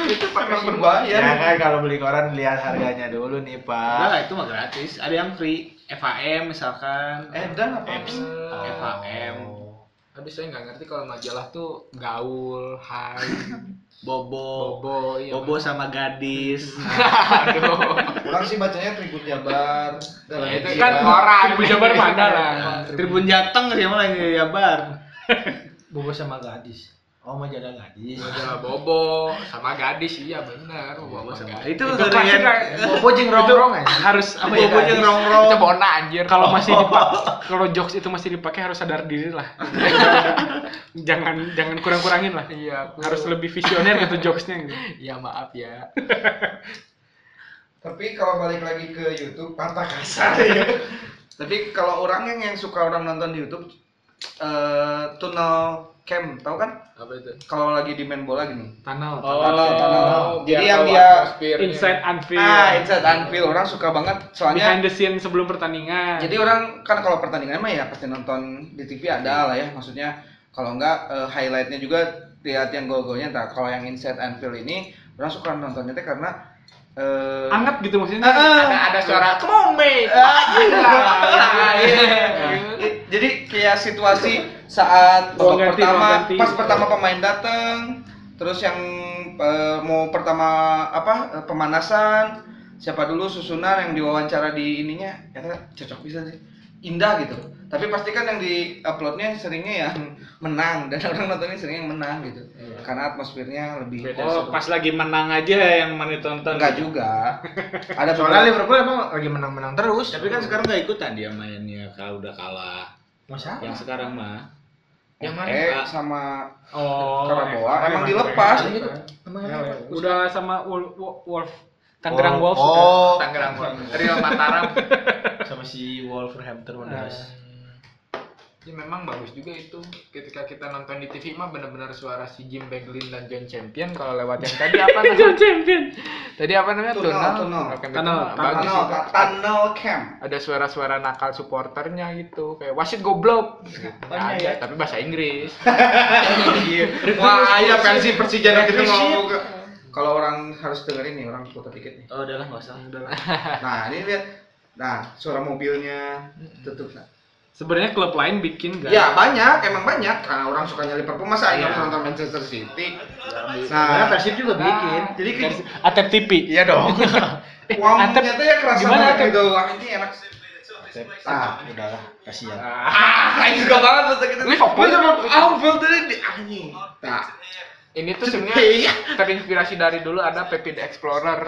[SPEAKER 10] itu memang berbahaya.
[SPEAKER 3] ya kan kalau beli koran lihat harganya dulu nih pak
[SPEAKER 9] Enggak, itu mah gratis.
[SPEAKER 3] Eh,
[SPEAKER 9] Ada yang free, FAM misalkan.
[SPEAKER 3] Oh.
[SPEAKER 10] Eh, dan apa?
[SPEAKER 9] FAM.
[SPEAKER 1] Tapi saya nggak ngerti kalau majalah tuh gaul, hai,
[SPEAKER 11] Bobo,
[SPEAKER 1] bobo, iya.
[SPEAKER 11] Bobo sama gadis.
[SPEAKER 1] Aduh.
[SPEAKER 2] Orang sih bacanya Tribun Jabar. dan
[SPEAKER 1] Ya, itu
[SPEAKER 2] Tribun
[SPEAKER 3] Iya,
[SPEAKER 1] kan Iya.
[SPEAKER 2] Jabar.
[SPEAKER 1] koran.
[SPEAKER 4] Tribun Jabar mana lah.
[SPEAKER 11] Tribun Jateng siapa lagi ya bar?
[SPEAKER 3] Bobo sama gadis. Oh, majalah gadis.
[SPEAKER 1] Majalah bobo sama gadis iya benar. Bobo
[SPEAKER 2] Ya,
[SPEAKER 1] sama gadis.
[SPEAKER 11] Itu
[SPEAKER 4] Itu pasti
[SPEAKER 2] kan.
[SPEAKER 11] seringan
[SPEAKER 4] kayak
[SPEAKER 3] Bobo Iya, jeng rongrong aja.
[SPEAKER 4] harus apa ya?
[SPEAKER 11] Bobo yang rongrong.
[SPEAKER 1] Itu bona anjir.
[SPEAKER 4] Kalau
[SPEAKER 2] Oh.
[SPEAKER 4] masih dipakai, kalau jokes itu masih dipakai harus sadar diri lah. jangan jangan kurang-kurangin lah.
[SPEAKER 1] iya, aku-
[SPEAKER 4] Harus lebih visioner gitu jokesnya gitu.
[SPEAKER 1] Iya maaf ya.
[SPEAKER 2] Tapi kalau balik lagi ke YouTube, patah kasar ya. Tapi kalau orang yang yang suka orang nonton di YouTube, eh tunnel cam, tahu kan?
[SPEAKER 1] Apa itu?
[SPEAKER 2] Kalau lagi di main bola gini.
[SPEAKER 4] Tanah.
[SPEAKER 3] Oh,
[SPEAKER 2] Jadi
[SPEAKER 1] Oh, biar
[SPEAKER 2] yang
[SPEAKER 1] tahu
[SPEAKER 2] dia-
[SPEAKER 3] iya,
[SPEAKER 1] atmosfernya.
[SPEAKER 4] Inside unfair.
[SPEAKER 2] Ah, inside unfeel orang suka banget. Soalnya
[SPEAKER 4] Behind the scene sebelum pertandingan.
[SPEAKER 2] Jadi orang kan kalau pertandingan mah ya pasti nonton di TV ada lah ya. Maksudnya kalau enggak eh, highlightnya juga lihat yang gol-golnya. Nah, kalau yang inside Anfield ini orang suka nontonnya teh karena eh
[SPEAKER 4] Anget gitu maksudnya.
[SPEAKER 2] Eh, eh.
[SPEAKER 1] Kan ada ada suara come on mate.
[SPEAKER 2] Ah, iya. Eh, Jadi kayak situasi saat
[SPEAKER 4] Gol
[SPEAKER 2] babak
[SPEAKER 4] ganti,
[SPEAKER 2] pertama,
[SPEAKER 4] gol ganti.
[SPEAKER 2] pas pertama pemain datang, terus yang eh, mau pertama apa eh, pemanasan, siapa dulu susunan yang diwawancara di ininya, ya kan, cocok bisa sih, indah gitu. Tapi pasti kan yang di uploadnya seringnya yang menang dan orang nontonnya sering yang menang gitu, karena atmosfernya lebih.
[SPEAKER 11] Oh, pas lagi menang aja yang mana tonton.
[SPEAKER 2] Enggak juga. Ada
[SPEAKER 3] Soalnya
[SPEAKER 2] beberapa-
[SPEAKER 3] Liverpool emang lagi menang-menang terus.
[SPEAKER 11] Tapi kan sekarang nggak ikutan dia mainnya kalau udah kalah.
[SPEAKER 3] Masa?
[SPEAKER 11] Yang sekarang mah.
[SPEAKER 1] Yang mana?
[SPEAKER 2] eh sama
[SPEAKER 4] Oh.
[SPEAKER 3] iya.
[SPEAKER 2] Karaboa
[SPEAKER 4] eh,
[SPEAKER 2] emang
[SPEAKER 4] eh,
[SPEAKER 2] dilepas.
[SPEAKER 4] eh,
[SPEAKER 3] Gitu. Emang
[SPEAKER 4] eh,
[SPEAKER 3] kenapa?
[SPEAKER 4] eh. Udah sama Wolf, Wolf Tangerang
[SPEAKER 3] Wolf.
[SPEAKER 4] Wolves.
[SPEAKER 3] Oh,
[SPEAKER 1] Tangerang Real Mataram.
[SPEAKER 3] sama si Wolverhampton
[SPEAKER 2] Nah.
[SPEAKER 3] Wanderers.
[SPEAKER 1] Ya memang bagus juga itu. Ketika kita nonton di TV mah benar-benar suara si Jim Beglin dan John Champion kalau lewat yang tadi apa
[SPEAKER 4] John
[SPEAKER 1] namanya?
[SPEAKER 4] Champion.
[SPEAKER 1] Tadi apa namanya?
[SPEAKER 2] Tunnel,
[SPEAKER 1] Tunnel.
[SPEAKER 2] tunnel.
[SPEAKER 1] Akan di
[SPEAKER 4] Tunnel,
[SPEAKER 1] tunnel. Bagus
[SPEAKER 2] Tunnel,
[SPEAKER 1] juga.
[SPEAKER 2] tunnel camp.
[SPEAKER 1] Ada suara-suara nakal supporternya gitu. Kayak wasit goblok. Nah, ada, tapi bahasa Inggris.
[SPEAKER 2] Wah, iya pensi Persija nanti tuh ngomong ke- Kalau orang harus dengerin nih, orang putar dikit nih.
[SPEAKER 11] Oh, udahlah nggak usah.
[SPEAKER 2] Nah, ini lihat. Nah, suara mobilnya tutup. Nah.
[SPEAKER 4] Sebenarnya klub lain bikin gak?
[SPEAKER 2] Ya banyak, emang banyak. Karena orang sukanya Liverpool, masa yang nonton Manchester City?
[SPEAKER 3] Karena
[SPEAKER 2] Nah,
[SPEAKER 3] Persib juga bikin.
[SPEAKER 2] jadi kayak
[SPEAKER 4] Atep TV.
[SPEAKER 2] iya dong. Uang
[SPEAKER 4] Atep-
[SPEAKER 2] ternyata ya kerasa
[SPEAKER 4] gimana
[SPEAKER 2] banget
[SPEAKER 4] Atep?
[SPEAKER 2] gitu. Wah, ini enak. Ah,
[SPEAKER 3] Udahlah, kasihan.
[SPEAKER 2] ah, juga banget tuh gitu.
[SPEAKER 1] Liverpool.
[SPEAKER 2] Anfield tadi di Iya. anjing. Nah,
[SPEAKER 1] Ini tuh
[SPEAKER 3] Iya,
[SPEAKER 1] sebenarnya terinspirasi dari dulu ada Pepe the Explorer.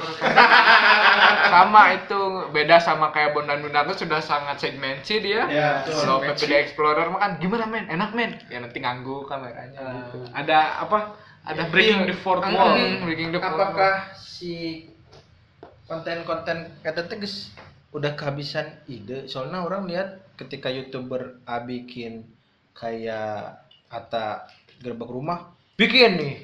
[SPEAKER 1] sama itu beda sama kayak Bondan Bondan tuh sudah sangat segmented ya.
[SPEAKER 2] ya.
[SPEAKER 1] Kalau Pepe the Explorer mah kan gimana men? Enak men? Ya nanti nganggu
[SPEAKER 4] Eh,
[SPEAKER 1] kameranya.
[SPEAKER 2] Iya.
[SPEAKER 4] Ada apa? Ada breaking the fourth
[SPEAKER 1] Mm,
[SPEAKER 4] wall.
[SPEAKER 1] breaking the fourth wall.
[SPEAKER 3] apakah si konten-konten kata tegas udah kehabisan ide soalnya orang lihat ketika youtuber A bikin kayak Ata gerbek rumah bikin nih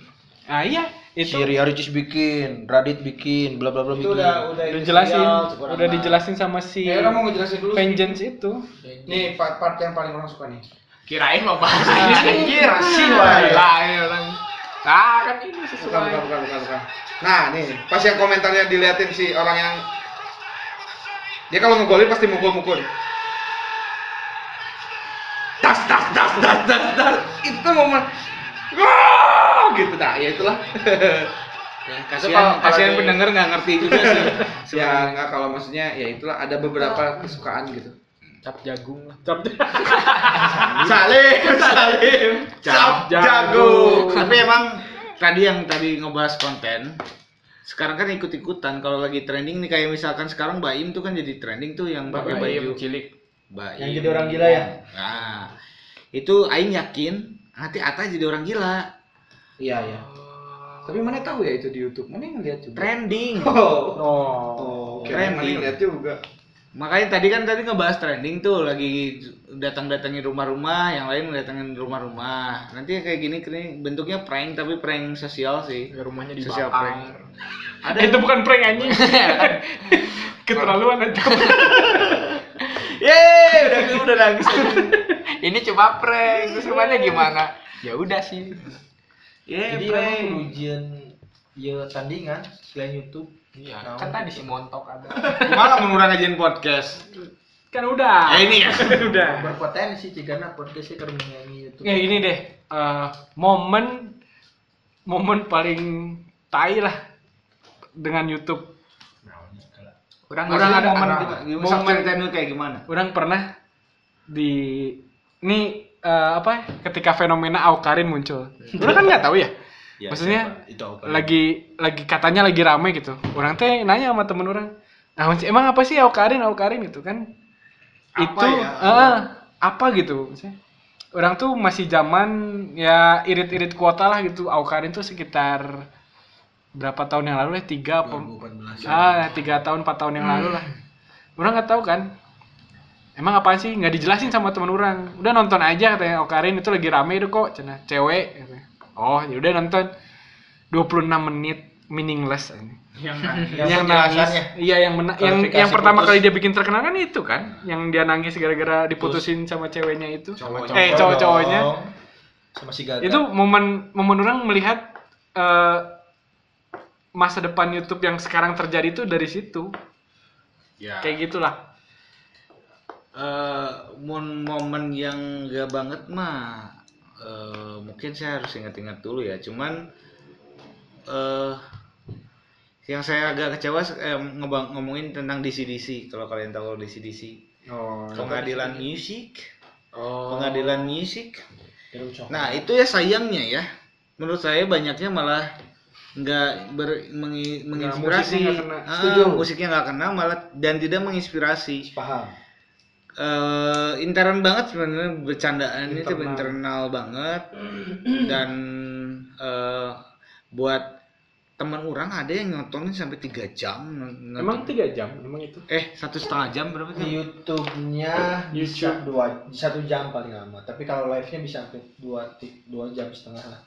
[SPEAKER 4] Ah iya, itu
[SPEAKER 3] si Ria Ricis bikin Radit bikin bla bla bla bikin
[SPEAKER 4] udah jelasin,
[SPEAKER 2] Iya,
[SPEAKER 3] kurang
[SPEAKER 4] udah
[SPEAKER 3] lah.
[SPEAKER 4] dijelasin sama si
[SPEAKER 2] Ya, orang mau ngejelasin dulu. sih.
[SPEAKER 4] Vengeance itu.
[SPEAKER 2] Nih part, part yang paling orang suka nih. Nah,
[SPEAKER 1] Kirain mau bahas anjir. Sih orang. Ah iya, kan
[SPEAKER 2] Bukan,
[SPEAKER 1] ini
[SPEAKER 2] bukan,
[SPEAKER 1] sesuai.
[SPEAKER 2] bukan, bukan, bukan. Nah, nih, pas yang komentarnya diliatin si orang yang dia kalau ngegolin pasti mukul-mukul. Das, das, das, das, das, das. Itu momen Wah,
[SPEAKER 3] Nah,
[SPEAKER 2] gitu dah. Ya itulah.
[SPEAKER 1] kalau-
[SPEAKER 11] Kasihan,
[SPEAKER 1] kalau
[SPEAKER 11] kasihan
[SPEAKER 1] di-
[SPEAKER 11] pendengar nggak ngerti juga sih.
[SPEAKER 2] ya enggak kalau maksudnya ya itulah ada beberapa kesukaan gitu.
[SPEAKER 1] Cap jagung lah.
[SPEAKER 4] Cap
[SPEAKER 2] Salim, salim. Cap
[SPEAKER 4] jago.
[SPEAKER 2] jago.
[SPEAKER 11] Tapi emang tadi yang tadi ngebahas konten, sekarang kan ikut-ikutan kalau lagi trending nih kayak misalkan sekarang Baim tuh kan jadi trending tuh yang pakai baju
[SPEAKER 1] cilik.
[SPEAKER 11] Baim.
[SPEAKER 3] Yang jadi orang gila ya?
[SPEAKER 11] Nah, itu aing yakin nanti Ata jadi orang gila.
[SPEAKER 2] Iya, iya. Tapi mana tahu ya itu di YouTube? Mana ngeliat juga?
[SPEAKER 11] Trending.
[SPEAKER 2] Oh.
[SPEAKER 4] Oh.
[SPEAKER 2] Oh,
[SPEAKER 11] Trending.
[SPEAKER 2] mana ngeliat juga.
[SPEAKER 11] Makanya tadi kan tadi ngebahas trending tuh lagi datang-datangin rumah-rumah, yang lain datangin rumah-rumah. Nanti kayak gini, gini bentuknya prank tapi prank sosial sih.
[SPEAKER 1] Rumahnya di
[SPEAKER 11] Sosial prank.
[SPEAKER 1] Bakar.
[SPEAKER 11] Ada
[SPEAKER 4] Eh, Itu bukan prank anjing. Keterlaluan aja.
[SPEAKER 11] Yeay, udah udah nangis.
[SPEAKER 1] Ini coba prank. Terus rumahnya gimana? Ya udah sih.
[SPEAKER 11] Yeay,
[SPEAKER 3] jadi memang
[SPEAKER 11] prank.
[SPEAKER 3] pengujian ya tandingan selain YouTube
[SPEAKER 1] Iya.
[SPEAKER 3] Nah,
[SPEAKER 1] Kan tadi si Montok ada.
[SPEAKER 11] Malah mengurang ajain podcast.
[SPEAKER 4] Kan udah.
[SPEAKER 11] Ya ini ya.
[SPEAKER 4] udah.
[SPEAKER 2] Nah,
[SPEAKER 3] berpotensi jika podcast podcastnya keren menyanyi YouTube
[SPEAKER 4] ya ini deh eh, momen momen paling tai lah dengan YouTube
[SPEAKER 1] Kurang
[SPEAKER 2] Orang ada momen
[SPEAKER 1] anak-
[SPEAKER 2] gimana?
[SPEAKER 4] momen-
[SPEAKER 2] Sok ceritain dulu kayak gimana?
[SPEAKER 4] orang pernah di ini eh, apa ya, ketika fenomena Aukarin muncul orang kan nggak tahu ya
[SPEAKER 3] Ya,
[SPEAKER 4] Maksudnya,
[SPEAKER 3] siapa? itu apa?
[SPEAKER 4] lagi lagi katanya lagi rame gitu orang teh nanya sama temen orang "Ah, Once, emang apa sih Aukarin Aukarin gitu kan
[SPEAKER 12] Apa
[SPEAKER 4] itu
[SPEAKER 12] ya?
[SPEAKER 4] eh, apa gitu maksudnya. orang tuh masih zaman ya irit-irit kuota lah gitu Aukarin tuh sekitar berapa tahun yang lalu ya tiga apa
[SPEAKER 3] 2014.
[SPEAKER 4] ah tiga tahun empat tahun yang lalu lah orang nggak tahu kan emang apa sih nggak dijelasin sama teman orang udah nonton aja katanya Okarin itu lagi rame itu kok cina cewek katanya. oh ya udah nonton 26 menit meaningless ini yang nangis iya yang mena- yang
[SPEAKER 3] Klarifikasi
[SPEAKER 4] yang pertama
[SPEAKER 3] putus.
[SPEAKER 4] kali dia bikin terkenal kan itu kan yang dia nangis gara-gara diputusin sama ceweknya itu
[SPEAKER 1] Cowok-cowok
[SPEAKER 4] eh cowok-cowoknya
[SPEAKER 3] dong. sama si Gaga.
[SPEAKER 4] itu momen momen orang melihat eh, masa depan YouTube yang sekarang terjadi itu dari situ
[SPEAKER 2] Ya.
[SPEAKER 4] kayak gitulah
[SPEAKER 2] eh mon- momen yang gak banget mah eh, mungkin saya harus ingat-ingat dulu ya cuman eh yang saya agak kecewa eh, ngebang- ngomongin tentang DCDC kalau kalian tahu DCDC
[SPEAKER 12] Oh,
[SPEAKER 4] ya.
[SPEAKER 2] pengadilan musik
[SPEAKER 12] oh.
[SPEAKER 2] pengadilan musik nah itu ya sayangnya ya menurut saya banyaknya malah nggak ber- mengi- menginspirasi
[SPEAKER 4] musiknya nggak kena.
[SPEAKER 2] Ah,
[SPEAKER 12] Setuju.
[SPEAKER 2] musiknya nggak kena malah dan tidak menginspirasi
[SPEAKER 12] paham.
[SPEAKER 2] eh intern banget sebenarnya bercandaan itu
[SPEAKER 4] Internal.
[SPEAKER 2] internal banget dan eh buat teman orang ada yang nontonin sampai tiga jam n- nonton.
[SPEAKER 4] emang tiga jam emang itu
[SPEAKER 2] eh satu setengah jam berapa
[SPEAKER 3] di
[SPEAKER 2] jam?
[SPEAKER 3] YouTube-nya bisa dua satu jam paling lama. Tapi kalau live-nya bisa sampai dua ti- dua jam setengah lah.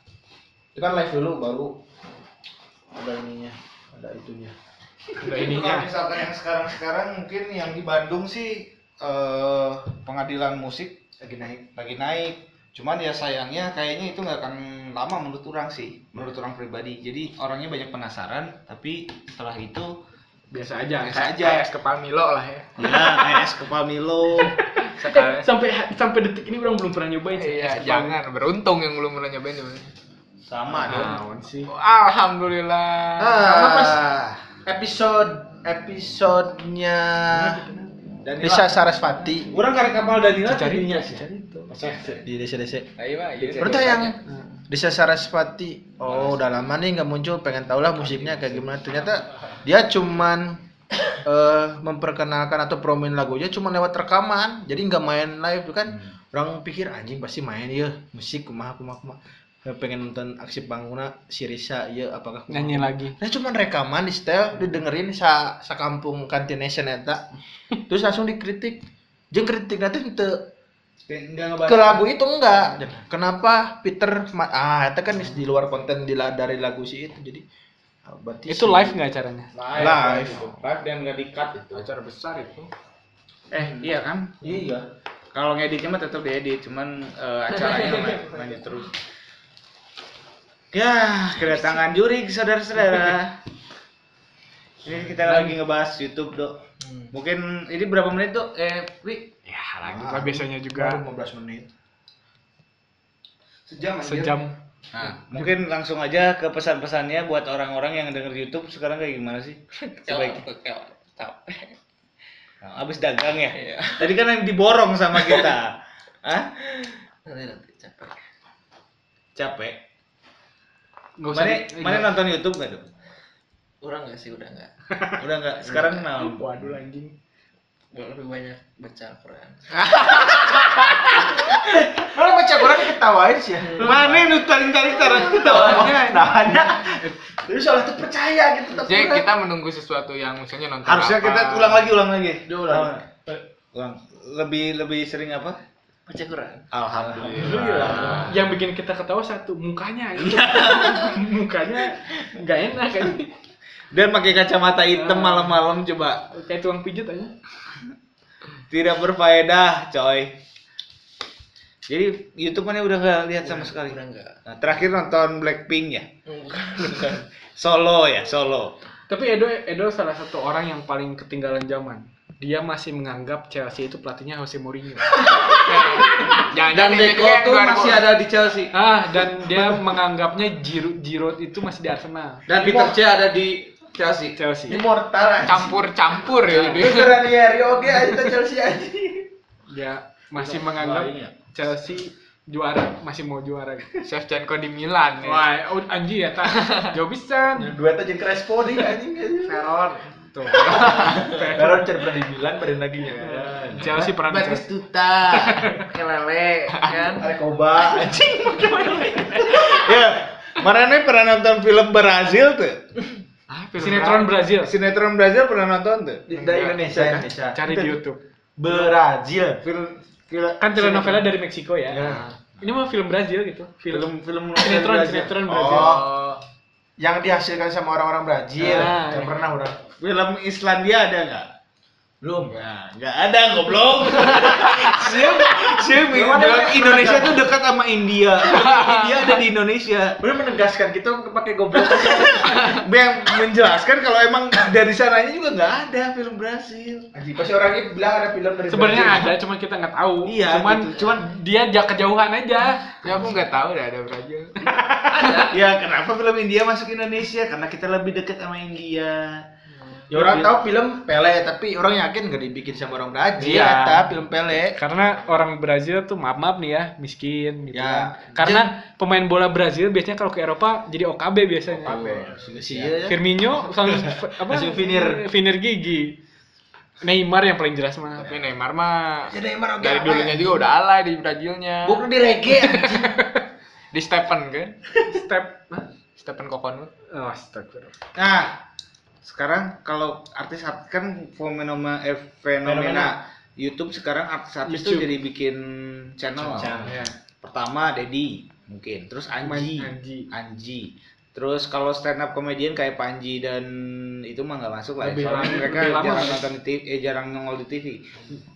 [SPEAKER 3] Itu kan live dulu baru ada ininya, ada itunya.
[SPEAKER 4] Iya.
[SPEAKER 12] Ini kalau misalkan yang sekarang-sekarang mungkin yang di Bandung sih
[SPEAKER 2] eh pengadilan musik lagi naik lagi naik cuman ya sayangnya kayaknya itu nggak akan lama menurut orang sih menurut orang pribadi jadi orangnya banyak penasaran tapi setelah itu
[SPEAKER 4] biasa aja
[SPEAKER 2] biasa aja
[SPEAKER 1] Kayak kepala Milo lah ya.
[SPEAKER 2] ya es kepala Milo
[SPEAKER 4] Eh,
[SPEAKER 1] Sekali.
[SPEAKER 4] sampai sampai detik ini orang belum pernah nyobain sih.
[SPEAKER 1] Iya, jangan. Beruntung yang belum pernah nyobain. ya, sebenarnya.
[SPEAKER 3] Nah,
[SPEAKER 2] sama dong
[SPEAKER 4] Naon sih
[SPEAKER 1] Alhamdulillah.
[SPEAKER 3] Ah. Episode episodenya
[SPEAKER 2] Dan
[SPEAKER 3] Desa Sarasvati
[SPEAKER 12] Orang karek kapal Danila
[SPEAKER 4] cari
[SPEAKER 12] tadinya sih.
[SPEAKER 4] sih
[SPEAKER 3] di desa desa.
[SPEAKER 1] Ayo, Ayo,
[SPEAKER 3] Berarti yang
[SPEAKER 1] ya.
[SPEAKER 3] Desa Sarasvati. Oh, udah lama nih nggak muncul. Pengen tahu lah musiknya kayak gimana. Ternyata dia cuman eh, memperkenalkan atau promoin lagunya cuma lewat rekaman. Jadi nggak main live Itu kan. Orang pikir anjing pasti main ya musik kumaha kumaha kumaha. Eh, Pengen nonton aksi Banguna Sirisa ya apakah kumaha.
[SPEAKER 4] nyanyi lagi
[SPEAKER 3] Nah cuman rekaman di setel didengerin sa sa kampung kantination eta. Terus langsung dikritik. Jeung kritik nanti teu ke lagu itu enggak kenapa Peter ma- ah itu kan di luar konten di la- dari lagu si itu jadi ah, berarti
[SPEAKER 4] itu
[SPEAKER 3] si-
[SPEAKER 4] live nggak caranya
[SPEAKER 3] Live.
[SPEAKER 2] live dan nggak dikat itu
[SPEAKER 1] acara besar itu.
[SPEAKER 2] eh iya kan
[SPEAKER 3] iya
[SPEAKER 2] kalau ngeditnya mah tetap diedit cuman eh, acaranya lan- lanjut terus ya kedatangan juri saudara-saudara ini kita lagi ngebahas YouTube dok mungkin ini berapa menit dok eh wi
[SPEAKER 4] ya lagi lah biasanya juga
[SPEAKER 3] 15 menit
[SPEAKER 12] Sejam anjir.
[SPEAKER 4] sejam
[SPEAKER 2] Nah, mungkin langsung aja ke pesan-pesannya buat orang-orang yang denger YouTube sekarang kayak gimana sih? Sebaik Nah, abis dagang ya.
[SPEAKER 3] Iya.
[SPEAKER 2] Tadi kan yang diborong sama kita. Hah? Capek.
[SPEAKER 4] nggak usah
[SPEAKER 2] Mana
[SPEAKER 4] di-
[SPEAKER 2] mana nonton YouTube gak dong?
[SPEAKER 1] Kurang gak sih udah gak?
[SPEAKER 2] Udah nggak. Sekarang kenal.
[SPEAKER 4] waduh anjing
[SPEAKER 1] Lebih banyak baca Al-Quran.
[SPEAKER 3] malah baca kurang ketawain sih ya
[SPEAKER 2] Mana yang paling tadi sekarang kita
[SPEAKER 3] nah ada jadi soalnya tuh percaya gitu tetap
[SPEAKER 1] Jadi kita menunggu sesuatu yang misalnya nonton
[SPEAKER 2] Harusnya
[SPEAKER 1] apa.
[SPEAKER 2] kita ulang lagi, ulang lagi.
[SPEAKER 3] Udah, ulang.
[SPEAKER 2] Ulang. Lebih lebih sering apa?
[SPEAKER 1] Baca Quran.
[SPEAKER 2] Alhamdulillah.
[SPEAKER 4] yang bikin kita ketawa satu mukanya anjing. mukanya nggak enak kan
[SPEAKER 2] Dan pakai kacamata hitam malam-malam coba.
[SPEAKER 4] kayak tuang pijat aja
[SPEAKER 2] tidak berfaedah coy jadi YouTube mana udah nggak lihat sama sekali
[SPEAKER 1] Udah gak?
[SPEAKER 2] nah, terakhir nonton Blackpink ya solo ya solo
[SPEAKER 4] tapi Edo Edo salah satu orang yang paling ketinggalan zaman dia masih menganggap Chelsea itu pelatihnya Jose Mourinho.
[SPEAKER 1] Jangan
[SPEAKER 6] Dan Deco tuh masih ada di Chelsea.
[SPEAKER 4] ah, dan dia menganggapnya Giroud Giroud itu masih di Arsenal.
[SPEAKER 6] Dan Peter C ada di Chelsea.
[SPEAKER 4] Chelsea.
[SPEAKER 7] Immortal aja.
[SPEAKER 1] campur-campur ya. dia.
[SPEAKER 7] Beneran ya, Rio oke aja kita Chelsea aja.
[SPEAKER 4] Dia masih menganggap Chelsea juara, masih mau juara.
[SPEAKER 1] Shevchenko di Milan ya.
[SPEAKER 4] Wah, oh, anjir ya, tak jauh pisan.
[SPEAKER 7] Duet aja Crespo nih anjing.
[SPEAKER 4] Teror. Tuh.
[SPEAKER 7] Baron cerpen di Milan badan lagi ya.
[SPEAKER 4] Chelsea pernah di Chelsea.
[SPEAKER 1] Tuta, kelele, kan?
[SPEAKER 7] Ada Koba.
[SPEAKER 2] Ya, mana nih pernah nonton film Brazil tuh?
[SPEAKER 1] Ah, film
[SPEAKER 4] Sinetron Brazil.
[SPEAKER 2] Sinetron Brazil pernah nonton tuh?
[SPEAKER 7] Tidak Indonesia, Indonesia.
[SPEAKER 4] Cari di YouTube.
[SPEAKER 7] Brazil.
[SPEAKER 2] Film film
[SPEAKER 4] Kan telenovela dari Meksiko ya.
[SPEAKER 3] Iya.
[SPEAKER 7] Ya.
[SPEAKER 4] Ini mah film Brazil gitu. Film
[SPEAKER 2] film film
[SPEAKER 4] sinetron
[SPEAKER 2] Brazil.
[SPEAKER 4] sinetron Brazil.
[SPEAKER 7] Oh. Yang dihasilkan sama orang-orang Brazil.
[SPEAKER 4] Ah,
[SPEAKER 7] Yang
[SPEAKER 4] iya.
[SPEAKER 7] pernah orang.
[SPEAKER 2] Film Islandia ada nggak?
[SPEAKER 7] Belum.
[SPEAKER 2] Nah, nggak ada goblok. Siap, siap.
[SPEAKER 7] Belum ada.
[SPEAKER 2] bilang Indonesia tuh dekat sama India. India ada di Indonesia.
[SPEAKER 7] Belum menegaskan kita pakai goblok.
[SPEAKER 2] Yang menjelaskan kalau emang dari sananya juga nggak ada film Brazil.
[SPEAKER 7] Anjing, pasti orang ini bilang ada film dari
[SPEAKER 4] Sebenarnya
[SPEAKER 7] Brazil.
[SPEAKER 4] ada, cuman kita nggak tahu.
[SPEAKER 2] Iya,
[SPEAKER 4] cuman
[SPEAKER 2] gitu.
[SPEAKER 4] cuman dia ja- kejauhan aja.
[SPEAKER 1] Ya aku nggak tahu dah ada Brazil.
[SPEAKER 2] Ya kenapa film India masuk Indonesia? Karena kita lebih dekat sama India.
[SPEAKER 7] Ya orang
[SPEAKER 4] Iya.
[SPEAKER 7] tahu film Pele tapi orang yakin gak dibikin sama orang Brazil.
[SPEAKER 4] Iya.
[SPEAKER 7] eta film Pele.
[SPEAKER 4] Karena orang Brazil tuh maaf maaf nih ya, miskin gitu.
[SPEAKER 7] Ya.
[SPEAKER 4] kan. Karena pemain bola Brazil biasanya kalau ke Eropa jadi OKB biasanya.
[SPEAKER 7] Si ya.
[SPEAKER 4] Iya. Firmino sama apa?
[SPEAKER 7] Masih finir.
[SPEAKER 4] finir gigi. Neymar yang paling jelas mah.
[SPEAKER 1] Tapi Neymar mah
[SPEAKER 7] Jadi Neymar oke.
[SPEAKER 1] dari
[SPEAKER 7] apa?
[SPEAKER 1] dulunya juga udah alay di Brazilnya.
[SPEAKER 7] Buk di reggae. anjing.
[SPEAKER 1] Di Stephen kan?
[SPEAKER 4] Step. Hah?
[SPEAKER 1] Stephen Kokonut.
[SPEAKER 4] Oh, astagfirullah.
[SPEAKER 2] Nah, sekarang kalau artis artis kan fenomena eh, fenomena,
[SPEAKER 7] Fenomena.
[SPEAKER 2] YouTube sekarang artis-artis tuh
[SPEAKER 4] YouTube.
[SPEAKER 2] jadi bikin channel.
[SPEAKER 4] Ya.
[SPEAKER 2] Pertama Dedi mungkin, terus Anji.
[SPEAKER 4] Anji.
[SPEAKER 2] Anji. Terus kalau stand up comedian kayak Panji dan itu mah nggak masuk lah. ya.
[SPEAKER 4] Lebih
[SPEAKER 2] Soalnya
[SPEAKER 4] lama-
[SPEAKER 2] mereka
[SPEAKER 4] lebih lama
[SPEAKER 2] jarang
[SPEAKER 4] sih.
[SPEAKER 2] nonton di TV, eh jarang nongol di TV.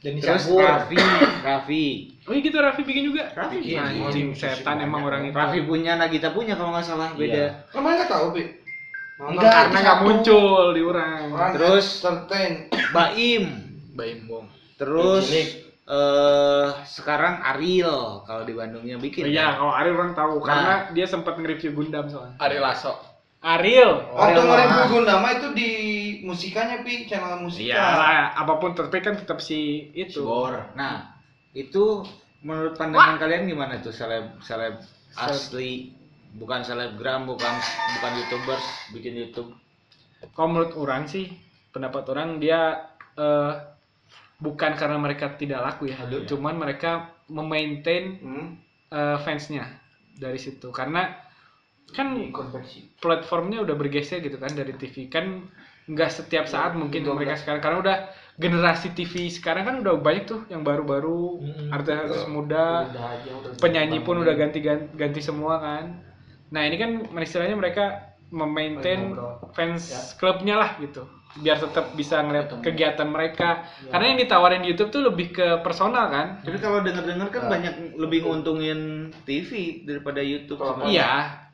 [SPEAKER 7] Jadi
[SPEAKER 2] Terus
[SPEAKER 7] Sabur.
[SPEAKER 2] Raffi, Raffi.
[SPEAKER 4] Oh iya gitu Raffi bikin juga. Nah,
[SPEAKER 2] Raffi bikin.
[SPEAKER 4] Anjing setan emang orang itu.
[SPEAKER 2] Raffi punya Nagita punya kalau nggak salah beda.
[SPEAKER 6] Emang nggak tahu, Pi? Nonton
[SPEAKER 7] Nggak,
[SPEAKER 6] karena
[SPEAKER 4] karena
[SPEAKER 6] nggak
[SPEAKER 4] nggak muncul di orang.
[SPEAKER 6] Orang
[SPEAKER 2] Terus-
[SPEAKER 6] entertain.
[SPEAKER 4] Iya.
[SPEAKER 2] Baim.
[SPEAKER 1] Baim Bong.
[SPEAKER 2] Terus
[SPEAKER 7] Cilik.
[SPEAKER 2] eh sekarang Ariel kalau di Bandungnya bikin.
[SPEAKER 4] Iya,
[SPEAKER 2] kan?
[SPEAKER 4] kalau Ariel orang tahu karena dia sempat nge-review Gundam soalnya.
[SPEAKER 1] Ari Lasso.
[SPEAKER 4] Ariel.
[SPEAKER 6] Waktu
[SPEAKER 7] Ariel
[SPEAKER 6] ngeliat
[SPEAKER 7] Noah.
[SPEAKER 6] Bu Gundama itu di musikannya, Pi, channel musika.
[SPEAKER 4] Iyalah, apapun tapi kan tetap si itu.
[SPEAKER 2] Nah, itu menurut pandangan kalian gimana tuh seleb seleb asli bukan selebgram bukan bukan youtubers bikin YouTube
[SPEAKER 4] Kalau menurut orang sih, pendapat orang dia eh, bukan karena mereka tidak laku ya, cuman mereka memaintain
[SPEAKER 6] Hmm.
[SPEAKER 4] eh, fansnya dari situ karena kan
[SPEAKER 3] Iya.
[SPEAKER 4] platformnya udah bergeser gitu kan dari TV kan nggak setiap saat mungkin mereka sekarang karena udah generasi TV sekarang kan udah banyak tuh yang baru-baru artis-artis
[SPEAKER 3] Iya.
[SPEAKER 4] muda Eh,
[SPEAKER 7] gitu.
[SPEAKER 4] penyanyi pun udah ganti ganti semua kan nah ini kan istilahnya mereka memaintain fans klubnya lah gitu biar tetap bisa ngeliat kegiatan mereka karena yang ditawarin di YouTube tuh lebih ke personal kan
[SPEAKER 2] tapi kalau denger-denger kan banyak lebih nguntungin TV daripada YouTube sebenarnya.
[SPEAKER 4] iya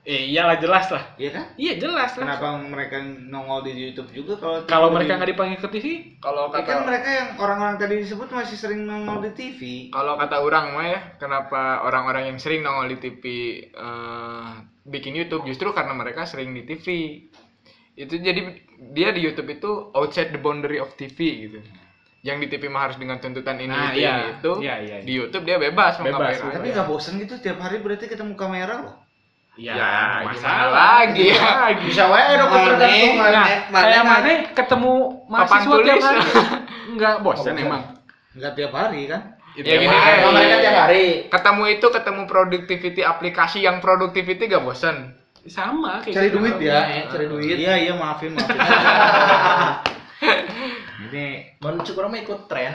[SPEAKER 4] eh, iyalah jelas lah
[SPEAKER 2] iya kan
[SPEAKER 4] iya jelas lah
[SPEAKER 2] kenapa mereka nongol di YouTube juga kalau
[SPEAKER 4] Kalau
[SPEAKER 2] TV?
[SPEAKER 4] mereka nggak dipanggil ke TV,
[SPEAKER 1] Kalau
[SPEAKER 2] Ya kan
[SPEAKER 1] kata
[SPEAKER 2] mereka yang orang-orang tadi disebut masih sering nongol di TV
[SPEAKER 1] kalau kata orang mah ya, kenapa orang-orang yang sering nongol di TV eh, bikin YouTube justru karena mereka sering di TV. Itu jadi dia di YouTube itu outside the boundary of TV gitu. Yang di TV mah harus dengan tuntutan ini
[SPEAKER 4] Nah,
[SPEAKER 1] itu
[SPEAKER 4] iya.
[SPEAKER 1] ini itu.
[SPEAKER 4] Iya, iya, iya.
[SPEAKER 1] Di YouTube dia bebas, mau
[SPEAKER 4] Bebas,
[SPEAKER 1] ngapain
[SPEAKER 4] bebas.
[SPEAKER 1] aja.
[SPEAKER 2] tapi nggak bosen gitu tiap hari berarti ketemu kamera loh
[SPEAKER 7] Iya,
[SPEAKER 4] ya,
[SPEAKER 1] Ya,
[SPEAKER 4] gimana
[SPEAKER 1] masalah lagi ya.
[SPEAKER 4] lagi.
[SPEAKER 7] Bisa wae dong ketergantungan.
[SPEAKER 4] Nah,
[SPEAKER 6] Mana-
[SPEAKER 4] kayak
[SPEAKER 6] mana-
[SPEAKER 4] mana ketemu
[SPEAKER 1] Papan
[SPEAKER 4] mahasiswa tiap
[SPEAKER 1] tulis.
[SPEAKER 4] hari nggak bosan
[SPEAKER 2] Bosan.
[SPEAKER 4] emang.
[SPEAKER 2] nggak tiap hari kan
[SPEAKER 1] Itu
[SPEAKER 4] Ya,
[SPEAKER 1] yang
[SPEAKER 4] gini,
[SPEAKER 1] ini.
[SPEAKER 4] kayak
[SPEAKER 7] Kalau mereka tiap hari.
[SPEAKER 1] Ketemu itu ketemu productivity aplikasi yang productivity gak bosen.
[SPEAKER 4] Sama kayak
[SPEAKER 7] Cari
[SPEAKER 4] gitu.
[SPEAKER 7] duit ya, cari duit.
[SPEAKER 2] Iya iya maafin maafin.
[SPEAKER 3] iya.
[SPEAKER 2] Ini
[SPEAKER 7] Mencukur orang mah ikut tren.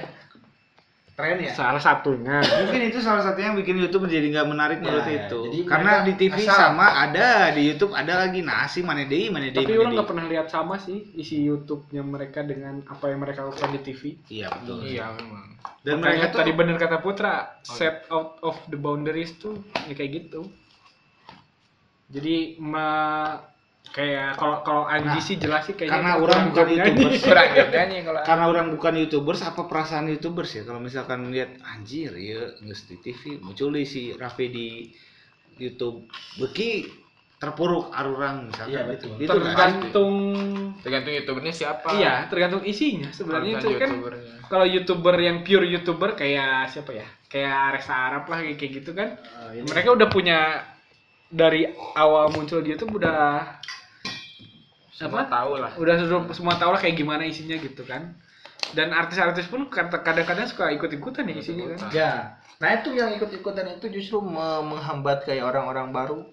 [SPEAKER 2] tren ya.
[SPEAKER 4] Salah satunya.
[SPEAKER 2] Mungkin itu salah satunya yang bikin YouTube menjadi nggak menarik menurut
[SPEAKER 7] ya.
[SPEAKER 2] itu.
[SPEAKER 7] Jadi
[SPEAKER 2] Karena
[SPEAKER 7] mereka
[SPEAKER 2] di TV
[SPEAKER 7] asal.
[SPEAKER 2] sama ada, di YouTube ada lagi nasi mana dei mana dei.
[SPEAKER 4] Tapi
[SPEAKER 2] mana
[SPEAKER 4] orang
[SPEAKER 2] dei.
[SPEAKER 4] nggak pernah lihat sama sih isi YouTube-nya mereka dengan apa yang mereka lakukan di TV.
[SPEAKER 2] Iya betul.
[SPEAKER 1] Iya memang.
[SPEAKER 2] Dan mereka
[SPEAKER 4] Makanya
[SPEAKER 2] tuh
[SPEAKER 4] tadi bener kata
[SPEAKER 2] Oh,
[SPEAKER 4] Putra, set
[SPEAKER 2] iya.
[SPEAKER 4] out of the boundaries tuh ya kayak gitu. Jadi ma Kayak kalau kalau Anji
[SPEAKER 2] Nah,
[SPEAKER 4] sih jelas sih kayaknya
[SPEAKER 2] karena
[SPEAKER 4] kurang-
[SPEAKER 2] orang bukan
[SPEAKER 4] kurang nyanyi.
[SPEAKER 2] youtubers
[SPEAKER 1] kurang gak nyanyi kalau
[SPEAKER 2] karena orang bukan youtubers apa perasaan youtubers ya kalau misalkan lihat anjir ya nges di TV muncul di si Raffi di YouTube beki terpuruk arurang misalkan
[SPEAKER 13] Iya, betul.
[SPEAKER 2] itu kan
[SPEAKER 4] tergantung
[SPEAKER 1] tergantung youtubernya siapa
[SPEAKER 4] iya tergantung isinya sebenarnya itu
[SPEAKER 1] Konten
[SPEAKER 4] kan
[SPEAKER 1] YouTubernya.
[SPEAKER 4] kalau youtuber yang pure youtuber kayak siapa ya kayak Resa Arab lah kayak gitu kan
[SPEAKER 3] Eh,
[SPEAKER 2] Iya.
[SPEAKER 4] mereka udah punya dari awal muncul dia tuh udah Apa?
[SPEAKER 1] semua tahu lah
[SPEAKER 4] udah suruh- semua tahu lah kayak gimana isinya gitu kan dan artis-artis pun kad- kadang-kadang suka ikut-ikutan ya isinya kan
[SPEAKER 1] Ikut-ikutan.
[SPEAKER 3] Ya. Nah itu yang ikut-ikutan itu justru me- menghambat kayak orang-orang baru.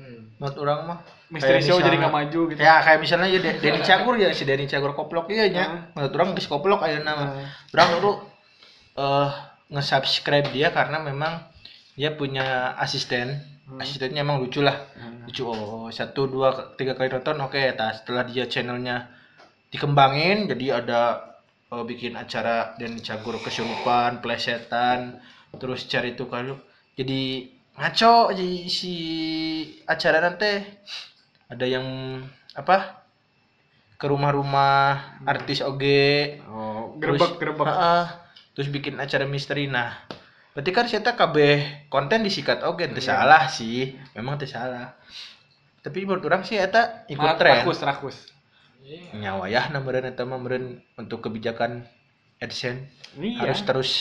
[SPEAKER 1] Hmm.
[SPEAKER 3] Menurut orang mah.
[SPEAKER 4] Mystery
[SPEAKER 3] Kayak
[SPEAKER 4] show jadi
[SPEAKER 3] misalnya-
[SPEAKER 4] nggak maju gitu
[SPEAKER 3] Ya kayak misalnya ya De- Denny Cagur ya si Denny Cagur koplok iya nya.
[SPEAKER 4] Nah.
[SPEAKER 3] Menurut orang geus koplok ayeuna nama. Orang dulu eh nge-subscribe dia karena memang dia punya asisten.
[SPEAKER 4] Hmm.
[SPEAKER 3] Asistennya emang lucu lah. Lucu oh, satu dua tiga kali nonton oke tah setelah dia channelnya dikembangin jadi ada eh, bikin acara dan cagur kesurupan, plesetan, terus cari tukang jadi ngaco jadi si acara nanti ada yang apa ke rumah-rumah artis oge
[SPEAKER 4] oh
[SPEAKER 3] terus-
[SPEAKER 4] gerebek gerebek
[SPEAKER 3] Heeh. terus bikin acara misteri nah berarti kan saya KB konten disikat oge teu salah sih memang teu salah tapi menurut orang sih eta ikut
[SPEAKER 4] Mak- Ah,
[SPEAKER 3] tren
[SPEAKER 4] rakus rakus
[SPEAKER 3] nyawa ya namanya eta mah meureun untuk kebijakan AdSense
[SPEAKER 4] iya
[SPEAKER 3] harus terus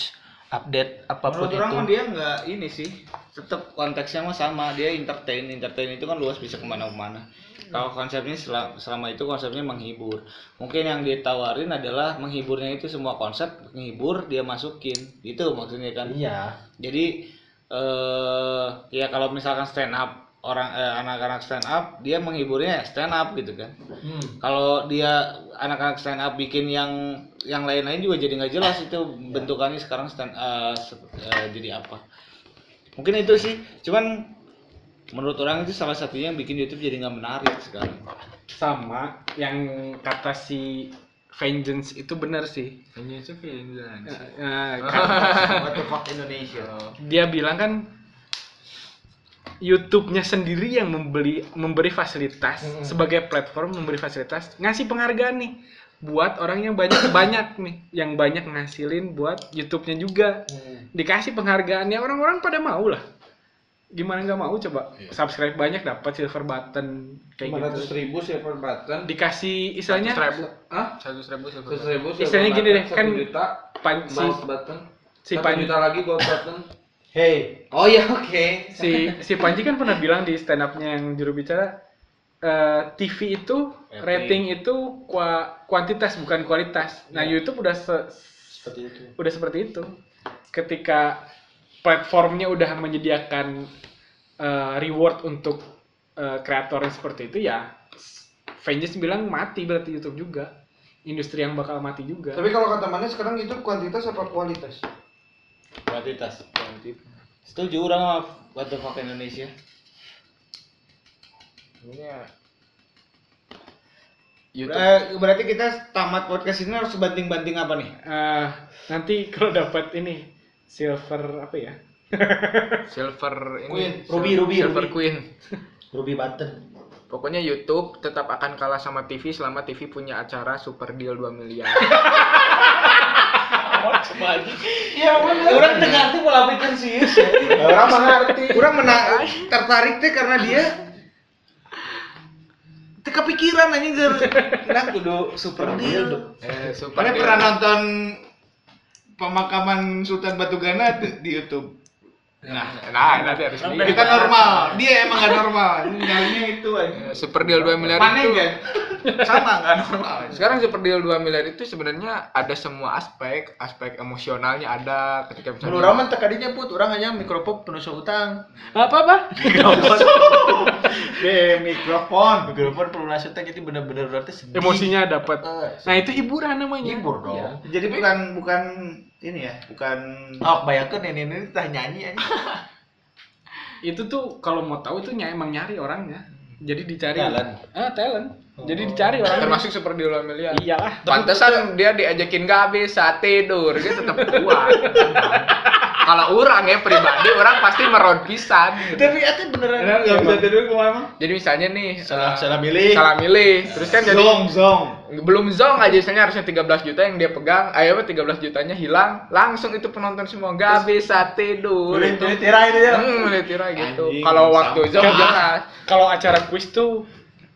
[SPEAKER 3] update apapun
[SPEAKER 2] menurut orang mah
[SPEAKER 3] itu
[SPEAKER 2] dia nggak ini sih tetap konteksnya mah sama dia entertain entertain itu kan luas bisa kemana-mana kalau konsepnya sela- selama itu konsepnya menghibur mungkin yang ditawarin adalah menghiburnya itu semua konsep menghibur dia masukin itu maksudnya kan
[SPEAKER 3] iya
[SPEAKER 2] jadi eh ya kalau misalkan stand up orang eh, anak-anak stand up dia menghiburnya stand up gitu kan kalau dia anak-anak stand up bikin yang yang lain-lain juga jadi nggak jelas itu bentukannya sekarang stand eh, se- eh, jadi apa mungkin itu sih cuman menurut orang itu salah satunya yang bikin YouTube jadi nggak menarik sekarang
[SPEAKER 4] sama yang kata si vengeance itu benar sih
[SPEAKER 1] ini itu film
[SPEAKER 4] Eh, eh, kan-
[SPEAKER 14] What the fuck Indonesia?
[SPEAKER 4] dia bilang kan YouTube-nya sendiri yang membeli memberi fasilitas sebagai platform memberi fasilitas ngasih penghargaan nih buat orang yang banyak banyak nih yang banyak ngasilin buat YouTube-nya juga dikasih penghargaannya orang-orang pada mau lah gimana nggak mau coba subscribe banyak dapat silver button kayak gitu
[SPEAKER 14] ribu silver button,
[SPEAKER 4] dikasih istilahnya
[SPEAKER 1] Subscribe.
[SPEAKER 4] Hah?
[SPEAKER 1] satu ribu satu
[SPEAKER 14] seratus ribu
[SPEAKER 4] Istilahnya gini deh, kan
[SPEAKER 14] juta
[SPEAKER 4] Pan- si
[SPEAKER 14] mouse button,
[SPEAKER 4] si
[SPEAKER 14] satu
[SPEAKER 4] Pan-
[SPEAKER 14] juta lagi gold button.
[SPEAKER 3] hey
[SPEAKER 14] Oh iya oke.
[SPEAKER 4] si si Panji kan pernah bilang di stand up-nya yang juru bicara eh, TV itu rating itu kua- kuantitas bukan kualitas. Nah, YouTube udah se-
[SPEAKER 3] seperti itu
[SPEAKER 4] udah seperti itu. Ketika platformnya udah menyediakan eh, reward untuk eh, kreator yang seperti itu ya Vengeance bilang mati berarti YouTube juga. Industri yang bakal mati juga.
[SPEAKER 14] Tapi kalau kata mana sekarang itu kuantitas apa kualitas?
[SPEAKER 2] kualitas setuju orang sama what the fuck Indonesia
[SPEAKER 1] YouTube
[SPEAKER 2] Eh, berarti kita tamat podcast ini harus banting-banting apa nih
[SPEAKER 4] Eh, nanti kalau dapat ini silver apa ya?
[SPEAKER 1] silver ini
[SPEAKER 3] Queen.
[SPEAKER 1] Sil-
[SPEAKER 3] Ruby, Ruby,
[SPEAKER 1] silver
[SPEAKER 3] Ruby.
[SPEAKER 1] queen
[SPEAKER 3] Ruby Button
[SPEAKER 1] pokoknya YouTube tetap akan kalah sama TV selama TV punya acara super deal 2 miliar
[SPEAKER 3] Iya,
[SPEAKER 2] orang dengar tuh pola pikir sih
[SPEAKER 4] ya.
[SPEAKER 14] Orang mah ngerti. Orang mena- tertarik teh karena dia teh kepikiran anjing keur. Nah kudu super deal.
[SPEAKER 1] eh, super
[SPEAKER 14] Mana
[SPEAKER 1] deal.
[SPEAKER 14] pernah nonton pemakaman Sultan Batugana tuh di YouTube?
[SPEAKER 1] nah, nah nanti harus beli
[SPEAKER 14] Kita normal, dia emang gak normal. Nyarinya itu anjing.
[SPEAKER 1] Eh, super deal 2 miliar
[SPEAKER 14] Mana
[SPEAKER 1] itu
[SPEAKER 14] enggak? Sama gak normal.
[SPEAKER 1] sekarang super deal 2 miliar itu sebenarnya ada semua aspek aspek emosionalnya ada ketika
[SPEAKER 3] menurut
[SPEAKER 1] misalnya
[SPEAKER 3] orang mah tekadinya put orang hanya mikropop penuh utang
[SPEAKER 4] Apa apa?
[SPEAKER 3] Eh, mikrofon mikrofon pelunas utang jadi bener-bener berarti sedih
[SPEAKER 4] Emosinya dapat.
[SPEAKER 3] Eh,
[SPEAKER 4] Nah itu hiburan namanya.
[SPEAKER 3] hibur dong
[SPEAKER 4] Iya.
[SPEAKER 14] Jadi bukan bukan ini ya, bukan
[SPEAKER 3] Oh, bayangkan nenek nenek tah nyanyi aja.
[SPEAKER 4] Itu tuh kalau mau tahu tuh ny- emang nyari orangnya. Jadi dicari.
[SPEAKER 3] Talent. Oh.
[SPEAKER 4] Ah talent. Jadi dicari orangnya.
[SPEAKER 1] termasuk super deal 2 miliar
[SPEAKER 4] Iyalah.
[SPEAKER 1] Pantesan dia diajakin gak habis saat tidur, dia tetap kuat. kalau orang ya pribadi orang pasti meron pisan gitu.
[SPEAKER 7] Tapi itu beneran.
[SPEAKER 4] Yang
[SPEAKER 2] Iya,
[SPEAKER 4] bisa tidur kemana?
[SPEAKER 1] jadi misalnya nih
[SPEAKER 3] Salah
[SPEAKER 1] eh,
[SPEAKER 3] salah milih.
[SPEAKER 1] salah milih terus kan jadi
[SPEAKER 4] Zong, zong.
[SPEAKER 1] belum zong aja misalnya harusnya 13 juta yang dia pegang ayo 13 jutanya hilang langsung itu penonton semua gak bisa tidur
[SPEAKER 3] Boleh
[SPEAKER 1] itu
[SPEAKER 3] boleh tirai itu ya.
[SPEAKER 1] Hmm, boleh tirai gitu
[SPEAKER 2] Anjing,
[SPEAKER 1] kalau waktu zong
[SPEAKER 4] Kan-
[SPEAKER 1] jelas
[SPEAKER 4] Kalau acara kuis tuh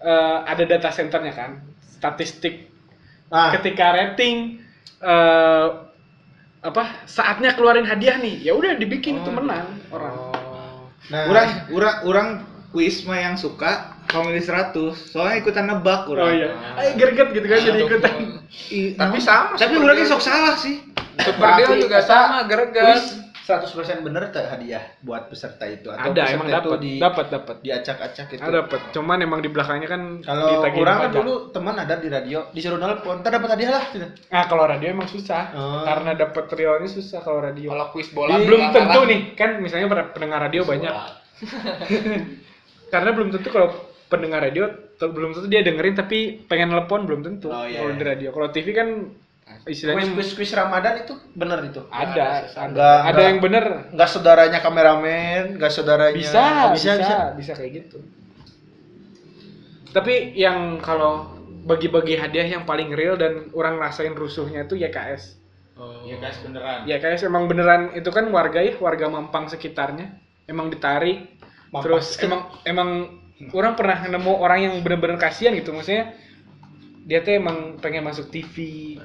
[SPEAKER 4] eh, ada data centernya kan, statistik
[SPEAKER 3] Nah,
[SPEAKER 4] ketika rating eh, apa saatnya keluarin hadiah nih, ya udah dibikin
[SPEAKER 3] Oh.
[SPEAKER 4] itu menang orang.
[SPEAKER 3] nah,
[SPEAKER 2] Orang, orang, orang kuis mah yang suka kalau milih 100 soalnya ikutan nebak orang.
[SPEAKER 4] Oh iya, ayo greget gitu
[SPEAKER 3] Ah,
[SPEAKER 4] kan jadi ikutan.
[SPEAKER 2] I-
[SPEAKER 1] Tapi
[SPEAKER 2] nah,
[SPEAKER 1] sama
[SPEAKER 2] Tapi
[SPEAKER 1] seperti
[SPEAKER 2] orangnya
[SPEAKER 1] itu.
[SPEAKER 2] sok salah sih.
[SPEAKER 1] super deal
[SPEAKER 3] Berarti
[SPEAKER 1] juga
[SPEAKER 3] kita
[SPEAKER 1] sama greges
[SPEAKER 3] 100% bener tak hadiah buat peserta itu atau
[SPEAKER 4] Ada
[SPEAKER 3] peserta
[SPEAKER 4] emang
[SPEAKER 3] itu
[SPEAKER 4] dapat,
[SPEAKER 3] di
[SPEAKER 4] dapat, dapat.
[SPEAKER 3] diacak-acak gitu.
[SPEAKER 4] Ada dapat. Ah, Cuman emang di belakangnya kan
[SPEAKER 3] Kalau
[SPEAKER 4] ditagihin
[SPEAKER 3] orang kan
[SPEAKER 4] pajak.
[SPEAKER 3] dulu teman ada di radio disuruh nelpon, ntar dapat hadiah lah. gitu.
[SPEAKER 4] Nah, kalau radio emang susah.
[SPEAKER 3] Oh.
[SPEAKER 4] Karena dapat realnya susah kalau radio.
[SPEAKER 1] kalau kuis bola
[SPEAKER 4] Di- belum
[SPEAKER 1] menang
[SPEAKER 4] tentu
[SPEAKER 1] kalah.
[SPEAKER 4] nih, kan misalnya para pendengar radio banyak. Karena belum tentu kalau pendengar radio te- belum tentu dia dengerin tapi pengen telepon belum tentu
[SPEAKER 3] Oh, iya,
[SPEAKER 4] kalau
[SPEAKER 3] iya.
[SPEAKER 4] di radio. Kalau TV kan istilahnya
[SPEAKER 3] Kuis kuis kuis Ramadan itu bener itu.
[SPEAKER 4] ada ada,
[SPEAKER 3] Enggak,
[SPEAKER 4] ada
[SPEAKER 3] enggak.
[SPEAKER 4] yang bener
[SPEAKER 3] Enggak saudaranya kameramen, enggak saudaranya.
[SPEAKER 4] bisa,
[SPEAKER 3] Oh,
[SPEAKER 4] bisa bisa bisa kayak gitu. Tapi yang kalau bagi-bagi hadiah yang paling real dan orang rasain rusuhnya itu YKS.
[SPEAKER 2] Iya guys beneran.
[SPEAKER 4] Ya guys, emang beneran itu kan warga ya, warga Mampang sekitarnya. Emang ditarik.
[SPEAKER 3] Mampang.
[SPEAKER 4] Terus emang emang orang pernah nemu orang yang bener-bener kasihan gitu maksudnya. Dia tuh emang pengen masuk TV,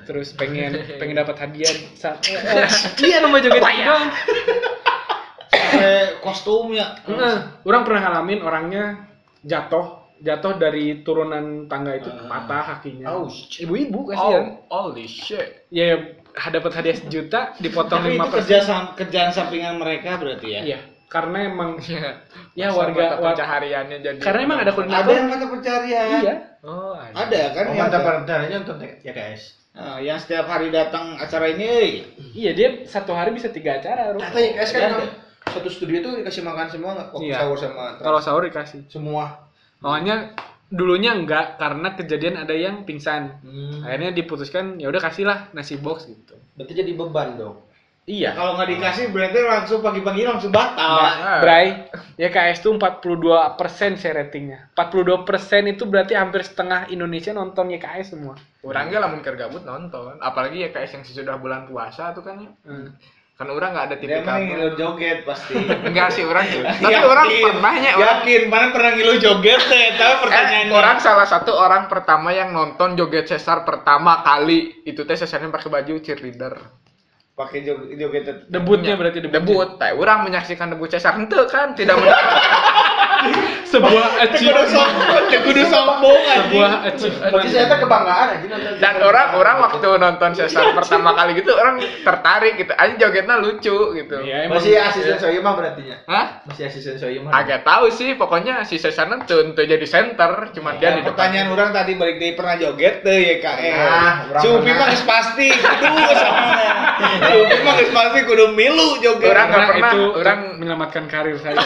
[SPEAKER 4] terus pengen pengen dapat hadiah. Sa- eh, eh, Iya, rumah joget itu doang.
[SPEAKER 3] Pakai
[SPEAKER 2] ya.
[SPEAKER 3] kostumnya.
[SPEAKER 4] Heeh. Orang pernah ngalamin orangnya jatuh, jatuh dari turunan tangga itu patah kakinya.
[SPEAKER 3] Ouch.
[SPEAKER 4] Ibu-ibu
[SPEAKER 1] oh
[SPEAKER 4] kasihan.
[SPEAKER 1] holy shit
[SPEAKER 4] Ya, ya dapat hadiah sejuta dipotong
[SPEAKER 2] Tapi itu
[SPEAKER 4] 5%.
[SPEAKER 2] kerja sam- kerjaan sampingan mereka berarti ya.
[SPEAKER 4] Iya, karena emang ya
[SPEAKER 1] Masa mata
[SPEAKER 4] warga warga
[SPEAKER 1] pencahariannya jadi
[SPEAKER 4] karena emang ada
[SPEAKER 2] Ada
[SPEAKER 4] koordinator
[SPEAKER 2] yang mata
[SPEAKER 3] kan?
[SPEAKER 2] pencarian.
[SPEAKER 4] iya
[SPEAKER 1] oh ada
[SPEAKER 2] Ada kan
[SPEAKER 3] Oh,
[SPEAKER 2] yang,
[SPEAKER 3] mantap rencananya untuk ya guys.
[SPEAKER 2] Ah, yang setiap hari datang acara ini. euy.
[SPEAKER 4] iya dia satu hari bisa tiga acara Ru.
[SPEAKER 3] Kata ya guys kan
[SPEAKER 2] Ada.
[SPEAKER 3] emang satu studio itu dikasih makan semua nggak waktu
[SPEAKER 4] Iya.
[SPEAKER 3] sahur sama
[SPEAKER 4] kalau sahur dikasih
[SPEAKER 3] semua.
[SPEAKER 4] soalnya dulunya enggak karena kejadian ada yang pingsan
[SPEAKER 3] Hmm.
[SPEAKER 4] akhirnya diputuskan ya udah kasihlah nasi box gitu
[SPEAKER 3] Nah, Berarti jadi beban dong.
[SPEAKER 4] iya
[SPEAKER 2] Kalau nggak dikasih berarti langsung pagi-pagi langsung batal.
[SPEAKER 1] Nah,
[SPEAKER 4] Bray, ya KS tuh 42 persen saya ratingnya. 42 persen itu berarti hampir setengah Indonesia nonton YKS semua.
[SPEAKER 1] Orangnya lamun keur gabut nonton, apalagi ya KS yang sesudah bulan puasa tuh kan ya.
[SPEAKER 4] Hmm.
[SPEAKER 1] Kan orang nggak ada
[SPEAKER 2] Dia
[SPEAKER 1] tipikal.
[SPEAKER 2] mah ngilu joget pasti.
[SPEAKER 1] Enggak sih orang tuh. Tapi orang
[SPEAKER 2] Iya.
[SPEAKER 1] pernahnya orang
[SPEAKER 2] Yakin, mana pernah ngilu joget teh? Tapi
[SPEAKER 1] Eh,
[SPEAKER 2] pertanyaannya
[SPEAKER 1] orang salah satu orang pertama yang nonton joget Cesar pertama kali itu teh Cesarnya pakai baju cheerleader
[SPEAKER 2] pakai joget joget
[SPEAKER 4] Debutnya berarti debutnya.
[SPEAKER 1] debut teh orang menyaksikan debut Cesar ente kan tidak mendapatkan
[SPEAKER 4] Sebuah achievement.
[SPEAKER 2] kudu sombong
[SPEAKER 4] Sebuah
[SPEAKER 2] anjing.
[SPEAKER 3] Berarti saya
[SPEAKER 4] achievement.
[SPEAKER 3] tuh kebanggaan aja nonton.
[SPEAKER 1] dan orang orang waktu nonton Cesar pertama kali gitu orang tertarik gitu aja jogetnya lucu gitu
[SPEAKER 4] Iya, emang.
[SPEAKER 3] masih asisten Soyema berarti ya.
[SPEAKER 1] Hah?
[SPEAKER 3] Masih asisten Soyema.
[SPEAKER 1] agak tahu sih pokoknya si Cesar ente ente jadi center cuman dia
[SPEAKER 2] Ya,
[SPEAKER 1] di depan
[SPEAKER 2] pertanyaan orang tadi balik dari pernah joget tuh ya kak
[SPEAKER 3] Pernah, orang
[SPEAKER 2] Supi
[SPEAKER 3] pernah.
[SPEAKER 2] mah geus pasti kudu soalnya. Supi mah geus pasti kudu milu joget.
[SPEAKER 1] Orang nggak
[SPEAKER 4] Karena
[SPEAKER 1] pernah,
[SPEAKER 4] itu orang
[SPEAKER 1] orang-
[SPEAKER 4] menyelamatkan karir saya.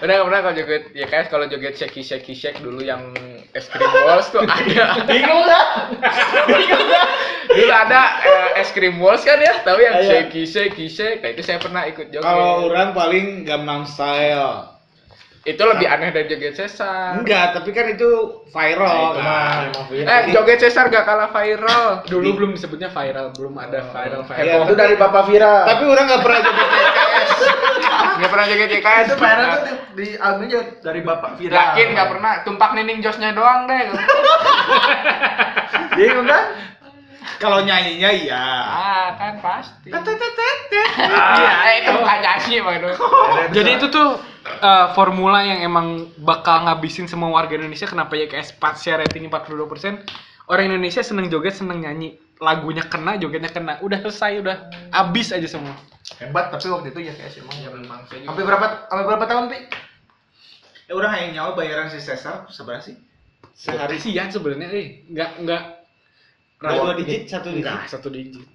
[SPEAKER 1] Udah gak pernah kalau joget ya guys kalau joget shaky shaky shake dulu yang es krim walls tuh ada. Bingung lah. Bingung lah. Dulu ada eh, es krim walls kan ya, tahu yang
[SPEAKER 2] Iya.
[SPEAKER 1] shaky shaky shake. Nah itu saya pernah ikut joget.
[SPEAKER 2] Kalau orang paling Gangnam Style.
[SPEAKER 1] itu lebih aneh dari joget Cesar.
[SPEAKER 2] Enggak, tapi kan itu viral. kan.
[SPEAKER 1] Eh joget Cesar gak kalah viral.
[SPEAKER 4] Dulu belum disebutnya viral, belum ada viral viral.
[SPEAKER 2] Iya,
[SPEAKER 3] Itu dari Bapak Vira.
[SPEAKER 2] Tapi orang nggak pernah joget YKS.
[SPEAKER 1] Gak pernah joget YKS.
[SPEAKER 3] Nah, itu Vira tuh di, di albumnya juga dari Bapak Vira.
[SPEAKER 1] Nah. Yakin gak pernah. Tumpak nining josnya doang deh.
[SPEAKER 3] Bingung kan?
[SPEAKER 2] Kalau nyanyinya iya.
[SPEAKER 1] ah kan pasti. Iya, eh, itu bukan nyanyi waduh.
[SPEAKER 4] Oh. Jadi itu tuh eh, formula yang emang bakal ngabisin semua warga Indonesia kenapa YKS pas share ratingnya 42%. Orang Indonesia seneng joget, seneng nyanyi. Lagunya kena, jogetnya kena. Udah selesai, udah abis aja semua.
[SPEAKER 3] Hebat tapi waktu itu ya kayak emang.
[SPEAKER 1] Ya memang saya juga.
[SPEAKER 3] Sampai berapa sampai berapa tahun, Pi?
[SPEAKER 2] Eh, orang yang nyawa bayaran si Cesar seberapa sih?
[SPEAKER 4] Sehari sih ya sebenarnya eh nggak nggak
[SPEAKER 2] Nah, Dua digit, satu digit.
[SPEAKER 4] nggak satu digit.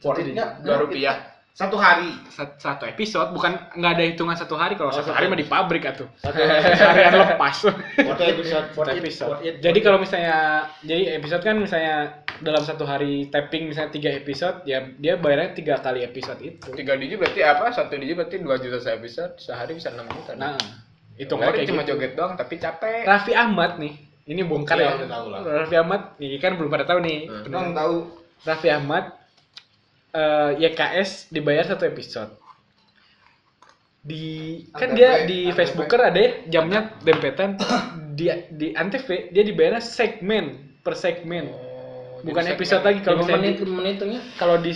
[SPEAKER 3] Worth it nggak?
[SPEAKER 1] Dua rupiah.
[SPEAKER 2] Satu hari.
[SPEAKER 4] Sat- Satu episode bukan nggak ada hitungan satu hari kalau satu hari mah di pabrik atuh.
[SPEAKER 2] Satu
[SPEAKER 4] Seharian lepas.
[SPEAKER 2] Satu episode.
[SPEAKER 3] Worth it,
[SPEAKER 4] episode.
[SPEAKER 3] worth it.
[SPEAKER 4] Jadi kalau misalnya jadi episode kan misalnya dalam satu hari taping misalnya tiga episode ya dia bayarnya tiga kali episode itu
[SPEAKER 1] tiga digit berarti apa satu digit berarti dua juta saya bisa sehari bisa enam juta
[SPEAKER 4] nah itu
[SPEAKER 1] Hitungannya
[SPEAKER 4] kayak
[SPEAKER 1] cuma
[SPEAKER 4] gitu.
[SPEAKER 1] joget doang tapi capek
[SPEAKER 4] Raffi Ahmad nih ini bongkar
[SPEAKER 15] Iya,
[SPEAKER 4] ya
[SPEAKER 15] udah tahu lah.
[SPEAKER 4] Raffi Ahmad ini kan belum pada tahu nih
[SPEAKER 1] Hmm.
[SPEAKER 2] Nong tahu
[SPEAKER 4] Raffi Ahmad eh, YKS dibayar satu episode di kan
[SPEAKER 2] Antv,
[SPEAKER 4] dia di
[SPEAKER 2] Antv.
[SPEAKER 4] Facebooker ada ya jamnya dempetan di di Antv dia dibayarnya segmen per
[SPEAKER 3] Oh.
[SPEAKER 4] segmen bukan
[SPEAKER 1] jadi
[SPEAKER 4] episode
[SPEAKER 1] segmen.
[SPEAKER 4] lagi kalau
[SPEAKER 16] Lima
[SPEAKER 4] misalnya
[SPEAKER 16] menit
[SPEAKER 4] di-
[SPEAKER 16] lima menit tuh ya.
[SPEAKER 4] kalau di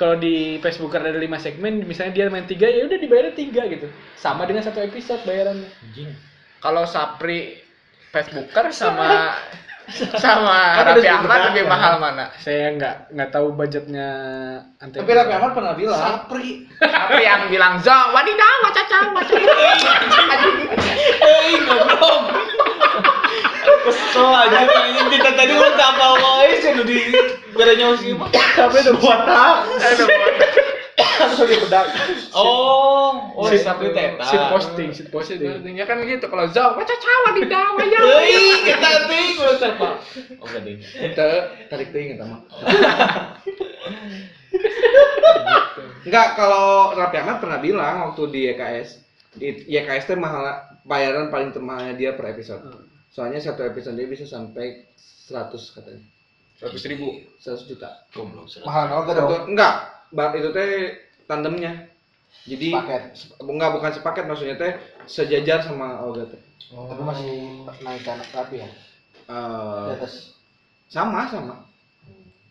[SPEAKER 4] kalau di Facebooker ada lima segmen misalnya dia main tiga ya udah dibayarnya tiga gitu sama dengan satu episode bayarannya
[SPEAKER 1] kalau Sapri Facebooker sama sama
[SPEAKER 2] Kan ada
[SPEAKER 1] Raffi
[SPEAKER 2] sudut
[SPEAKER 1] Ahmad
[SPEAKER 2] pandang
[SPEAKER 1] lebih
[SPEAKER 2] ya.
[SPEAKER 1] mahal mana
[SPEAKER 4] saya nggak nggak tahu budgetnya Antv
[SPEAKER 2] tapi Raffi Ahmad pernah bilang Sapri
[SPEAKER 1] Sapri yang bilang zo wadidaw wacacang wacacang
[SPEAKER 16] Kesel aja anjing kita tadi udah apa wae sih udah di berenyau sih.
[SPEAKER 2] Sapri itu botak
[SPEAKER 1] Aduh,
[SPEAKER 2] harus di bedak
[SPEAKER 16] Oh, oh
[SPEAKER 4] Sit-
[SPEAKER 16] siapa teta.
[SPEAKER 4] sit posting sit
[SPEAKER 1] Maksud-
[SPEAKER 4] posting
[SPEAKER 1] maksudnya kan gitu kalau zo wacacang wadidaw ya
[SPEAKER 16] Hei, kita ting udah terpa. Oh, gak ding.
[SPEAKER 2] Ente, tarik tuh inget sama. Enggak, kalau Raffi Ahmad pernah bilang waktu di E YKS, di YKS itu mahal bayaran paling termahalnya dia per episode. Soalnya satu episode dia bisa sampai 100 katanya.
[SPEAKER 1] seratus ribu
[SPEAKER 2] 100 juta.
[SPEAKER 15] Goblok. serem.
[SPEAKER 16] Mahal banget dong.
[SPEAKER 2] Satu- enggak, bang itu teh tandemnya. Jadi
[SPEAKER 16] Sepaket.
[SPEAKER 2] sep- enggak bukan sepaket maksudnya teh sejajar sama Olga teh.
[SPEAKER 16] Tapi masih naik ke anak rapi ya. Di
[SPEAKER 2] Eh,
[SPEAKER 16] atas.
[SPEAKER 2] sama sama.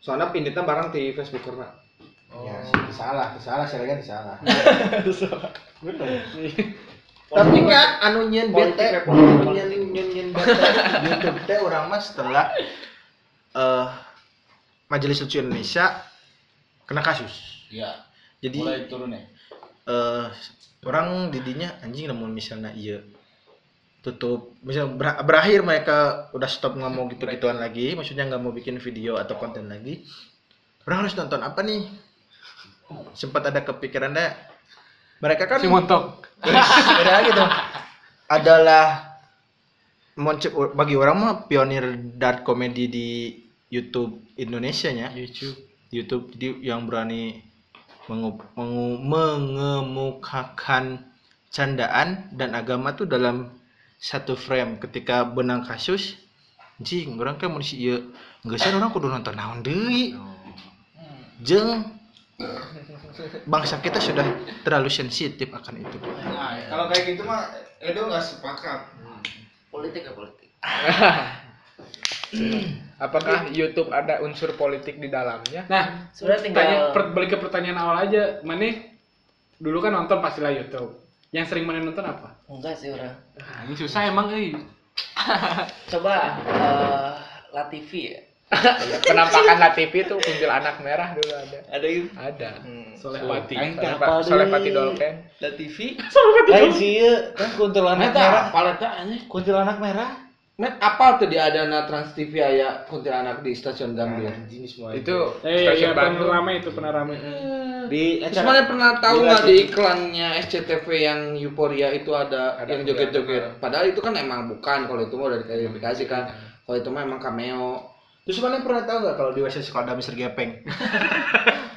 [SPEAKER 2] Soalnya pinditnya barang di Facebook karena.
[SPEAKER 16] Ya, salah, salah, salah kan salah.
[SPEAKER 3] Tapi kan anu nyen
[SPEAKER 16] Politik,
[SPEAKER 3] bete,
[SPEAKER 16] ya, politik.
[SPEAKER 3] nyen nyen nyen bete, YouTube teh orang mas setelah eh Majelis Lucu Indonesia kena kasus.
[SPEAKER 16] Ya.
[SPEAKER 15] Iya.
[SPEAKER 3] Jadi
[SPEAKER 15] Mulai turun ya.
[SPEAKER 3] eh orang didinya anjing namun misalnya iya tutup misal ber- berakhir mereka udah stop nggak mau gitu gituan lagi maksudnya nggak mau bikin video atau konten lagi orang harus nonton apa nih sempat ada kepikiran deh mereka kan
[SPEAKER 4] si montok
[SPEAKER 3] beda gitu adalah monce- bagi orang mah pionir dark comedy di YouTube Indonesia nya
[SPEAKER 4] YouTube
[SPEAKER 3] YouTube jadi yang berani mengu- mengu- mengemukakan candaan dan agama tuh dalam satu frame ketika benang kasus anjing orang kan manusia iya nggak sih orang kudu nonton naon deui jeng bangsa kita sudah terlalu sensitif akan itu
[SPEAKER 15] Nah, kalau kayak gitu mah Edo nggak sepakat. Politik ya politik.
[SPEAKER 1] apakah YouTube ada unsur politik di dalamnya
[SPEAKER 4] nah
[SPEAKER 17] Sudah
[SPEAKER 4] tanya
[SPEAKER 17] tinggal-
[SPEAKER 4] per- balik ke pertanyaan awal aja mana dulu kan nonton pastilah YouTube yang sering mana nonton apa
[SPEAKER 17] Enggak sih orang.
[SPEAKER 4] Ah, ini susah emang eh
[SPEAKER 17] Coba eh Latifi ya.
[SPEAKER 1] penampakan Latifi itu kuncil anak merah dulu ada
[SPEAKER 17] Ada yang
[SPEAKER 1] ada
[SPEAKER 4] solehwati
[SPEAKER 1] Aing
[SPEAKER 16] teh
[SPEAKER 1] Solepa-
[SPEAKER 16] apal deui.
[SPEAKER 1] Solepati Dolken
[SPEAKER 17] Latifi.
[SPEAKER 16] Lain sih ieu, kan kuntilanak merah.
[SPEAKER 2] paleta aneh.
[SPEAKER 16] Kuntilanak merah.
[SPEAKER 2] Met apa tuh di Adana Trans TV aya kuntilanak Nah, di stasiun Gambir.
[SPEAKER 16] Anjing semua.
[SPEAKER 1] itu
[SPEAKER 4] eh iya, iya
[SPEAKER 1] stasiun
[SPEAKER 4] pernah
[SPEAKER 1] Bandung
[SPEAKER 4] rame itu pernah rame Eh.
[SPEAKER 16] Di
[SPEAKER 2] Terus
[SPEAKER 16] acara-
[SPEAKER 2] mana pernah tahu
[SPEAKER 16] Gila
[SPEAKER 2] nggak
[SPEAKER 16] sih.
[SPEAKER 2] di iklannya SCTV yang Euphoria itu ada,
[SPEAKER 1] Ada
[SPEAKER 2] yang
[SPEAKER 1] juga,
[SPEAKER 2] joget-joget. Padahal itu kan emang bukan kalau itu mah udah diklarifikasi kan. Kalau itu mah emang cameo.
[SPEAKER 3] Terus mana pernah tahu nggak kalau di WC sekolah ada Mister Gepeng?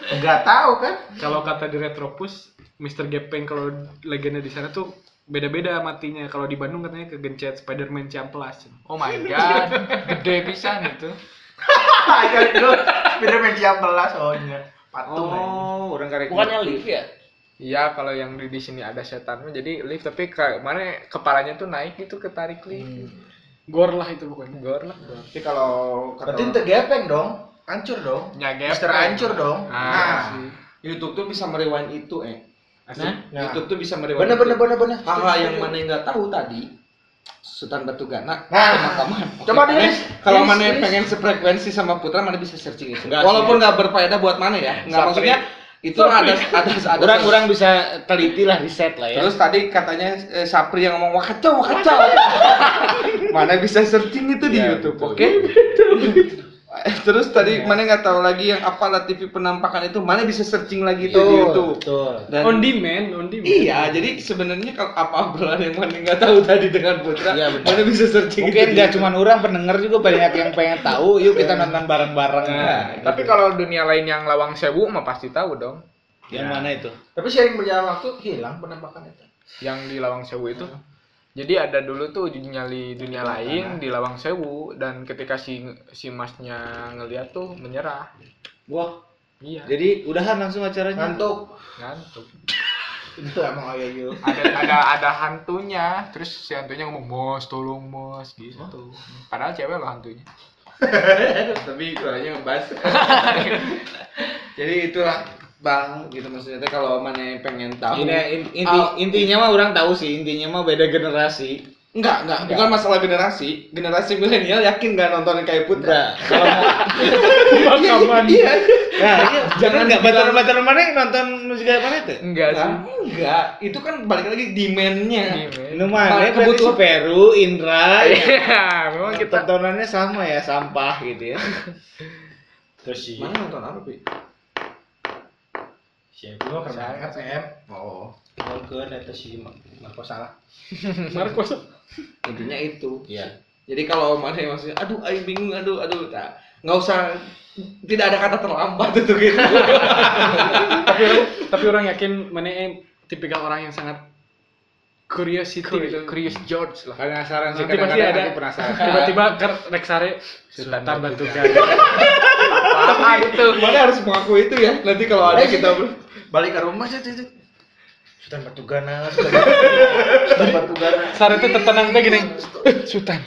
[SPEAKER 3] Nggak tahu kan?
[SPEAKER 4] kalau kata di Retropus Mr. Gepeng kalau legenda di sana tuh beda-beda matinya kalau di Bandung katanya kegencet Spiderman Ciamplas
[SPEAKER 1] oh my god gede pisan itu
[SPEAKER 3] Ayo dulu, Spiderman jam belas soalnya. Patung. eh.
[SPEAKER 2] Oh, orang karek.
[SPEAKER 17] Bukannya Liv ya?
[SPEAKER 1] Iya, kalau yang di, di sini ada setan mah jadi lift tapi kayak mana kepalanya tuh naik gitu ketarik
[SPEAKER 6] Hmm.
[SPEAKER 1] lift.
[SPEAKER 4] gor lah itu pokoknya
[SPEAKER 1] Gor lah.
[SPEAKER 2] Tapi kalau kata
[SPEAKER 3] Berarti itu gepeng dong, hancur dong.
[SPEAKER 1] Ya
[SPEAKER 3] Mister hancur dong.
[SPEAKER 2] Iya
[SPEAKER 1] Ah,
[SPEAKER 3] Nah,
[SPEAKER 2] YouTube tuh bisa merewind itu, eh.
[SPEAKER 3] Nah.
[SPEAKER 2] YouTube tuh bisa merewind.
[SPEAKER 3] bener
[SPEAKER 2] itu.
[SPEAKER 3] bener bener bener.
[SPEAKER 2] Hal-hal yang mana yang nggak tahu tadi Sultan Batu
[SPEAKER 3] Nah.
[SPEAKER 2] Gana pemakaman.
[SPEAKER 3] Coba
[SPEAKER 2] Oke.
[SPEAKER 3] dirilis.
[SPEAKER 2] Kalau
[SPEAKER 3] Dirilis,
[SPEAKER 2] mana
[SPEAKER 3] dirilis.
[SPEAKER 2] pengen sefrekuensi sama Putra, mana bisa searching itu.
[SPEAKER 15] Enggak
[SPEAKER 2] Walaupun
[SPEAKER 15] sih.
[SPEAKER 2] nggak berfaedah buat mana ya. Nggak
[SPEAKER 1] Sapri.
[SPEAKER 2] maksudnya itu ada ada ada.
[SPEAKER 15] Orang-orang bisa teliti lah riset lah ya.
[SPEAKER 2] Terus tadi katanya eh, Sapri yang ngomong wah kacau, wah kacau. mana bisa searching itu di
[SPEAKER 15] Ya,
[SPEAKER 2] YouTube,
[SPEAKER 15] betul.
[SPEAKER 2] oke?
[SPEAKER 6] Terus tadi mana nggak tahu lagi yang apa lah TV penampakan itu mana bisa searching lagi tuh di YouTube.
[SPEAKER 7] betul.
[SPEAKER 6] Dan
[SPEAKER 4] on demand, on demand.
[SPEAKER 6] iya, jadi sebenarnya kalau apa obrolan yang mana nggak tahu tadi dengan Putra,
[SPEAKER 2] Iya, benar.
[SPEAKER 6] mana bisa searching
[SPEAKER 2] Mungkin
[SPEAKER 6] itu di
[SPEAKER 2] nggak
[SPEAKER 6] YouTube.
[SPEAKER 2] cuma orang pendengar juga banyak yang pengen tahu. Yuk kita nonton bareng-bareng.
[SPEAKER 1] Tapi kalau dunia lain yang lawang sewu mah pasti tahu dong.
[SPEAKER 2] yang mana itu?
[SPEAKER 3] Tapi sering berjalan waktu hilang penampakan itu.
[SPEAKER 1] Yang di lawang sewu itu. Jadi ada dulu tuh uji nyali dunia
[SPEAKER 2] Iya.
[SPEAKER 1] lain di lawang sewu dan ketika si si masnya ngeliat tuh menyerah.
[SPEAKER 2] Wah,
[SPEAKER 1] Iya.
[SPEAKER 2] jadi udahan langsung acaranya.
[SPEAKER 3] Ngantuk.
[SPEAKER 1] Ngantuk.
[SPEAKER 3] Itu emang ayah yuk.
[SPEAKER 1] Ada ada ada hantunya. Terus si hantunya ngomong mos tolong mos gitu. Padahal cewek loh hantunya.
[SPEAKER 6] tapi kurangnya ngebahas jadi itulah bang gitu maksudnya teh kalau mana yang pengen tahu
[SPEAKER 2] Ini in- inti,
[SPEAKER 6] Oh.
[SPEAKER 2] intinya mah orang tahu sih, intinya mah beda generasi.
[SPEAKER 6] enggak enggak bukan masalah generasi generasi milenial yakin nggak nonton kayak putra
[SPEAKER 2] Enggak, kalau mau
[SPEAKER 4] Pemakaman.
[SPEAKER 6] iya
[SPEAKER 2] Nah, jangan enggak batar-batar mana yang nonton musikal mana itu?
[SPEAKER 1] Enggak sih.
[SPEAKER 6] Nah, enggak itu kan balik lagi demandnya
[SPEAKER 1] Gimana?
[SPEAKER 2] Ini mana
[SPEAKER 6] Malah
[SPEAKER 2] berarti si
[SPEAKER 6] kebutuhan.
[SPEAKER 2] Peru, Indra, ya.
[SPEAKER 1] Iya, memang kita
[SPEAKER 2] tontonannya sama ya, sampah gitu ya.
[SPEAKER 3] Terus si
[SPEAKER 6] mana nonton apa pi
[SPEAKER 3] siapa lo kerbanget em? Oh. Mungkin itu si Marco salah.
[SPEAKER 4] Marcos.
[SPEAKER 6] intinya itu
[SPEAKER 3] Iya.
[SPEAKER 6] jadi kalau mana yang maksudnya aduh ayo bingung aduh aduh nah, nggak usah tidak ada kata terlambat itu gitu
[SPEAKER 4] tapi orang tapi orang yakin mana eh, tipikal orang yang sangat curiosity gitu.
[SPEAKER 1] Curious George lah.
[SPEAKER 2] Penasaran sih
[SPEAKER 4] Nanti pasti
[SPEAKER 2] kadang-kadang
[SPEAKER 4] ada
[SPEAKER 2] aku penasaran.
[SPEAKER 4] tiba-tiba ker Rexare Sultan Batu
[SPEAKER 1] Apaan tuh?
[SPEAKER 6] mana harus mengakui itu ya nanti kalau ada kita ber-
[SPEAKER 3] Balik ke rumah sih itu. Sultan Batugana, Sultan Batugana. Sultan Batugana.
[SPEAKER 4] Sare itu tertenang teh gini. Sultan.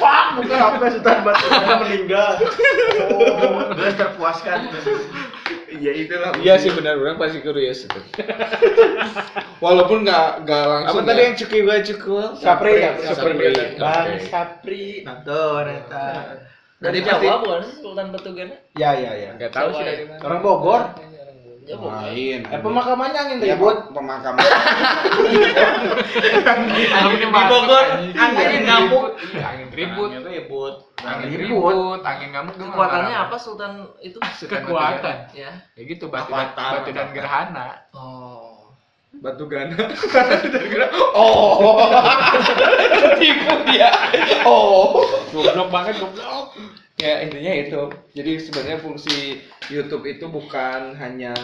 [SPEAKER 3] Fuck, bukan apa Sultan Batugana meninggal. Oh, gue terpuaskan.
[SPEAKER 6] Iya itulah.
[SPEAKER 2] Iya sih benar orang pasti curious itu.
[SPEAKER 6] Walaupun nggak nggak
[SPEAKER 2] Apa
[SPEAKER 6] langsung.
[SPEAKER 2] tadi
[SPEAKER 6] ya.
[SPEAKER 2] yang cukup gua cukup?
[SPEAKER 3] Sapri, Sapri.
[SPEAKER 2] Sapri.
[SPEAKER 3] Bang
[SPEAKER 2] Oke.
[SPEAKER 3] Sapri, nonton eta.
[SPEAKER 6] Jadi
[SPEAKER 17] Dari
[SPEAKER 6] pasti-
[SPEAKER 17] Jawa bukan sih Sultan Batugana?
[SPEAKER 3] Ya ya ya.
[SPEAKER 1] Enggak tahu sih
[SPEAKER 17] Jawa
[SPEAKER 1] dari
[SPEAKER 17] ya.
[SPEAKER 1] mana.
[SPEAKER 3] Orang Bogor.
[SPEAKER 17] Jawa.
[SPEAKER 2] Ah.
[SPEAKER 17] bukan?
[SPEAKER 6] Lain.
[SPEAKER 3] Eh pemakamannya angin
[SPEAKER 6] Ya,
[SPEAKER 2] Iya,
[SPEAKER 3] ribut.
[SPEAKER 6] pemakaman.
[SPEAKER 1] Angin
[SPEAKER 17] Di Bogor, anginnya ngamuk.
[SPEAKER 1] Iya, angin ribut.
[SPEAKER 3] ribut.
[SPEAKER 1] Angin
[SPEAKER 3] Angin
[SPEAKER 1] ribut, angin ngamuk tuh
[SPEAKER 17] Kekuatannya
[SPEAKER 1] marah-marah.
[SPEAKER 17] apa Sultan itu?
[SPEAKER 1] Sultan
[SPEAKER 4] Kekuatan.
[SPEAKER 1] Batugana.
[SPEAKER 17] Ya.
[SPEAKER 1] Ya gitu batu dan,
[SPEAKER 6] Avatar,
[SPEAKER 1] batu dan
[SPEAKER 6] Avatar.
[SPEAKER 1] gerhana.
[SPEAKER 17] Oh.
[SPEAKER 6] Batu gana. Dari gana. oh. Tipu dia. Oh.
[SPEAKER 4] Goblok banget goblok.
[SPEAKER 6] Ya intinya itu. Jadi sebenarnya fungsi YouTube itu bukan hanya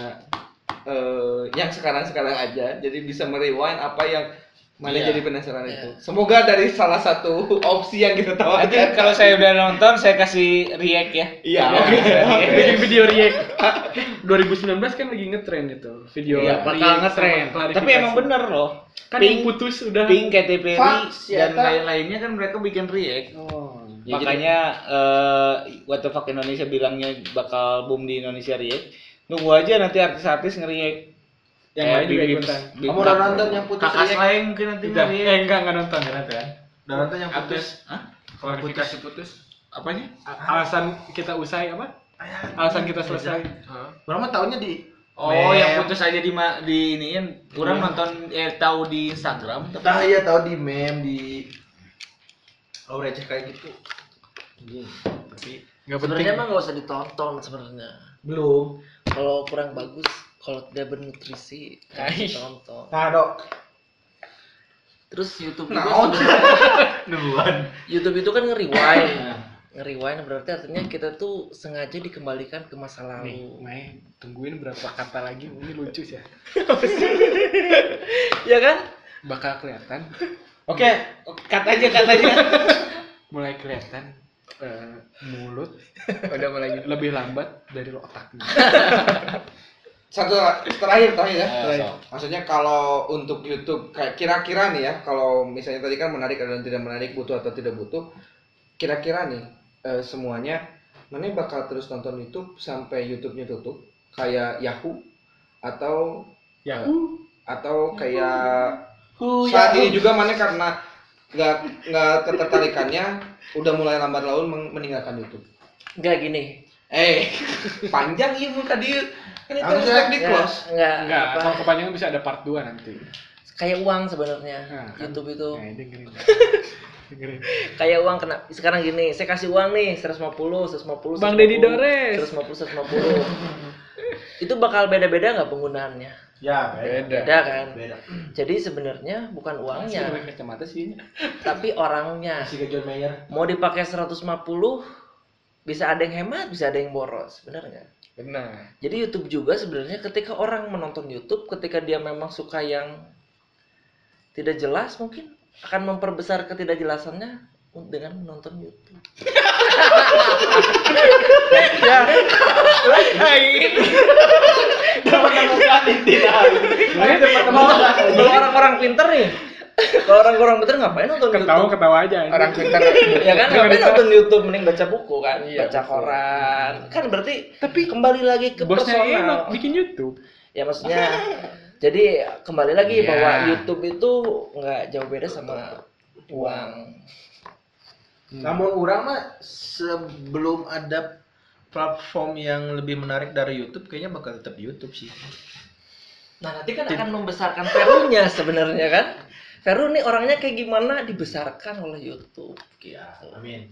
[SPEAKER 6] eh, yang sekarang-sekarang aja. Jadi bisa merewind apa yang mana
[SPEAKER 2] Iya.
[SPEAKER 6] jadi penasaran
[SPEAKER 17] Iya.
[SPEAKER 6] itu. Semoga dari salah satu opsi yang kita tahu
[SPEAKER 2] Nanti
[SPEAKER 6] aja.
[SPEAKER 2] kalau saya udah nonton saya kasih react ya.
[SPEAKER 6] Iya. oke.
[SPEAKER 4] Bikin video react. 2019 kan lagi ngetren itu video. react
[SPEAKER 2] Iya,
[SPEAKER 4] sama
[SPEAKER 2] bakal ngetren.
[SPEAKER 4] klarifikasi.
[SPEAKER 2] Tapi emang bener loh.
[SPEAKER 4] Kan yang
[SPEAKER 2] Pink,
[SPEAKER 4] putus udah.
[SPEAKER 2] Pink, Katy Perry,
[SPEAKER 3] Fuck, si
[SPEAKER 2] dan
[SPEAKER 6] Iya,
[SPEAKER 3] Eta.
[SPEAKER 2] lain-lainnya kan mereka bikin react.
[SPEAKER 4] Oh.
[SPEAKER 2] Ya, Makanya eh, What the fuck Indonesia bilangnya bakal boom di Indonesia react. Nunggu aja nanti artis-artis nge-react.
[SPEAKER 4] Yang
[SPEAKER 2] Kayak
[SPEAKER 4] lain juga
[SPEAKER 2] Big
[SPEAKER 4] ikutan.
[SPEAKER 2] Big
[SPEAKER 3] Kamu
[SPEAKER 2] Bang.
[SPEAKER 3] udah nonton yang putus
[SPEAKER 2] Iya.
[SPEAKER 3] Iya.
[SPEAKER 2] Kakak
[SPEAKER 3] react?
[SPEAKER 2] Slank mungkin nanti
[SPEAKER 4] Udah. Eh
[SPEAKER 2] nge-react.
[SPEAKER 4] enggak enggak nonton enggak nonton.
[SPEAKER 3] Dan nonton yang putus.
[SPEAKER 2] Hah?
[SPEAKER 1] Klarifikasi putus.
[SPEAKER 2] Apanya?
[SPEAKER 4] A- Alasan kita usai apa? Alasan kita selesai.
[SPEAKER 3] Orang mah taunya di
[SPEAKER 2] Oh,
[SPEAKER 3] Mem.
[SPEAKER 2] yang putus aja di ma- di iniin. Kurang nonton eh tahu di Instagram. tapi-
[SPEAKER 3] Nah iya tahu di meme di oh receh kayak gitu. Anjing. Tapi
[SPEAKER 1] Enggak penting.
[SPEAKER 17] Sebenarnya emang nggak usah ditonton sebenarnya.
[SPEAKER 3] belum.
[SPEAKER 17] Kalau kurang bagus, kalau tidak bernutrisi, jangan ditonton.
[SPEAKER 3] Nah dok.
[SPEAKER 17] Terus YouTube
[SPEAKER 3] Nah
[SPEAKER 17] juga
[SPEAKER 3] on.
[SPEAKER 17] sebenarnya-
[SPEAKER 3] Duluan.
[SPEAKER 17] YouTube itu kan nge-rewind. Nge-rewind berarti artinya kita tuh sengaja dikembalikan ke masa
[SPEAKER 4] Nih,
[SPEAKER 17] lalu.
[SPEAKER 4] Mai, tungguin berapa kata lagi ini lucu sih. ya.
[SPEAKER 17] Ya kan?
[SPEAKER 4] Bakal kelihatan,
[SPEAKER 2] Oke, kata aja kata aja.
[SPEAKER 4] mulai kelihatan eh, mulut
[SPEAKER 1] Udah mulai gitu.
[SPEAKER 4] lebih lambat dari otaknya.
[SPEAKER 6] satu terakhir terakhir ya
[SPEAKER 2] Ayo,
[SPEAKER 6] terakhir.
[SPEAKER 2] sok.
[SPEAKER 6] maksudnya kalau untuk YouTube kayak kira-kira nih ya kalau misalnya tadi kan menarik dan tidak menarik butuh atau tidak butuh kira-kira nih eh, semuanya mana bakal terus nonton YouTube sampai YouTube-nya tutup kayak Yahoo atau
[SPEAKER 4] Ya,
[SPEAKER 6] atau kayak saat ini juga mana karena nggak nggak ketertarikannya udah mulai lambat laun meng- meninggalkan YouTube
[SPEAKER 17] Enggak gini.
[SPEAKER 6] eh panjang iya mun tadi kan itu
[SPEAKER 3] Harusnya,
[SPEAKER 6] harus di close
[SPEAKER 17] Enggak,
[SPEAKER 4] enggak, kalau kepanjangan bisa ada part 2 nanti.
[SPEAKER 17] kayak uang sebenarnya
[SPEAKER 4] Nah, kan.
[SPEAKER 17] YouTube itu
[SPEAKER 4] Nah, dengerin. dengerin.
[SPEAKER 17] kayak uang kena sekarang gini saya kasih uang nih 150 150
[SPEAKER 4] Bang
[SPEAKER 17] 150,
[SPEAKER 4] Deddy Dores.
[SPEAKER 17] 150 150 itu bakal beda-beda nggak penggunaannya
[SPEAKER 3] Ya, baik.
[SPEAKER 1] Beda.
[SPEAKER 17] beda kan
[SPEAKER 3] Beda.
[SPEAKER 17] jadi sebenarnya bukan
[SPEAKER 4] Masih
[SPEAKER 17] uangnya
[SPEAKER 4] pakai kacamata sih.
[SPEAKER 17] tapi orangnya
[SPEAKER 3] Kasih ke John Mayer.
[SPEAKER 17] mau dipakai 150 bisa ada yang hemat bisa ada yang boros benar nggak
[SPEAKER 1] Benar.
[SPEAKER 17] Jadi YouTube juga sebenarnya ketika orang menonton YouTube, ketika dia memang suka yang tidak jelas, mungkin akan memperbesar ketidakjelasannya dengan menonton YouTube. Kalau orang-orang pinter nih, kalau orang-orang pinter ngapain nonton
[SPEAKER 4] Ketawa kan.
[SPEAKER 17] YouTube?
[SPEAKER 4] ketawa aja. anjing.
[SPEAKER 1] Orang pintar.
[SPEAKER 17] Ya kan ngapain nonton YouTube mending baca buku kan, baca koran. Kan berarti tapi kembali lagi ke
[SPEAKER 4] Bosnya enak
[SPEAKER 17] personal.
[SPEAKER 4] bikin YouTube.
[SPEAKER 17] Ya maksudnya jadi kembali lagi
[SPEAKER 1] Iya.
[SPEAKER 17] bahwa YouTube itu nggak jauh beda sama uang.
[SPEAKER 3] Hmm. Namun orang mah sebelum ada platform yang lebih menarik dari YouTube kayaknya bakal tetap YouTube sih.
[SPEAKER 17] Nah nanti kan akan membesarkan Verunya sebenarnya kan. Veru nih orangnya kayak gimana dibesarkan oleh YouTube gitu.
[SPEAKER 3] Amin.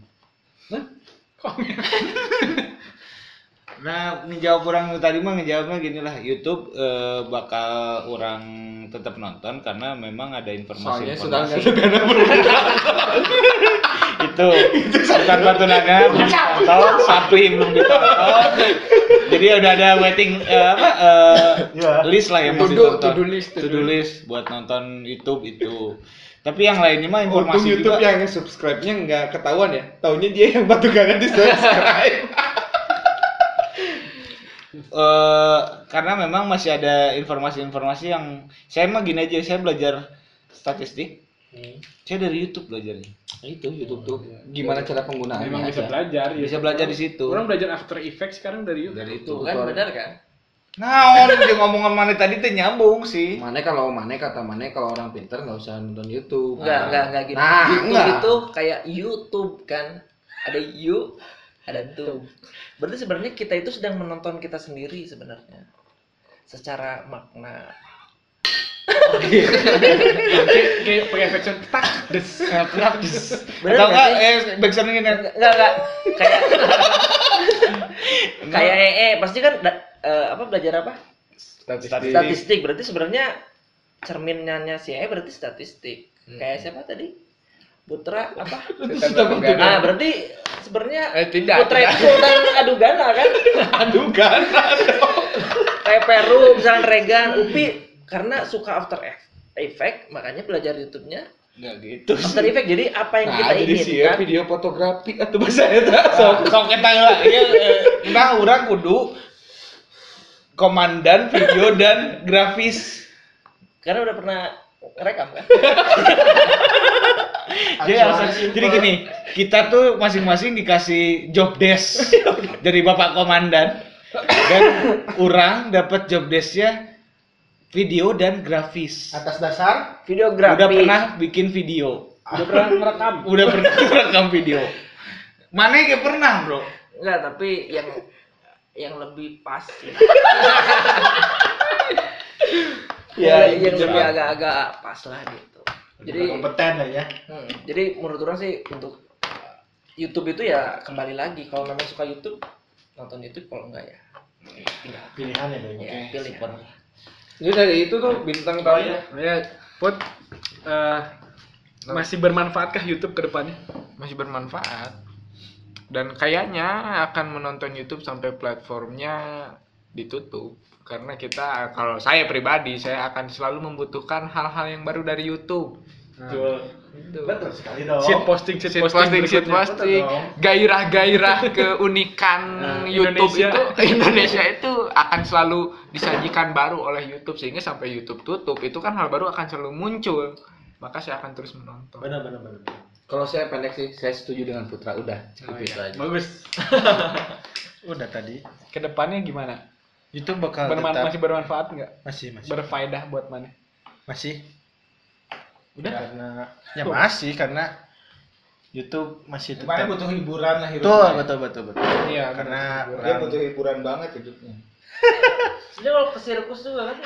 [SPEAKER 2] Nah, ngejawab orang tadi mah ngejawabnya gini lah, YouTube eh, bakal orang tetap nonton karena memang ada informasi
[SPEAKER 1] Soalnya sudah nggak
[SPEAKER 2] informasi. itu bukan batu naga atau satu yang belum ditonton. Jadi udah ada waiting eh, apa eh,
[SPEAKER 6] Iya.
[SPEAKER 2] list lah yang mau
[SPEAKER 1] To do-
[SPEAKER 2] ditonton.
[SPEAKER 1] to do list, to
[SPEAKER 2] To do
[SPEAKER 1] do
[SPEAKER 2] list buat nonton YouTube itu. Tapi yang lainnya mah
[SPEAKER 6] Untung
[SPEAKER 2] informasi
[SPEAKER 6] YouTube
[SPEAKER 2] juga.
[SPEAKER 6] yang subscribe-nya nggak ketahuan ya. Taunya dia yang batu gagan di subscribe.
[SPEAKER 2] eh karena memang masih ada informasi-informasi yang saya mah gini aja saya belajar statistik
[SPEAKER 1] Hmm.
[SPEAKER 2] saya dari YouTube belajarnya
[SPEAKER 6] itu YouTube tuh gimana cara
[SPEAKER 3] Nah,
[SPEAKER 6] penggunaannya?
[SPEAKER 4] Memang
[SPEAKER 3] iya
[SPEAKER 4] bisa
[SPEAKER 6] aja.
[SPEAKER 4] belajar. ya.
[SPEAKER 2] bisa belajar di situ
[SPEAKER 4] Orang belajar After Effects sekarang dari YouTube.
[SPEAKER 2] dari itu
[SPEAKER 17] Tuh kan benar kan?
[SPEAKER 2] nah orang dia ngomongan mana tadi teh nyambung sih
[SPEAKER 6] Mane kalau Mane kata Mane kalau orang pinter nggak usah nonton YouTube.
[SPEAKER 17] Enggak, enggak, enggak gitu.
[SPEAKER 6] Nah,
[SPEAKER 17] YouTube
[SPEAKER 6] enggak.
[SPEAKER 17] itu kayak YouTube kan. Ada you, ada tube. Berarti sebenarnya kita itu sedang menonton kita sendiri sebenarnya. Secara makna.
[SPEAKER 4] Kayak kayak pakai efek sound, tak des.
[SPEAKER 17] Bener
[SPEAKER 2] atau
[SPEAKER 17] nggak
[SPEAKER 2] enggak
[SPEAKER 17] sih?
[SPEAKER 2] eh backsound gini
[SPEAKER 17] Enggak, enggak, enggak. Kayak kayak eh, eh pasti kan da- eh, apa belajar apa?
[SPEAKER 1] Statistik.
[SPEAKER 17] Statistik. Berarti sebenarnya cerminannya si eh berarti statistik. Kayak siapa tadi? Putra apa?
[SPEAKER 1] Tetap enggak.
[SPEAKER 17] Nah, berarti sebenarnya
[SPEAKER 1] Eh, tidak.
[SPEAKER 17] Putra
[SPEAKER 1] tidak.
[SPEAKER 17] Sultan Adugana kan?
[SPEAKER 6] Adukan.
[SPEAKER 17] kayak Peru misalnya Regan Upi karena suka After Eff- Effect makanya belajar YouTube-nya
[SPEAKER 2] enggak gitu
[SPEAKER 17] After Effect jadi apa yang
[SPEAKER 6] Nah,
[SPEAKER 17] kita
[SPEAKER 6] jadi sih
[SPEAKER 1] Iya,
[SPEAKER 17] inginkan
[SPEAKER 6] ya, video fotografi atau bahasa eta sok
[SPEAKER 2] Ah, sok kita lah Iya, eh, nah orang kudu komandan video dan grafis
[SPEAKER 17] karena udah pernah rekam kan
[SPEAKER 2] Jadi alasan- jadi gini, kita tuh masing-masing dikasih job desk dari bapak komandan dan orang dapat job desknya video dan grafis.
[SPEAKER 3] Atas dasar
[SPEAKER 17] videografi
[SPEAKER 2] Udah pernah bikin video,
[SPEAKER 4] Udah pernah merekam.
[SPEAKER 2] udah pernah rekam video. Mana yang pernah bro?
[SPEAKER 17] enggak tapi yang yang lebih pas sih. ya, yang lebih agak-agak pas lah gitu jadi
[SPEAKER 3] jadi kompeten lah ya.
[SPEAKER 17] hmm, jadi menurut orang sih untuk uh, YouTube itu ya kembali lagi kalau memang suka YouTube nonton YouTube kalau enggak ya
[SPEAKER 3] Pilihan ya dari.
[SPEAKER 17] ya pilih
[SPEAKER 6] Jadi dari itu tuh bintang
[SPEAKER 3] Nah,
[SPEAKER 6] tamunya.
[SPEAKER 4] Ya, Put. eh, masih bermanfaatkah YouTube ke depannya?
[SPEAKER 1] Masih bermanfaat. Dan kayaknya akan menonton YouTube sampai platformnya ditutup karena kita kalau saya pribadi saya akan selalu membutuhkan hal-hal yang baru dari YouTube.
[SPEAKER 3] Betul sekali dong.
[SPEAKER 4] Shit posting, Oh, shit
[SPEAKER 1] Shit
[SPEAKER 4] posting,
[SPEAKER 1] posting, shit posting, gairah-gairah keunikan
[SPEAKER 4] Nah,
[SPEAKER 1] YouTube
[SPEAKER 4] Indonesia.
[SPEAKER 1] itu Indonesia itu akan selalu disajikan baru oleh YouTube sehingga sampai YouTube tutup itu kan hal baru akan selalu muncul. Maka saya akan terus menonton.
[SPEAKER 3] Benar benar benar. benar.
[SPEAKER 6] Kalau saya pendek sih, saya setuju dengan Putra. Udah, cukup
[SPEAKER 1] iya.
[SPEAKER 6] itu aja.
[SPEAKER 4] Bagus.
[SPEAKER 3] oh, Udah tadi.
[SPEAKER 4] Kedepannya gimana?
[SPEAKER 3] Itu bakal
[SPEAKER 4] Berman-
[SPEAKER 3] tetap
[SPEAKER 4] masih bermanfaat nggak?
[SPEAKER 3] masih masih
[SPEAKER 4] Berfaedah buat mana?
[SPEAKER 3] masih
[SPEAKER 4] Udah?
[SPEAKER 3] karena ya masih karena YouTube masih
[SPEAKER 7] Kemarin
[SPEAKER 3] tetap.
[SPEAKER 7] butuh hiburan lah
[SPEAKER 3] Betul betul betul betul.
[SPEAKER 4] Iya,
[SPEAKER 3] Karena
[SPEAKER 7] Dia butuh hiburan banget hidupnya.
[SPEAKER 17] Sebenarnya kalau ke sirkus juga kan.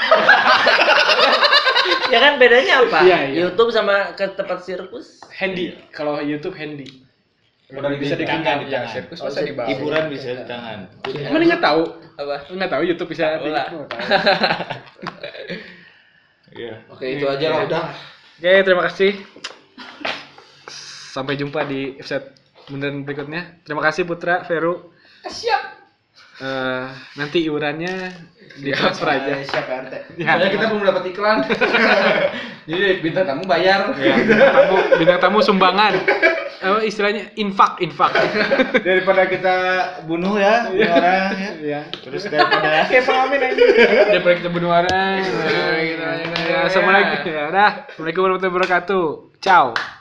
[SPEAKER 17] ya kan bedanya apa?
[SPEAKER 4] Iya, iya.
[SPEAKER 17] YouTube sama ke tempat sirkus.
[SPEAKER 4] handy kalau YouTube handy
[SPEAKER 2] Udah
[SPEAKER 4] bisa
[SPEAKER 2] di
[SPEAKER 4] dikenal,
[SPEAKER 2] tangan, di
[SPEAKER 3] Iya.
[SPEAKER 2] tangan.
[SPEAKER 1] yang sirkus masa di bawah
[SPEAKER 2] Hiburan bisa di tangan.
[SPEAKER 4] Emang nggak tahu
[SPEAKER 17] Apa?
[SPEAKER 4] nggak tahu YouTube bisa
[SPEAKER 17] Tahu
[SPEAKER 4] Nggak
[SPEAKER 17] lah.
[SPEAKER 4] tahu.
[SPEAKER 2] Iya.
[SPEAKER 6] Oke, itu aja lah udah.
[SPEAKER 4] Oke, terima kasih. Sampai jumpa di episode beneran berikutnya. Terima kasih Putra, Veru. Eh, Siap. nanti iurannya ditransfer aja.
[SPEAKER 7] siap RT
[SPEAKER 3] Iya.
[SPEAKER 4] Ya,
[SPEAKER 6] Soalnya kita belum dapat iklan. Jadi bintang tamu bayar.
[SPEAKER 4] ya,
[SPEAKER 3] Iya.
[SPEAKER 4] bintang tamu, bintang tamu sumbangan. Apa istilahnya infak, infak.
[SPEAKER 7] daripada kita bunuh
[SPEAKER 2] Iya.
[SPEAKER 7] ya orang ya
[SPEAKER 4] ya.
[SPEAKER 7] terus daripada
[SPEAKER 4] Daripada kita eh, gitu, bunuh ya, orang. Ya, Assalamualaikum. Ya, dah. Assalamualaikum warahmatullahi wabarakatuh. Ciao.